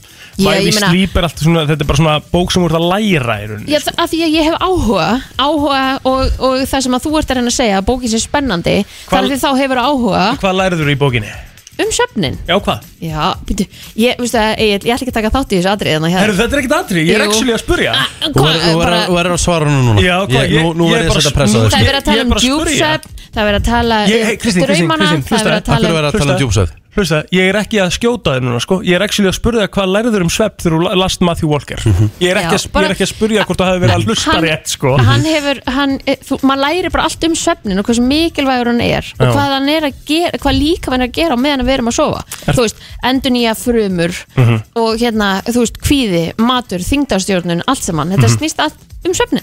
B: Ég-
C: Bæði
B: ég meina-
C: slíp er alltaf svona, þetta er bara svona bók sem úr það læra í rauninni
B: Já, þa- af því að ég hef áhuga áhuga og, og það sem að þú ert að reyna að segja að bókin sé spennandi
C: Hvað-
B: þannig að þá hefur áhuga
C: Hvað lærður í bókinni?
B: um söfnin
C: Já, hvað?
B: Já, býttu, ég, veistu það, ég, ég ætla ekki að taka þátt í þessu atriðina hérna.
C: Herru, þetta er ekkert aðri, ég er
B: Jú.
C: actually að spurja
A: Þú verður- þú verður- þú verður að svara hún núna
C: Já, hvað,
A: Ég- Nú,
C: ég-
A: nú
C: ég
A: er
C: er
A: ég að
C: bara
A: setja
C: að
A: pressa á
B: Það
A: þig
B: er verið að tala um djúpsöfn, það er verið að tala um
C: Ég- hey, Kristín, Kristín,
B: draumana,
C: Kristín,
B: það er verið
C: hlustaðu.
B: að tala
A: Akkur verður að tala um
C: Hlustaðu.
A: djúpsöfn
C: Hlusta, ég er ekki að skjóta þér núna sko. Ég er actually að spurja þér hvað lærður um svepp þegar þú last Matthew Walker
A: Mhm.
C: Ég er ekki,
B: Já,
C: að, ég er ekki að spurja hvort það hefði verið að hlusta
B: Hann-
C: rétt sko.
B: Hann hefur, hann, eh, þú, maður læri bara allt um svefnin og hversu mikilvægur hann er og
C: Já.
B: hvað hann er að gera, hvað líka hann er að gera á meðan við erum að sofa Þú veist, endur nýja frumur
C: Mhm.
B: og hérna, þú veist, kvíði, matur, þingdarstjórnun, allt saman Þetta
C: Mhm.
B: snýst allt um svefnin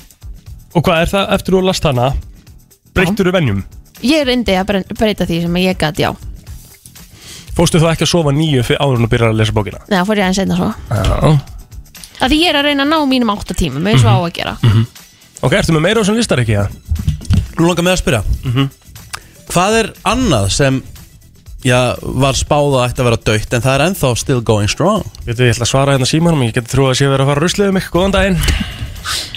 C: Og hvað er það eftir þú last hana? Breyttur þú venjum?
B: Ég reyndi að bre- breyta því sem ég gat, já
C: Fórstu þú ekki að sofa nýju fyrir áður en þú byrjar að lesa bókina?
B: Nei, það fór ég aðeins einna svo
C: Já
B: að því ég er að reyna að ná mínum átta tímum eins
C: Mhm.
B: og á að gera
C: Ok, ertu með meira á sem listar ekki?
A: Nú langar mig að spyrja
C: Mhm.
A: Hvað er annað sem já, var spáð að ætti að vera dött en það er ennþá still going strong
C: Veitu, ég ætla að svara hérna símanum, ég geti trúið að sé verið að fara ruslið um ykkur, góðan daginn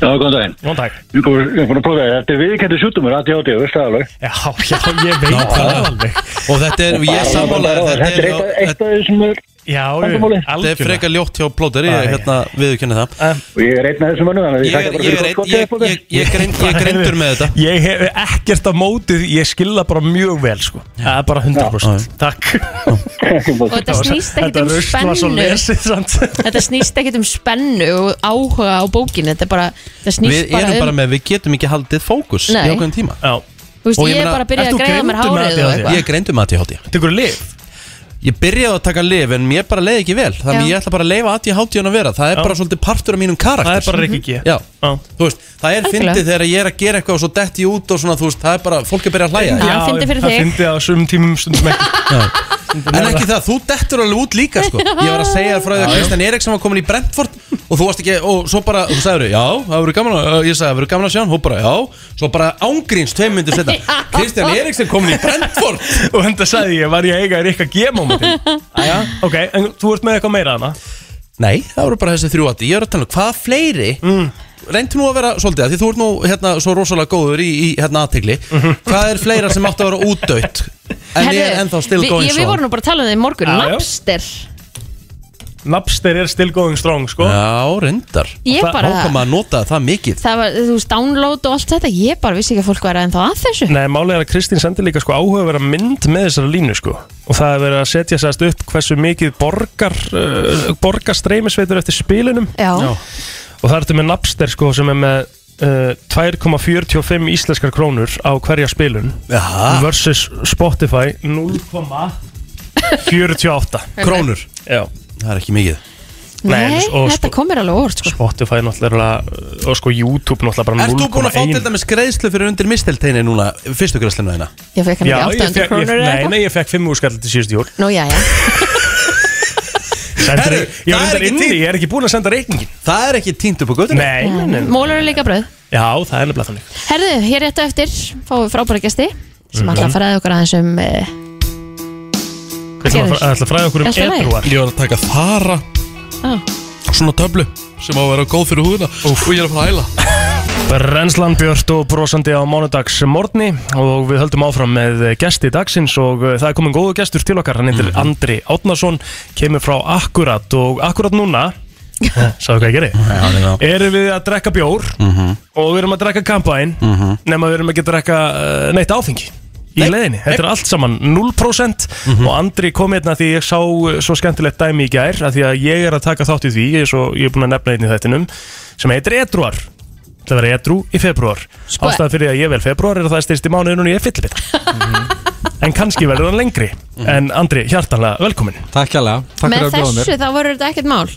M: Já, góðan daginn.
C: Góðan dag.
M: Ég er búin að prófa það. Þetta er viðkendu sjútumur, ADHD, veist það alveg?
C: Já, já, ég veit það alveg.
A: Og þetta er, ég er sammála þér,
M: Þetta er
A: þetta
M: eitt-
A: er
M: eitt af þessum er...
C: Já,
M: Vandamálið.
A: Þetta er frekar ljótt hjá plóter, ég hérna viðurkenni það
M: Og ég er einn af þessum mönnum, þannig að ég
A: Ég
M: þakka
A: er-
M: bara
A: ég
M: fyrir
A: er
M: gott
A: einn-
M: gott
A: ég- ég- ég er greind- ég er greindur með þetta
C: Ég hef ekkert á mótið, ég skilða bara mjög vel, sko. Það er bara 100%.
M: [laughs]
C: Takk.
B: og þetta snýst ekkit um
C: Þetta rusl var svo
B: spennu
C: lesið, sant?
B: þetta snýst ekkit um spennu og áhuga á bókinu þetta, er bara, þetta snýst
A: Við erum
B: um
A: bara með, við getum ekki haldið fókus í
B: Nei.
A: ákveðin tíma
C: Já
B: Þú veist, ég er bara að byrja að greiða mér hárið og eitthvað
A: Ég um er greindur með ADHD
C: Tekur þú lif?
A: Ég byrjaði að taka lif en mér bara leiði ekki vel Þannig
B: Já.
A: ég ætla bara að leifa ADHD hann að vera Það er bara svolítið partur af mínum karakter Mhm.
C: Það er bara Rikki G.
A: Já, þú veist, það er
B: Algjörlega.
A: fyndið þegar ég er að gera eitthvað og svo detti ég út og svona, þú veist, það er bara, fólk er byrjað að hlæja
B: Já, Já, fyndið fyrir það þig. fyndið
C: á sumum tímum stundum
A: ekki En ekki það, þú dettur alveg út líka
B: [laughs]
A: sko. Ég var að segja þér frá því að
C: Já, já.
A: Kristján Eriksson var komin í Brentford og þú varst ekki, og svo bara, þú sagður já, það verður gaman að, ég sagði, það verður gaman að sjá hann og bara, já, svo bara ángríns tveim myndir
B: [laughs]
A: setna, Kristján Eriksson komin í Brentford
C: [laughs] Og þetta sagði ég, var ég að eiga Rikka G.
A: [laughs]
C: mómentin? Æja, ok, en þú ert með eitthvað meira hana?
A: Nei, það voru bara þessi þrjú aðri Ég er að tala um hvaða fleiri mm. Reyndu nú að vera svolítið að því þú ert nú hérna svo rosalega góður í, í hérna aðtegli
C: Mhm.
A: Hvað er fleira sem átti að vera útdöytt En ég er
B: Herðu,
A: ennþá still
B: við-
A: going
B: ég- við vorum
A: strong
B: nú bara að tala um það í morgun
A: Já, já.
B: Napster
C: Napster er still going strong, sko
A: Já, reyndar
B: Ég
A: Það-
B: bara-
A: ákvæm að nota það mikið
B: það var, þú veist, download og allt þetta ég bara vissi ekki að fólk væri ennþá að þessu
C: Nei, málið er að Kristín sendi líka sko áhugaverða mynd með þessari línu sko og það er verið að setja sérst upp hversu mikið borgar, uh, borgar streymisveitur eftir spilunum
B: Já. Já.
C: og það er þetta með Napster sko sem er með uh, 2,45 íslenskar krónur á hverja spilun
A: Jaha.
C: versus Spotify 0,48
A: Krónur
C: Já
A: Það er ekki mikið
B: Nei,
C: Nei, og
B: þetta komir alveg óvart sko.
C: Spotify náttúrulega uh, og sko YouTube náttúrulega bara
A: Ert þú búin að fá
C: 0,1.
A: til dæmis greiðslu fyrir undir mistelteini núna, fyrstu greiðslinu þína?
B: Ég fekk hann
C: Já,
B: ekki
C: ég
B: 800
C: fékk- ég-
B: krónur eða
C: Nei,
B: eitthvað
C: nei, ég fekk 5 úrskall til síðustu jól
B: Nú, já, já
C: Sendur,
A: Herru, það er
C: ég, er
A: ekki
C: inni,
A: tínt.
C: ég er ekki búin að senda reikningin
A: Það er ekki tínt upp á göttunni
C: Nei, nei, nei.
B: Mólur er líka bröð
C: Já, það er nefnilega þannig
B: Herðu, hér rétt á eftir fáum við frábæra gæsti sem
C: Mhm.
B: ætla að fræða okkur aðeins um uh,
C: Það ætla að- ætla að fræða okkur um
B: Allt í lagi.
C: edruar
A: Ég var að taka þara
B: ah.
A: Svona töflu sem á að vera góð fyrir húðina Úf. Og ég er að fara að æla
C: Brennslan Björst og brosandi á mánudags morgni og við höldum áfram með gesti dagsins og uh, það er komin góðu gestur til okkar hann
A: Mhm.
C: heitir Andri Átnason kemur frá Akkurat og Akkurat núna Sáðu hvað ég geri?
A: Já,
C: Erum við að drekka bjór
A: Mhm.
C: og við erum að drekka kampæn
A: Mhm.
C: nema við erum ekki að drekka uh, neitt áfengi í leiðinni Þetta er allt saman 0%
N: Mhm.
C: og Andri kom hérna því ég sá uh, svo skemmtilegt dæmi í gær að því að ég er að taka þátt í því ég er, svo, ég er búin að nefna einn í þættinum sem heitir Edruar Það verður Edru í februar
O: Sko-
C: Ástæðan fyrir að ég vel februar er að það er styrst í mánuðinu og ég er fyllibita
N: Mhm.
C: En kannski verður hann lengri En Andri, hjartanlega velkomin
N: Takk hérlega, takk
B: Með
N: fyrir að bjóða mér
B: þessu þá voru þetta ekkert mál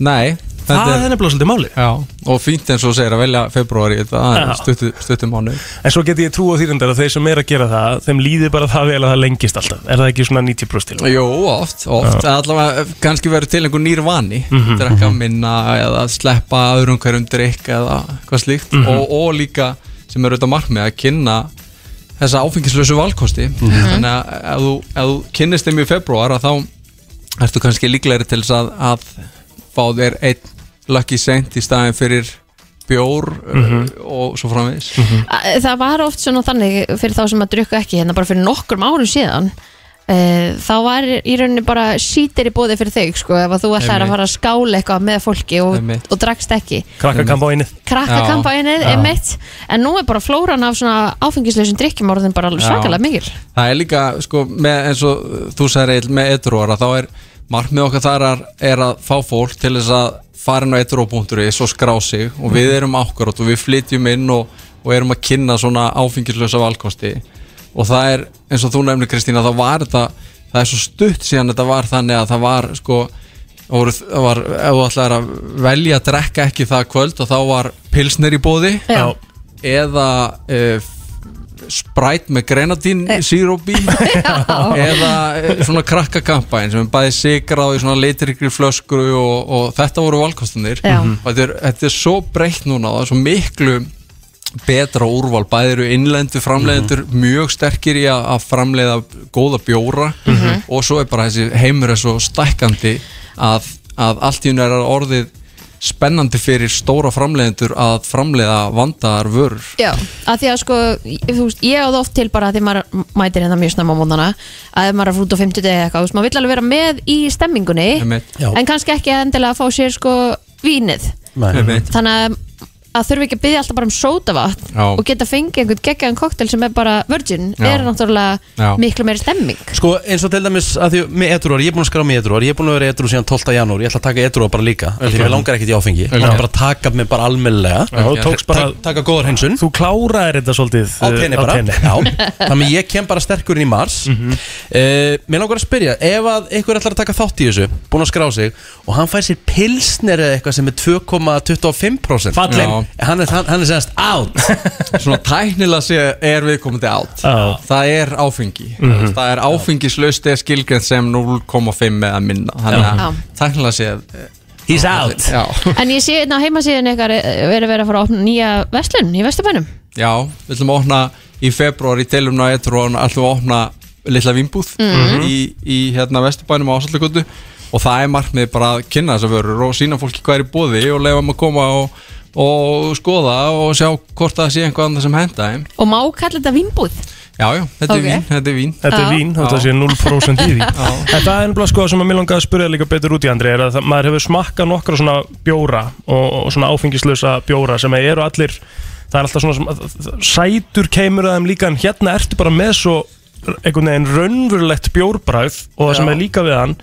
N: Nei
C: Það er nefnilega svolítið máli
N: Já, og fínt eins og þú segir að velja februari Það
C: Já.
N: er stuttu, stuttu mánu
C: En svo geti ég trú á þýrindar að þeir sem er að gera það þeim líði bara það vel að það lengist alltaf Er það ekki svona 90% til?
N: Jó, oft, oft Allavega kannski verður til einhver nýr vani
C: Mhm,
N: Drekka minna eða sleppa öðrum hverjum drikk eða hvað slíkt
C: Mhm.
N: og, og líka sem er auðvitað markmið að kynna þessa áfengislösu valkosti
C: Mhm.
N: Þannig að ef þú, ef þú kynnist þeim í februar að þá ertu kannski líklegri til þess að, að fá þér einn lucky cent í staðin fyrir bjór
C: Mhm.
N: uh, og svo framvegis
B: Æ, Það var oft svona þannig fyrir þá sem að drukka ekki hérna bara fyrir nokkrum árum síðan Uh, þá var í rauninni bara sítir í bóði fyrir þau sko ef að þú ætlar að
C: Einmitt.
B: fara að skála eitthvað með fólki og,
C: Einmitt.
B: og drakkst ekki
C: Krakkakamp á einið
B: krakkakamp á einið,
N: Já.
B: emitt en nú er bara flóran af svona áfengislausum drikkjum orðin bara alveg
N: Já.
B: svakalega mikil
N: Það er líka, sko, með, eins og uh, þú sagði Egill, með edruara, þá er markmið okkar þar er, er að fá fólk til þess að fara inn á edruó.is og skrá sig og við erum ákvarðat og við flytjum inn og, og erum að kynna svona áfengislösa valkosti og það er, eins og þú nefnir Kristína, þá var þetta það er svo stutt síðan þetta var þannig að það var, sko það voru, það var, ef þú ætlaðir að velja að drekka ekki það kvöld og þá var pilsner í bóði
B: Já.
N: eða uh, spræt með grenadín sírópi eða eh, svona krakkakampaðin sem er bæði sigrað í svona litrikri flöskru og, og þetta voru valkostunir
B: Já.
N: og þetta er, þetta er svo breytt núna það er svo miklu betra úrval bæði eru innlendu framleiðendur mjög sterkir í að, að framleiða góða bjóra og svo er bara þessi heimur er svo stækkandi að, að allt í hún er orðið spennandi fyrir stóra framleiðendur að framleiða vandaðar vörur
B: Já, að því að sko ég- þú veist, ég áð oft til bara að því maður mætir hérna mjög snemma á mótana að ef maður er frútt á 50 degi eitthvað, þú veist, maður vill alveg vera með í stemmingunni
N: Einmitt. Já.
B: en kannski ekki endilega að fá sér sko vínið
N: Nei.
B: þannig að, að þurfi ekki að byggja alltaf bara um sótavatn
A: Já.
B: og geta fengið einhvern geggjaðan koktel sem er bara virgin
A: Já.
B: er náttúrulega
A: Já.
B: miklu meiri stemming
A: Sko eins og til dæmis að því með edruar, ég er búin að skrá með edruar, ég er búin að vera edru síðan 12. janúar, ég ætla að taka edruar bara líka okay. Því
C: Ok.
A: mér langar ekkert í áfengi, ég
C: Ok.
A: ætla bara að taka mig bara almennilega
C: Já, þú tókst bara-
A: Tak- Taka góðar hinsun
C: Þú kláraðir þetta svolítið
A: Á tenni
C: uh, á
A: bara,
C: tenni. Mhm.
A: já Þannig að ég kem bara sterkur inn í mars mm Mér langar að spyrja, ef að einhver ætlar að taka þátt í þessu, búin að skrá sig Og hann fær sér pilsner eða eitthvað sem er 2,25%
N: Fallinn.
A: Já. Hann er, hann, hann er segast
C: [laughs]
A: out
N: Svona tæknilega sé er viðkomandi out Það er áfengi
A: Mhm.
N: Það er áfengislaust eða skilgjönd sem 0,5 eða minna Þannig
B: Já.
N: að tæknilega sé
A: He's out
N: Já,
B: en ég sé hérna á heimasíðin ykkar eh, verið verið að fara að opna nýja verslun í Vesturbænum
N: já við ætlum að opna í februar í deilumna og eitthvað ætlum að opna litla vimbúð
B: Mhm.
N: í, í hérna vesturbænum á Ásallakotu og það er markmið bara að kynna þessar vörur og sína fólki hvað er í bóði og leifa um að koma og, og skoða og sjá hvort það sé einhvað annað sem henda þeim
B: og má kalla þetta vinnbúð
N: Já, já, þetta
B: Ok.
N: er vín, þetta er vín
C: Þetta er vín, þetta sé 0% í
N: [laughs]
C: því En það er ennbla sko sem að mér langaði að spyrja líka betur út í Andri er að það, maður hefur smakkað nokkra svona bjóra og, og svona áfengislösa bjóra sem eru allir, það er alltaf svona sem, að- að- sætur keimur að þeim líka en hérna ertu bara með svo einhvern veginn raunverulegt bjórbræð og það sem
N: Já.
C: er líka við hann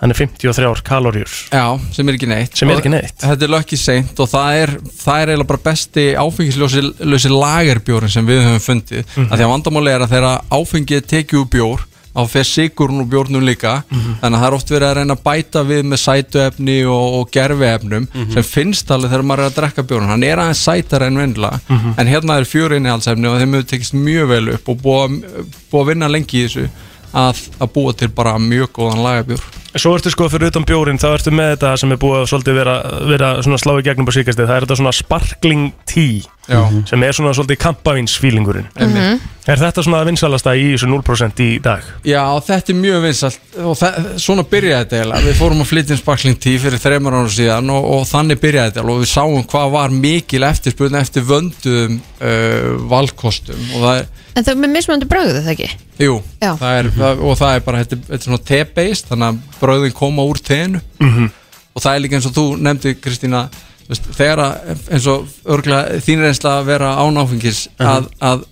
C: hann er 53 kaloríur
N: Já, sem er ekki neitt
C: Sem er ekki neitt.
N: Og Þetta er lökki seint og það er, það er eiginlega bara besti áfengislösi lagerbjórin sem við höfum fundið mm
M: Mhm.
N: Því að vandamáli er að þegar áfengið tekið úr bjór þá fer sigurinn úr bjórnum líka
M: Mhm.
N: þannig að það er oft verið að reyna að bæta við með sætuefni og, og gerfiefnum
C: Mhm.
N: sem finnst alveg þegar maður er að drekka bjórn hann er aðeins sætar en vennla
M: Mhm.
N: en hérna er fjöri innihaldsefni og þeim hefur tekist mjög vel upp og búið, að- búið að vinna lengi í þessu að, að búa til bara mjög góðan lagerbjór
C: Svo ertu sko fyrir utan bjórin, þá ertu með þetta sem er búið að svolítið vera, vera svona slá í gegnum á síkastið, það er þetta svona sparkling tea
N: Já.
C: sem er svona svolítið kampavínsfílingurinn
N: Einmitt.
C: Er þetta svona að vinsalasta í þessu 0% í dag?
N: Já, þetta er mjög vinsalt og þa- svona byrjaði þetta eiginlega við fórum að flytja inn sparkling 10 fyrir þreymar ára síðan og, og þannig byrjaði þetta og við sáum hvað var mikil eftirspurn eftir vönduðum uh, valkostum og það er,
B: en þau með mismöndu brögðu það ekki
N: jú
B: Já.
N: það er, það, og það er bara, þetta, er- þetta er svona te-based þannig að brauðin koma úr teinu
C: Mhm.
N: og það er líka eins og þú nefndi Kristína þú veist, þegar að, eins og örgla þín reynsla að vera án áfengis
M: Mhm.
N: að, að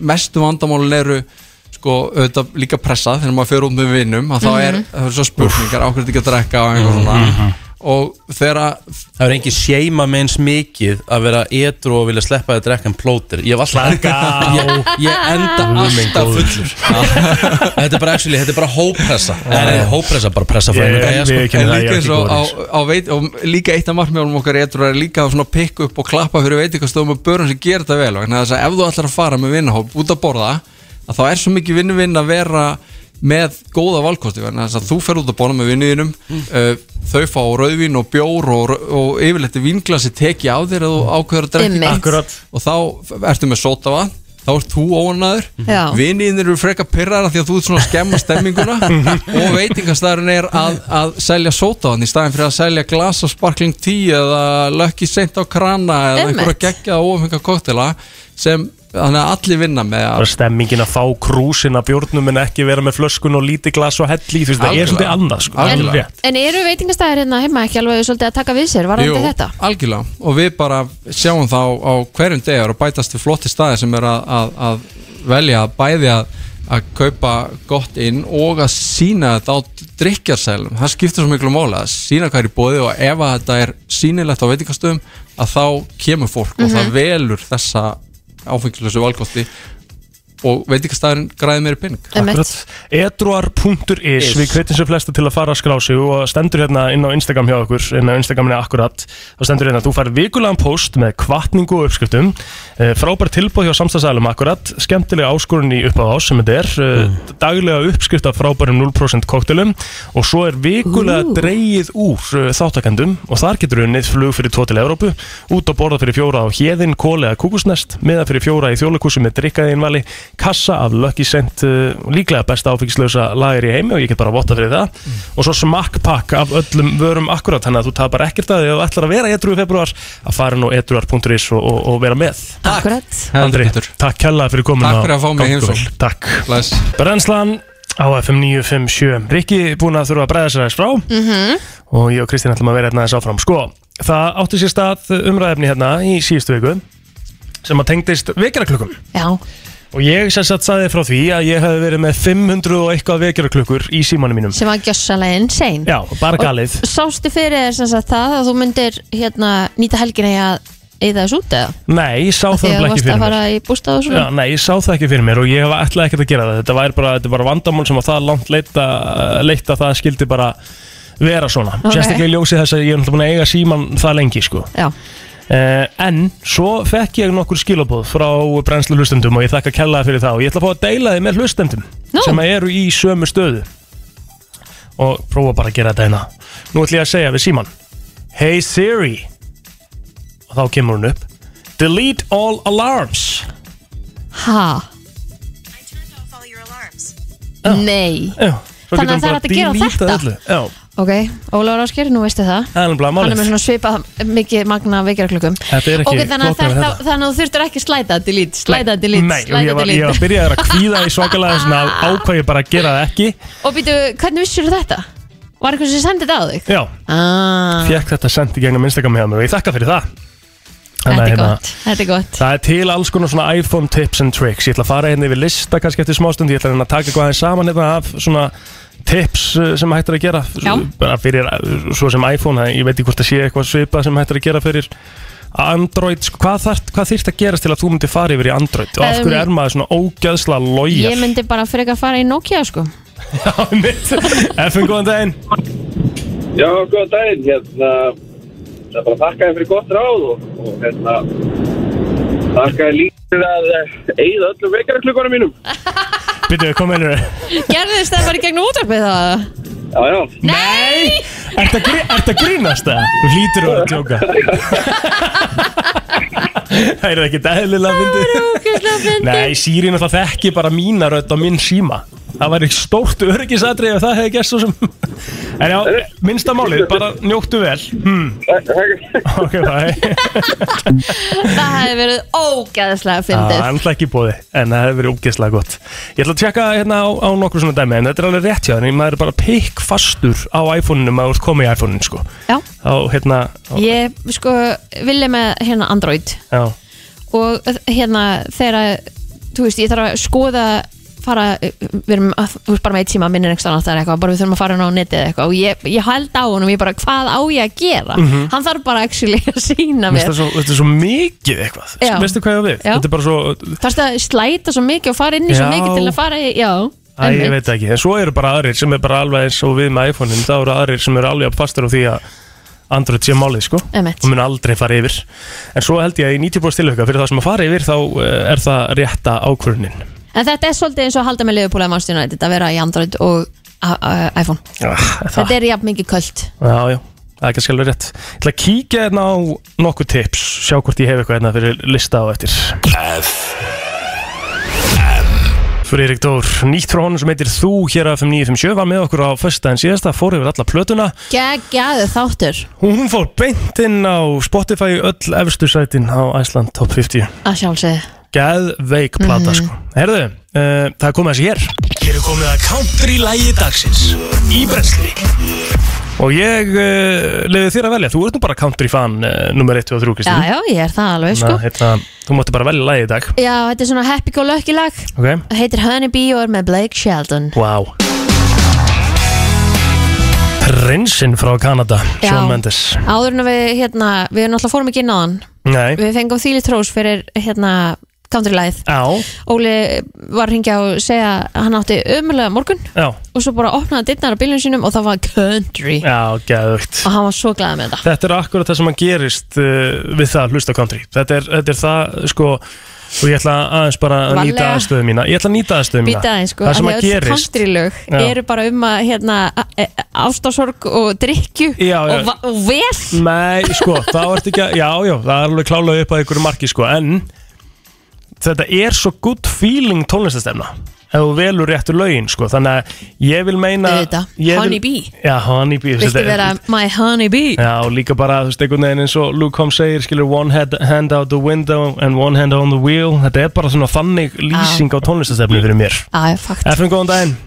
N: mestu vandamálin eru sko, auðvitað líka pressa þegar maður fyrir út með vinnum að þá er,
A: Mhm.
N: það er svo spurningar á hverju þetta ekki að drekka og einhver svona
A: Mhm.
N: og þegar að
A: Það er engin seima með eins mikið að vera edru og vilja sleppa að drekka en plóter Ég hef alltaf
C: á.
A: [laughs] ég, ég enda
C: Guð minn
A: alltaf
C: góður.
A: fullur Þetta er bara actually, þetta er bara hópressa Það er hópressa, bara pressa frá einu gæja, sko.
N: en líka eins og á, á veit og líka eitt af markmjálum okkar eitthvað er líka að svona pikka upp og klappa fyrir veitingastofum og börum sem gerir þetta vel vegna þess að ef þú ætlar að fara með vinnahóp út að borða að þá er svo mikið vinnu-vinn að vera með góða valkosti vegna þess að þú fer út að borða með vinnuðinum
A: Mm.
N: uh, þau fá rauðvín og bjór og, og yfirleitt er vinglasi teki á þér að þú ákveður að drekka
B: Einmitt. Akkúrat.
N: og þá ertu með sótavatn þá ert þú óanæður
B: Já.
N: vinniðin eru freka pyrrara því að þú ert svona að skemma stemminguna og veitingastæðurinn er að, að selja sótaðan í staðin fyrir að selja glas og sparkling tea eða lökki seint á krana eða
C: Einmitt.
N: einhverja geggja og ofengar koktela sem þannig að allir vinna með að
C: bara stemmingin að fá krúsin af bjórnum en ekki vera með flöskun og lítið glas og hell í þú veist, það er
N: Algjörlega.
C: svolítið annað sko.
N: En-
C: Alveg rétt.
B: En eru veitingastæðir hérna heima ekki alveg svolítið að taka við sér varðandi þetta?
N: algjörlega og við bara sjáum þá á hverjum degar og bætast við flotti staði sem er að, að, að velja bæði að, að kaupa gott inn og að sína þetta á drikjarsælum það skiptir svo miklu máli að sína hvað er í bóði og ef að þetta er sínilegt á veitingastöðum að þá kemur fólk og
B: Mhm.
N: það velur þessa áfengilösu valkosti og veitingastæðurinn græði meiri pening
C: Edruar.is Við kveitum sem flesta til að fara að skrá sig og stendur hérna inn á Instagram hjá okkur inn á Instagraminni akkurat og stendur hérna að þú fær vikulegan post með kvartningu og uppskriftum Eh, frábær tilbúð hjá samstagsælum akkurat skemmtilega áskorun í uppáðás sem þetta er mm. daglega uppskrift af frábærum 0% koktelum og svo er vikulega
A: Ú.
C: dreigið úr eh, þáttakendum og þar getur unnið flug fyrir 2 til Evrópu út að borða fyrir fjóra á hérðin, kóli eða kúkusnest meða fyrir fjóra í þjólikúsi með drikkaðinvali kassa af Lucky Scent uh, líklega besta áfengislausa lager í heimi og ég get bara votta fyrir það og svo smakkpakk af öllum vörum akkurat þannig að þú tapar ekkert að því að þú ætlar að vera etru í februar að fara nú etruar.is og, og, og vera með
B: Akkurat
C: Andri, takk kella fyrir komin
N: Takk fyrir að fá mig í heimsókn.
C: Takk
N: Bless.
C: Brennslan á FM 957 Rikki búin að þurfa að bregða sér aðeins frá
D: Mhm.
C: og ég og Kristín ætlum að vera hérna aðeins áfram Sko, það átti sér stað umræðefni hérna í síðustu viku sem að tengdist vekjaraklukkum
B: Já
C: og ég sem sagt saði frá því að ég hefði verið með 500 og eitthvað vekjaraklukkur í símanum mínum
B: sem var gjössalega insane
C: Já, bara galið
B: Og Sástu fyrir þér sem sagt það að þú myndir hérna nýta helgina í að eða þessu út eða?
C: Nei, ég sá
B: Þegar
C: það
B: þú
C: nefnilega ekki
B: varst
C: fyrir
B: að
C: mér
B: fara í bústað og svona?
C: Já, nei, ég sá það ekki fyrir mér og ég hef ætlaði ekkert að gera það Þetta var bara, þetta var vandamál sem var það langt leitt að, leitt að það skildi bara vera svona
A: Ok.
C: Sérstaklega í ljósi þess að ég er náttúrulega búin að eiga síman það lengi sko. Eh,
B: Já
C: En svo fekk ég nokkur skilabóð frá brennslu hlustendum og ég þakka kellaði fyrir það og ég ætla að fá að deila þið með hlustendum sem eru í sömu stöðu og prófa bara að gera þetta hérna Nú ætla ég að segja við síman Hey Siri og þá kemur hún upp Delete all alarms
B: Ha? Nei
C: Já, svo
B: Þannig að
C: getur hún
B: það er
C: bara
B: hægt að gera
C: delete
B: þetta
C: öllu. Já,
B: Ok, Ólaur Ásker, nú veistu það
C: það er nefnilega
B: Hann er
C: málið
B: með svona svipað mikið magna veikjarklökum
C: Þetta er ekki
B: Ok, þannig að
C: flóknara en
B: þetta-
C: þetta.
B: þannig að þú þurftur ekki slæta delete, slæta delete,
C: Nei, og
B: slæta
C: ég var, ég
B: delete
C: var byrjaði að kvíða í
B: [laughs]
C: svakalega svona ákvað ég bara að gera það ekki
B: Og býtu, hvernig vissur þetta? Var eitthvað sem sendið þetta á þig?
C: Já,
B: Ah,
C: fekk þetta sendt í gegnum Instagram hjá mig og ég þakka fyrir það Þannig
B: þetta
C: að
B: er
C: hérna-
B: gott, þetta er gott
C: Það er til alls konar svona iPhone tips and tricks Ég ætla að fara hérna yfir lista kannski eftir smástund Ég ætla hérna að taka eitthvað aðeins saman hérna af svona tips uh, sem hægt er að gera
B: Já.
C: bara fyrir, uh, svo sem iPhone það- ég veit ekki hvort það sé eitthvað svipað sem hægt er að gera fyrir Android, Sko, hvað, þarft, hvað þýrt að gerast til að þú myndir fara yfir í Android og af hverju
B: Um,
C: er maður svona ógæðsla logjar
B: Ég myndi bara fyrir að fara í Nokia sko
C: FN, góðan daginn
O: Já, góðan daginn, hérna Það er bara að þakka þér fyrir gott ráð og, og hérna þakka þér líka fyrir að eigða öllum vekjarklukkanum mínum
C: Býtu, hvað meinur þau?
B: Gerðist það bara í gegnum útvarpið það?
O: Já, já
B: Nei!
C: Ertu að, grí, ertu að grínast það? Þú hlýtur að vera að
O: [laughs]
C: tjóka Það er ekki dæðilega fyndið Það er
B: ógæslega fyndið
C: Nei, Siri náttúrulega þekki bara mína rödd á minn síma Það væri stórt öryggisatrið ef það hefði gert svo sem En já, minnsta málið, bara njóttu vel hmm. Ok, bye
B: Það hefði verið ógæðslega
C: Það er
B: fyndið
C: alltaf ekki bóði, Ah, en það hefur verið ógeðslega gott Ég ætla að tjekka hérna á, á nokkur svona dæmi En þetta er alveg rétt hjá þannig, maður er bara pikk fastur á iPhone-inu Maður er komið í iPhone-inu, sko
B: Já.
C: Þá, hérna, á,
B: Ég sko vilja með hérna Android
C: já
B: eh, og hérna þegar þú veist ég þarf að skoða fara við erum að, þú veist bara með eitt tíma minnir einhvers annars eða eitthvað, bara við þurfum að fara inn á netið eða eitthvað og ég, ég held á honum, ég bara hvað á ég að gera
C: Mhm.
B: hann þarf bara actually að sína
C: Mér
B: mér
C: finnst það svo- Þetta er svo mikið eitthvað
B: Já.
C: Veistu hvað ég á við?
B: Já.
C: Þetta er bara svo
B: þarfst að slæta svo mikið og fara inn í svo
C: Já.
B: mikið til að fara í, já,
C: Æ, ég veit ekki, en svo eru bara aðrir sem er bara alveg eins og við með iPhone-in, þá eru aðrir sem eru alveg fastur á því að Android sé málið sko
B: Einmitt.
C: og mun aldrei fara yfir en svo held ég að í 90% tilhauka fyrir það sem að fara yfir þá eh, er það rétta ákvörunin
B: en þetta er svolítið eins og að halda með liðupúlega Manchester United að vera í Android og a- a- iPhone
C: Þetta
B: þetta er jafn mikið kvöld
C: Já, já, það er kannski alveg rétt Ég ætla að kíkja hérna á nokkuð tips Sjá hvort ég hef eitthvað hérna fyrir lista á eftir F Friðrik Dór, nýtt frá honum sem heitir Þú hér af 5957 var með okkur á föstudaginn síðasta, fór yfir alla plötuna
B: geggjaðu þáttur
C: Hún fór beint inn á Spotify öll efstu sætin á Iceland Top 50
B: að sjálfsögðu
C: Geðveik plata
B: Mhm.
C: sko Herðu, uh, það er komið að þessi hér
E: Hér er komið að country-lægi dagsins Í brensli
C: Og ég uh, leiði þér að velja Þú ert nú bara country fan uh, nummer 1 og 3
B: já, já, ég er það alveg sko
C: Ná, hérna, þú máttu bara velja lagi í dag
B: já, þetta er svona happy go lucky lag
C: Ok
B: Það heitir Honey Bee og er með Blake Sheldon
C: Vá Prinsinn frá Kanada
B: Já.
C: Shawn Mendes
B: Áður en að við, hérna, við náttúrulega fórum ekki inn á hann
C: Nei
B: Við fengum þýli trós fyrir, hérna, countrylæð
C: Já
B: Óli var að hringja og segja að hann átti ömulega morgun
C: Já
B: Og svo bara opnaði dittnar á bílunum sínum og það var country
C: Já, geðvögt
B: Og hann var svo glaðið með þetta
C: Þetta er akkurat það sem að gerist uh, við það að hlusta á country þetta er, þetta er það sko og ég ætla aðeins bara að
B: Varlega.
C: nýta aðstöðu mína Ég ætla að nýta aðstöðu mína
B: Býta aðeins sko,
C: Það sem
B: af
C: að
B: því öll
C: gerist
B: countrylög
C: Já.
B: eru bara um að hérna, ástasorg og drikju
C: Já, já.
B: Og, va- og vel
C: Nei, sko, það vart ekki að Já, já, það er alveg klálega upp að einhverju marki sko En þetta er svo good feeling tónlistastefna Ef þú velur réttu lögin sko Þannig að ég vil meina ég vil-
B: Honey Bee.
C: Já, Honey Bee
B: Viltu
C: þetta er-
B: vera my honey bee
C: Já, og líka bara, þú veist, einhvern veginn eins og Luke Combs segir, skilur, one head, hand out the window and one hand on the wheel Þetta er bara svona þannig lýsing á tónlistastefni fyrir mér
B: Æ, fakt
C: FM, góðan daginn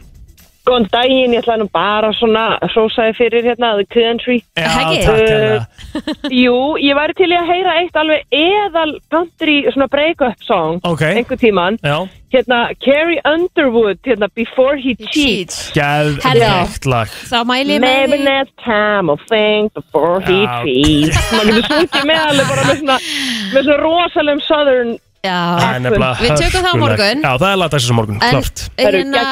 L: Góðan daginn, ég ætla nú bara svona hrósaði fyrir hérna The Country Eh,
C: Já, Ekki? takk hérna.
L: [laughs] Jú, ég væri til í að heyra eitt alveg eðal country svona break-up song
C: okay.
L: einhver tíman
C: Já.
L: Hérna, Carrie Underwood, hérna, Before He, Cheats
C: Gæðvegt lag
B: Þá mæli ég með
L: Maybe
B: því
L: next time I'll think before he
C: Já.
L: cheats Man getur sungið með alveg bara með svona, með svona rosalum southern
C: Það er nefnilega
B: Við tökum það á
C: hörkulegt.
B: morgun.
C: Já, það er lagdagsins á morgun,
B: En
C: klart
B: hérna,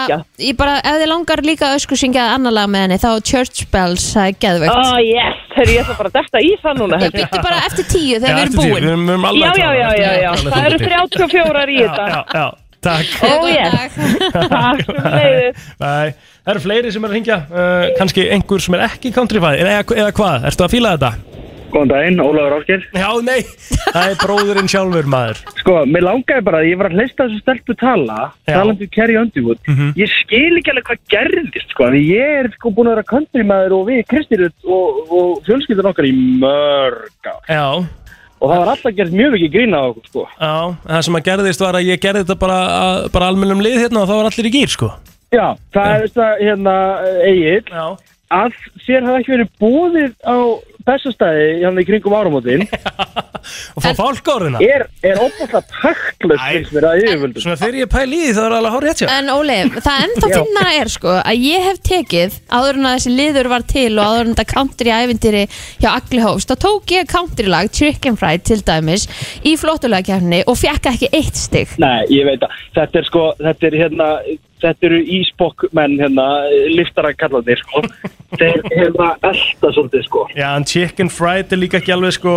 B: ég bara, ef þið langar líka ösku syngja annar lag með henni, þá Church Bells, það er geðveikt.
M: Ah,
L: Oh yes, þegar ég ætla bara að detta í það núna
B: Ég byttu bara eftir tíu þegar
C: Já,
B: við erum
C: eftir tíu,
B: búin.
C: við erum- við erum alveg
L: Já, já,
C: klárar.
L: já, já, já.
C: Alveg
L: Það eru
C: þungur
L: 34 í
C: Já,
L: þetta.
C: já, já, takk
L: Oh
C: [laughs]
L: yes Takk
C: Nei, það eru fleiri sem er að hringja uh, kannski einhver sem er ekki countryfæði eða, eða hvað, ertu að fíla þetta?
M: Góðan daginn, Ólafur Álger
C: Já, nei, það er bróðurinn sjálfur maður
M: Sko, mér langaði bara að ég var að hlista þessu stelpu tala
C: Já. Mhm.
M: talandi um Kerry Underwood Ég skil ekki alveg hvað gerðist, sko því ég er sko búin að vera countrymaður og við Kristirut og, og fjölskyldan okkar í mörg ár
C: Já,
M: og það var alltaf gerð mjög mikið grína á okkur, sko
C: já, það sem að gerðist var að ég gerði þetta bara, að, bara almennum lið hérna og þá var allir í gýr, sko
M: Já, það er veist að, hérna, Egil að sér hafa ekki verið búðið á bestastæði hérna í kringum áramótin
C: [laughs] og fá fálkóruna
M: er, er óbúinlega taktlust finnst mér að yfirvöldum
C: Svona þegar ég pæli í því það er alveg hár rétt hjá
B: En Óli, það ennþá
M: Já.
B: finnara er sko að ég hef tekið áður en að þessi liður var til og áður en þetta country ævindiri hjá Agli Hófst, þá tók ég country lag Chicken Fried til dæmis í flottulagkjafni og fekk ekki eitt stygg.
M: Nei, ég veit að þetta er sko, þetta er hérna þetta eru ísbokk menn hérna liftara kallandir
B: [laughs]
M: sko þeir hérna elda svolítið sko
C: Já, en chicken fried er líka ekki alveg, sko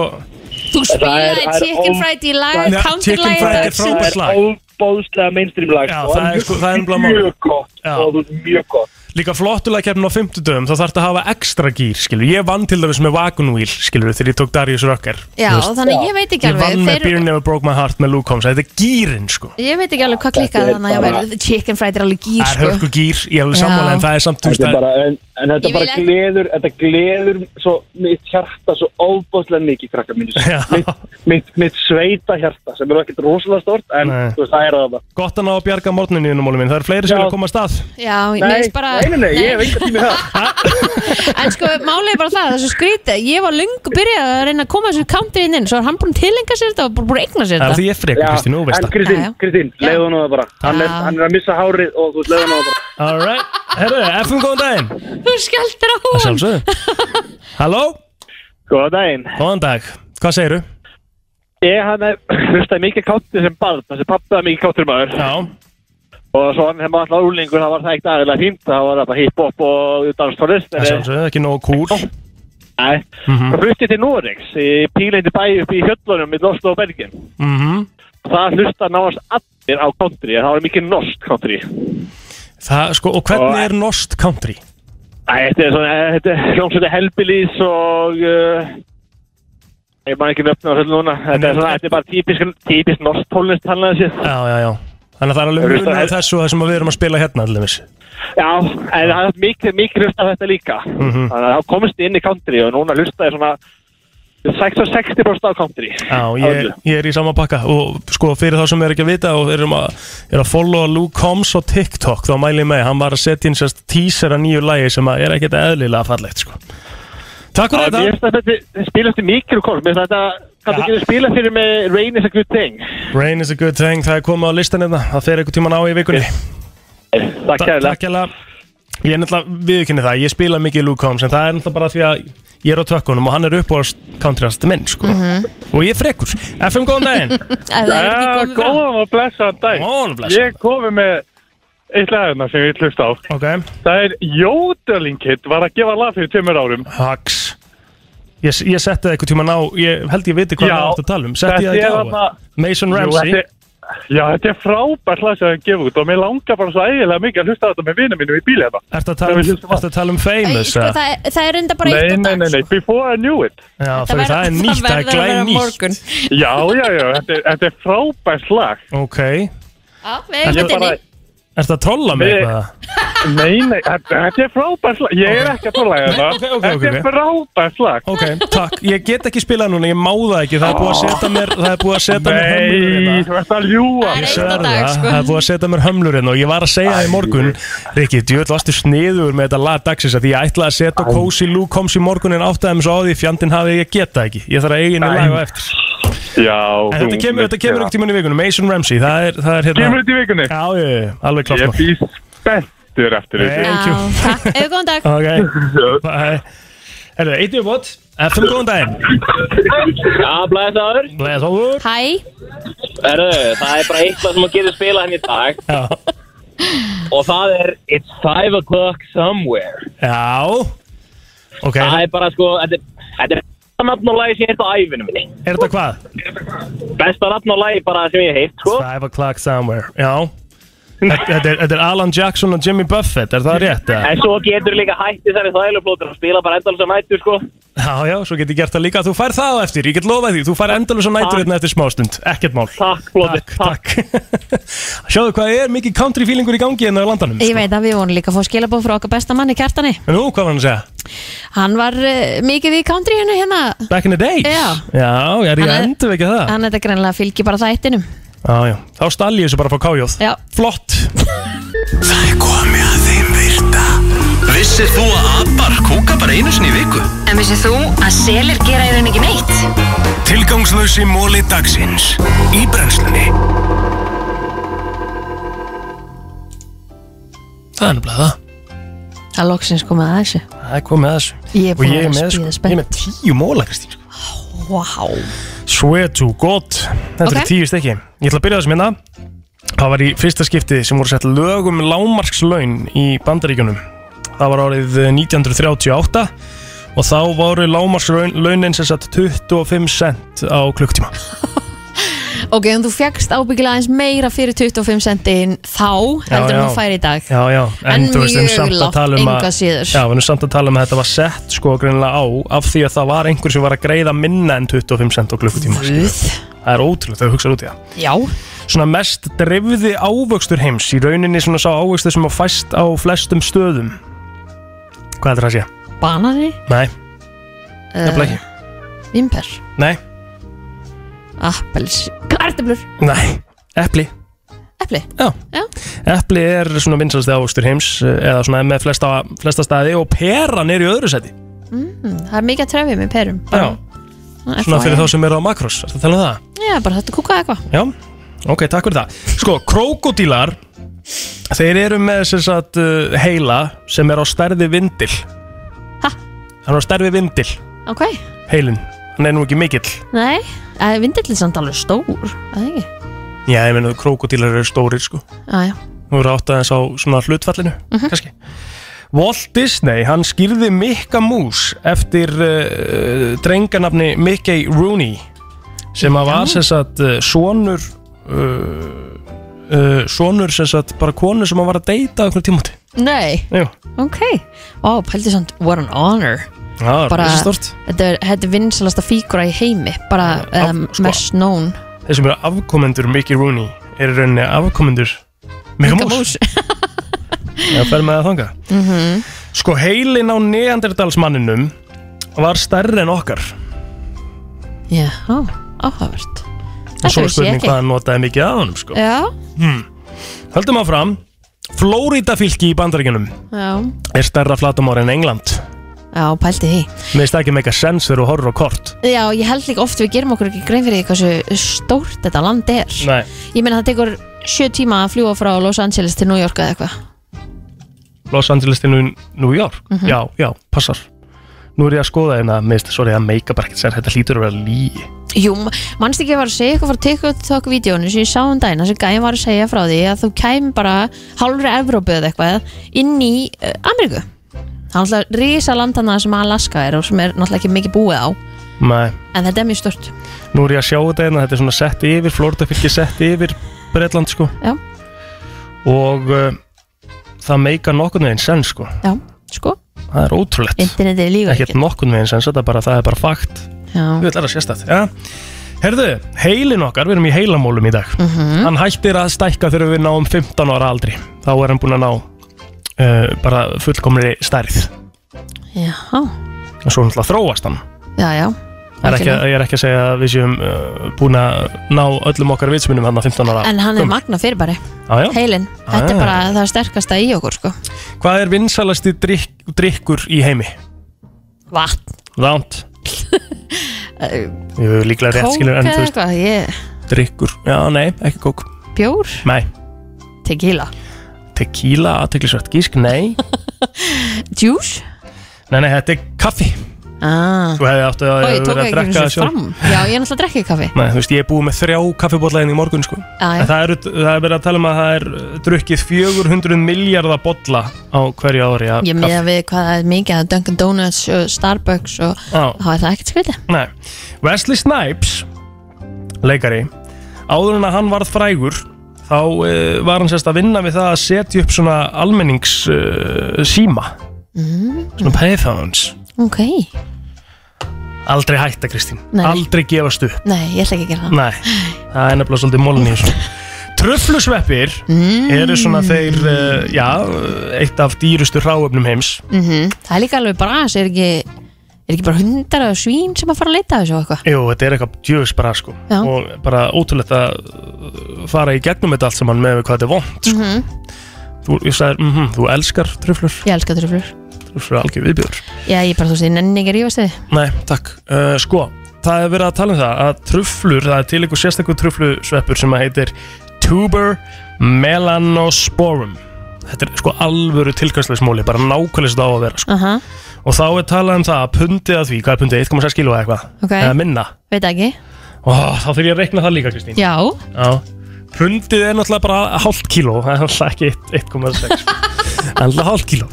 B: Þú spilaði
M: það er
B: Chicken
M: ó-
B: Fried í
M: það
B: lag,
M: er-
B: country
M: Chicken
B: lag
M: Fried er frábært lag. óbóðslega mainstream lag
C: Já,
M: sko.
C: það er sko, það er umblá
M: mjög gott og þú er mjög gott
C: Líka flottulega keppin á 50 dögum þá þarf þetta að hafa ekstra gýr, skilur Ég vann til dæmis með Wagon Wheel, skilur, þegar ég tók Darius Rucker
B: Já,
C: þú veist.
B: þannig að ég veit ekki
C: Ég vann
B: alveg,
C: með
B: þeir,
C: Beer Never Broke My Heart með Luke Combs Þetta er gýrin, sko
B: ég veit ekki alveg hvað klikkað þannig að ég væri- Chicken Fried er alveg gýr
C: Það er
B: sko.
C: hörku gýr, ég er alveg
B: Já.
C: sammála En það er samt, þú veist,
M: Þetta er
C: það-
M: bara, en, en þetta
B: Ég
M: bara
B: vil ekki-
M: gleður, þetta gleður svo mitt hjarta svo óbóðslega mikið krakka
C: [laughs]
M: mínu, mitt, mitt, mitt sveita hjarta sem er ekkert rosalega stort en þú veist, það er það bara.
C: gott að ná að bjarga morgninni innum, Óli minn Það eru fleiri sem
M: Já.
C: vilja koma að stað
B: Já,
M: Nei,
B: mér finnst bara
M: nei, nei, nei, ég hef enga tími í það
B: [laughs] En sko, málið er bara það, þessu skríti Ég var löngu byrjað að reyna að koma þessu country inn Svo er hann búin að tilenga sér þetta og bara búin að eigna sér
C: Það
B: þetta
C: er því ég er frekar, Kristín, þú veist
M: En
C: það.
B: Já,
M: Kristín,
B: já.
M: Kristín, leiðu hann á það bara hann er,
B: Já.
M: hann er að missa hárið og þú veist, leiðu hann á það bara
C: All right, herru, FM góðan daginn
B: Þú skjöldir á
C: Það
B: hún
C: sjálfsögðu Halló
M: Góðan daginn
C: Góðan dag, hvað segiru?
M: Ég hann er, hlustaði mikið káttur sem barn þessi pappi var mikið káttur maður
C: Já
M: Og svo hann hefði alltaf úlingur, það var það ekkert aðeinslega fínt Það var það bara hip-hop og danstónlist
C: Það sjálfsögðu, ekki nógu kúl
M: Nei,
C: Mhm.
M: það flutti til Noregs í píleindi bæ upp í hjöllunum í Oslo og Belgin
C: Mhm.
M: Það hlusta náast allir á country, en það var mikið norsk country
C: Það, sko, og hvernig er Nost Country?
M: Æ, þetta er svona, eh, þetta er hljómsveiti Hellbillies og uh, ég maður ekki nöfnum á þessu núna þetta er, svona, þetta er bara típisk, típisk norsk tónlist hann sér
C: Mm. Já, já, já Þannig að það er alveg
M: Rústa-
C: munið þessu og það sem við erum að spila hérna allir
M: Já, en það er mikið, mikið hlusta á þetta líka
C: Mhm.
M: Þannig að þá komist þið inn í country og núna hlusta ég svona 60% á country
C: Já, ég, ég er í sama bakka og sko fyrir þá sem er ekki að vita og erum að, er að followa Luke Combs á TikTok þá mæli ég með, hann var að setja inn sérst teaser að nýju lægi sem að er ekkert eðlilega fallegt sko. Takk fyrir
M: Mér finnst
C: þetta
M: að þetta spilast í mikrokort Mér finnst að þetta kannski ekki spila fyrir með Rain is a good thing
C: Rain is a good thing, það er komið á listan hérna það fer einhvern tíman á í vikunni
M: Takk kærlega.
C: Takk kærlega Ég er náttúrulega viðkynni það, ég spila mikið Luke Combs en það er náttúrulega bara því að ég er á tökkunum og hann er upp á countryast minn sko. og ég er frekur FM góðan daginn
P: Já, góðan og blessaðan dag
C: Góðan og
P: blessaðan Ég komi með eitt lagina sem ég hlusta á
C: okay.
P: Það er Jódeling Kid var að gefa lag fyrir tveimur árum
C: Hax Ég, ég setti það einhvern tíman á, ég held ég viti hvað
P: Já,
C: það átt að tala um Setti ég það
P: þetta er
C: ekki á
P: þarna-
C: Mason
P: Jú,
C: Ramsey
P: þetta er- Já, þetta er frábært lag sem hann gefur út og mér langar bara svo ægilega mikið að hlusta á þetta með vinum mínum í bíli hérna. þetta
C: Ertu að tala um- ertu að tala um Famous?
B: Sko,
C: eða?
B: það, er- það er enda bara eitt
P: Nei,
B: og
P: nei, nei, nei, before I knew it
C: Já, það, það er nýtt, það er glæn nýtt
P: Já, já, já, þetta er, þetta er frábært lag
C: Ok,
B: Já, við eigum þetta inni.
C: ertu að trolla mig
P: Nei.
C: eitthvað?
P: Nei, nei, þetta þetta er frábært lag Ég er ekki að tóla
C: Nei,
P: þetta
C: ok, ok, ok,
P: Þetta
C: ok.
P: er frábært lag
C: Ok, takk, ég get ekki spilað núna, ég má það ekki Það er búið að setja mér, það er búið að setja mér hömlur hérna.
P: Nei, þú ert að ljúa
C: Ég sverða það, það er búið að setja mér hömlur hérna og ég var að segja það í morgun Rikki, djöðl varstu sniður með þetta lag dagsins að því ég ætlaði að setja Cozy Lou Combs í morgun en áttaði mér svo á því fjandinn hafi ég geta ekki Ég þarf að eiginu
P: Nei.
C: lag á eftir
P: Já,
C: En þetta
P: þú-
C: kemur, þetta kemur ekkert í munni vikunum, Mason Ramsey, það er, það er hérna
P: Kemur þetta í vikunni?
C: Já, já, já, alveg klart
P: Ég býð spenntur eftir
C: Thank
P: þessu
C: you.
B: Takk, eigum góðan dag
C: [laughs]
G: [laughs]
C: Ok, bye Herru, eitt við bótt, FM góðan daginn
G: Já, blæsaður
C: Blæsaður
B: Hæ,
G: Erðu, það er bara eitthvað sem að gera spila hann í dag
C: Já
G: Og það er It's five o'clock somewhere
C: Já Ok
G: Það er bara sko, þetta er- þetta er besta nafn á lagi sem ég heilt á æfinu minni
C: Er þetta hvað?
G: Besta nafn á lagi bara sem ég heilt, sko
C: Five o'clock somewhere, já Þetta þetta er, þetta er Alan Jackson og Jimmy Buffett, er það rétt? eða?
G: En svo getur líka hætti þessari þægileglótur og spila bara endalsa nættur, sko
C: Já, já, svo get ég gert það líka Þú fær það á eftir, ég get lofað því Þú fær endalus á nætur hérna eftir smástund, ekkert mál Takk, blóði, takk, takk. [laughs] Sjáðu hvað er mikið country feelingur í gangi hérna á landanum
B: ég veit að við vonum líka að fá skilabóð frá okkar besta manni kjartani
C: Nú, hvað var hann að segja?
B: Hann var uh, mikið í country hennu hérna
C: Back in the days?
B: Já.
C: Já, ég er ég
B: Hann er-
C: endur ekki það
B: Hann þetta greinlega fylgir bara þættinum
C: Já, já, þá stall ég þessu bara frá kájóð
B: Já.
C: Flott
E: Það er komið að þeim virta Vissir þú að abar kúka bara einu sinni í viku?
F: En vissið þú að selir gera í rauninni ekki neitt?
E: Tilgangslösi móli dagsins Í brennslunni
C: Það er nefnilega það
B: Það er loksins komið að þessu
C: Það er komið að þessu
B: Ég er
C: Og
B: búin
C: ég
B: að
C: er
B: vera
C: með,
B: að
C: sko,
B: spíða
C: ég er
B: spennt
C: með tíu móla, Kristín sko.
B: Vá
C: Swear to God Þetta
B: Ok.
C: eru tíu stykki Ég ætla að byrja á þessum hérna Það var í fyrsta skipti sem voru sett lögum lámarkslaun í bandaríkjunum Það var árið eh, 1938 og þá voru lámarkslaunin sem sagt 25 cent á klukktíma
B: Ok, en þú fegst ábyggilega eins meira fyrir 25 centin þá heldur en þú fær í dag
C: Já, já, en,
B: En
C: þú veist,
B: mjög
C: samt að
B: lágt,
C: tala um að-
B: engu að síður.
C: Já, við erum samt að tala um að þetta var sett sko greinlega á af því að það var einhver sem var að greiða minna en 25 cent á klukkutíma skilur. Það er ótrúlega, þau hugsaðu út í það
B: Já
C: Svona mest drefði ávöxtur heims í rauninni svona sá ávöxtur sem að fæst á flestum stöðum Hvað er það að sé?
B: Banani
C: Nei,
B: Eh.
C: nefnilega ekki
B: Vimper
C: Nei,
B: Appels Kartablur
C: nei, epli
B: epli
C: Epli er svona vinsalsti ávöxtur heims eh, eða svona með flesta, flesta staði og peran er í öðru seti
B: mm, Það er mikið að trefið með perum
C: Já, svona fyrir þá sem eru á makros Það tala um það?
B: Já, bara þetta kúka eitthvað
C: Já, ok, takk fyrir það Sko, krókodílar Þeir eru með sem sagt uh, heila sem er á stærði vindil Hæ? Hann er á stærði vindil,
B: Ok,
C: heilin Hann er nú ekki mikill
B: nei, það er vindill samt alveg stór er Það ekki,
C: Já, ég meina krókodílar eru stórir sko
B: já, já Mhm.
C: Nú eru átt aðeins á svona hlutfallinu kannski Walt Disney, hann skýrði Mikka Mús eftir uh, drenganafni Mickey Rooney sem að var sem sagt uh, sonur uh, uh, sonur sem sagt bara konu sem að var að deyta okkur tímúti
B: Nei,
C: Jú.
B: ok Ó, pældi samt, what an honor
C: Já,
B: Bara,
C: þessi stort
B: þetta er, þetta er vinsalasta fígura í heimi Bara um,
C: Sko,
B: mest known
C: Þeir sem eru afkomendur Mickey Rooney eru í rauninni afkomendur Mikka Mús
B: [laughs]
C: Já, fer með það þangað
B: mm -hmm.
C: Sko heilin á neandertalsmanninum var stærri en okkar
B: Já, áhugavert
C: og svo
B: Þetta vissi
C: er
B: ég
C: spurning
B: ekki.
C: hvað hann notaði mikið af honum sko.
B: Já,
C: hmm. Höldum áfram Flórida fylki í bandaríkjunum
B: já,
C: er stærra flatumár en England
B: já, pældi því
C: Mér finnst það ekki meika sens þegar þú horfur á kort
B: Já, ég held líka oft við gerum okkur ekki grein fyrir því hversu stórt þetta land er
C: Nei.
B: Ég meina það tekur sjö tíma að fljúa frá Los Angeles til New York eða eitthvað
C: Los Angeles til New New York
B: Mhm.
C: Já, já, passar Nú er ég að skoða hérna, mér finnst sorry, það meika bara ekkert sens Þetta hlýtur að vera líi
B: Jú, ma- manstu ekki að ég var að segja eitthvað frá TikTok-vídeónu sem ég sá um daginn þar sem gæðin var að segja frá því að þú kæm bara hálfri Evrópu eða eitthvað inn í uh, Ameríku Það er náttúrulega risa landana sem Alaska er og sem er náttúrulega ekki mikið búið á
C: Nei,
B: en þetta er mjög stort
C: nú er ég að sjá þetta hérna, þetta er svona sett yfir Flórida fylki sett yfir Bretland sko
B: Já.
C: Og uh, það meika nokkurn veginn sens sko
B: Já, sko,
C: Það er ótrúlegt
B: internetið er líka
C: Ekkert nokkurn veginn sens, þetta er bara, það er bara fakt
B: Já.
C: Við ætlum að sérstætt ja. Herðu, heilin okkar, við erum í heilamólum í dag
B: Mhm.
C: Hann hættir að stækka þegar við náum 15 ára aldri Þá er hann búinn að ná uh, bara fullkomri stærð
B: Já,
C: Og svo náttúrulega þróast hann
B: já, já
C: Það er ekki, Ég er ekki að segja að við séum uh, búin að ná öllum okkar vitsmunum hann að 15 ára
B: En hann er
C: gömul. Ah,
B: magna fyrir bara
C: Já, já.
B: Heilin, þetta
C: Já,
B: er
C: já.
B: bara það sterkasta í okkur sko
C: Hvað er vinsalasti drykk, drykkur í heimi?
B: Vatn, [laughs]
C: Ránt Jú, líklega rétt
B: kók
C: skilur
B: eða
C: en þú veist
B: eitthvað ég,
C: drykkur, já nei, ekki kók
B: Bjór,
C: nei,
B: tequila
C: tequila, aðteklisvært gísk, nei
B: [laughs] Juice?
C: Nei, nei, þetta er kaffi
B: ah.
C: Þú hefði átt að
B: Og ég tók
C: vera að
B: ekki
C: drekka
B: þessu
C: sjálf.
B: fram Já, ég er náttúrulega að drekka
C: [laughs]
B: kaffi
C: Nei, þú veist, ég er búið með þrjá kaffibotlaðin í morgun sko.
B: Já, já.
C: En það, er, það er verið að tala um að það er uh, drukkið 400 miljardar bolla á hverju ári af
B: Ég
C: kaffi.
B: meða við hvað það er mikið að Dunkin Donuts og Starbucks og
C: Já.
B: þá er það ekkert skrítið
C: Nei, Wesley Snipes leikari áður en að hann varð frægur þá uh, var hann sérst að vinna við það að setja upp svona almennings uh, síma
B: mm,
C: svona payphones
B: Ok,
C: aldrei hætta Kristín,
B: Nei.
C: aldrei gefast upp
B: nei, ég ætla ekki að gera það
C: Nei, það er nefnilega svolítið mólun í þessu Tröflusveppir
B: Mm.
C: eru svona þeir, uh, já, uh, eitt af dýrustu hráöfnum heims
B: mm Það er líka alveg bara er ekki, er ekki bara hundar eða svín sem að fara að leita að þessu og eitthvað
C: Jú, þetta er eitthvað djöfis bara sko
B: Já.
C: og bara ótrúlegt að uh, fara í gegnum þetta allt saman með hvað þetta er vond
B: mm
C: þú, ég sagði, mm þú elskar tröflur
B: Ég elska tröflur
C: tröflur er algjör viðbjör
B: Já, ég bara þú veist, ég nenni ekki að rífast þið
C: Nei, takk, uh, sko það er verið að tala um það að tröflur það er til einhver sérstakur tröflusveppur sem að heitir tuber melanosporum þetta er sko alvöru tilkvæmsleismóli bara nákvæmlega sem það á að vera sko.
B: Aha,
C: og þá er talað um það að pundið að því hvað er pundið, 1,6 kilo eða eitthvað
B: Ok.
C: eða minna,
B: veit það ekki
C: Ó, þá þurf ég að reikna það líka Kristín
B: Já,
C: Já, pundið er náttúrulega bara hálft kíló, það er náttúrulega ekki eitt- 1,6 sko. Það er náttúrulega hálft kíló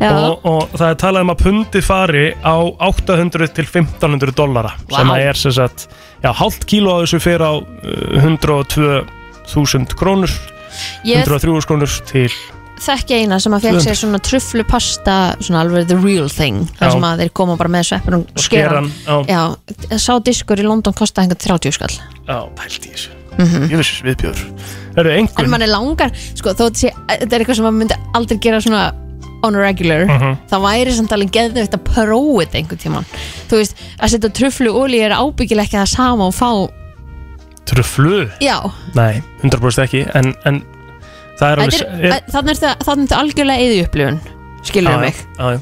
B: já,
C: og, og það er talað um að pundið fari á 800 til 1500 dollara
B: Vá.
C: sem að er sem sagt, já, hálft kíló að þessu fer á uh, 102.000 krónur
B: Ég-
C: 103.000 krónur til
B: þekki eina sem að fekk sér svona tröflupasta svona alveg the real thing þar
C: Já.
B: sem að þeir koma bara með sveppur og skeran
C: skeran, já.
B: já, sá diskur í London kostaði hengar 30 skall
C: á pælt í þessu
B: Mhm.
C: ég vissi viðbjör Það eru
B: en
C: engun
B: mann er langar, sko, þó þetta sé þetta er eitthvað sem maður myndi aldrei gera svona on a regular,
C: Mhm.
B: það væri samt alveg geðveikt að prófa þetta einhvern tíman þú veist, að setja tröflu olí er ábyggilega ekki það sama og fá
C: Truflu?
B: Já,
C: Nei, 100% ekki En, en það er
B: þannig er þetta þannig algjörlega eða upplifun skilur mig
C: Já, já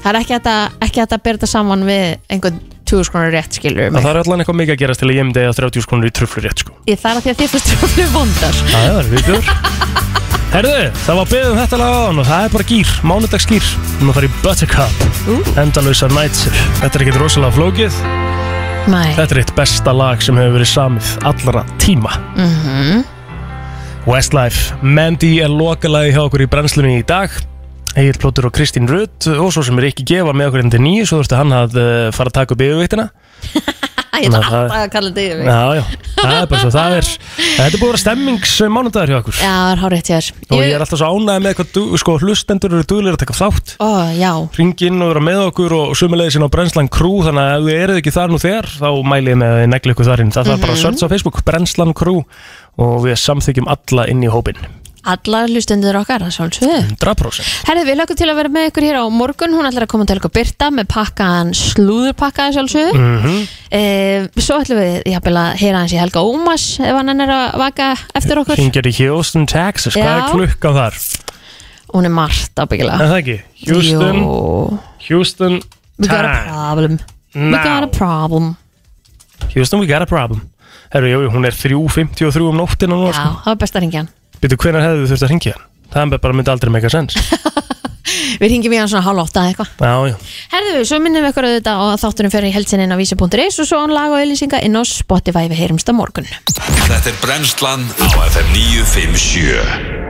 B: Það er ekki hægt að, ekki hægt að bera þetta saman við einhvern 2000 krónur rétt skilur
C: En
B: mig
C: það er allan eitthvað mikið að gerast til að ég myndi að 30 skonur í truflu rétt sko
B: Ég þarf að því að þið fyrst tröflu vondar
C: Já, já, það er við bjóður Herðu, það var beðið um þetta lag áðan og það er bara gýr, mánudagsgýr Nú fara í Buttercup, endalösa nætsir Þetta er ekkert rosalega flókið
B: Nei
C: Þetta er eitt besta lag sem hefur verið samið allra tíma
B: mm -hmm.
C: Westlife, Mandy er lokalagi hjá okkur í brennslunni í dag Egil Plótur og Kristín Rutt og svo sem er ekki gefa með okkur endur nýju svo þurfti hann að eh, fara að taka upp yfirvíktina
B: Ég
C: Þannig
B: ætla
C: að það-
B: alltaf að kalla þetta yfir mig Já,
C: Já, já, það er bara svo það er Þetta er búið að vera stemmings mánudagur hjá okkur
B: það er hárétt hjá þér
C: Og ég er alltaf svo ánægð með hvað du- sko, hlustendur eru duglir að taka þátt
B: Ó, já
C: Ringinn og vera með okkur og sumulegið sinna á Brennslan Crew Þannig að ef þið eruð ekki þar nú þegar Þá mæli ég með að þið negli ykkur þarinn Það þarf bara að
B: Mhm.
C: searcha á Facebook Brennslan Crew Og við samþykjum alla inn í hópin
B: Alla hlustendur okkar, það sjálfsögðu
C: Mm. 100%
B: Herðið, við lögum til að vera með ykkur hér á morgun Hún ætlar að koma til okkur Birta með pakkaðan slúðurpakkaðan sjálfsögðu mm
C: Mhm.
B: Svo ætlum við jafnvel að heyra hans í Helga Ómas ef hann er að vaka eftir okkur
C: Ringir í Houston, Texas, hvað
B: Já.
C: er klukkan þar?
B: Hún er margt ábyggilega
C: Er það ekki? Houston,
B: Jú.
C: Houston,
B: We got a
C: time
B: problem We
C: Now.
B: got a problem
C: Houston, we got a problem Herru, jú, jú, hún er 3.53 um nóttina nú,
B: Já,
C: sko.
B: það var best að ringja hann
C: Býtu, hvenær hefðu þurft að ringja hann? Það bara myndi aldrei meika sens
B: Við ringjum í hann svona hálf átta eða eitthvað
C: Já, já
B: Herðu, svo minnum við ykkur auðvitað og þátturum fyrir í heltsinni inn á vísi.is og svo án lag og eilýsinga inn á Spotify við heyrumst á morgun
E: Þetta er brennslan á FM 957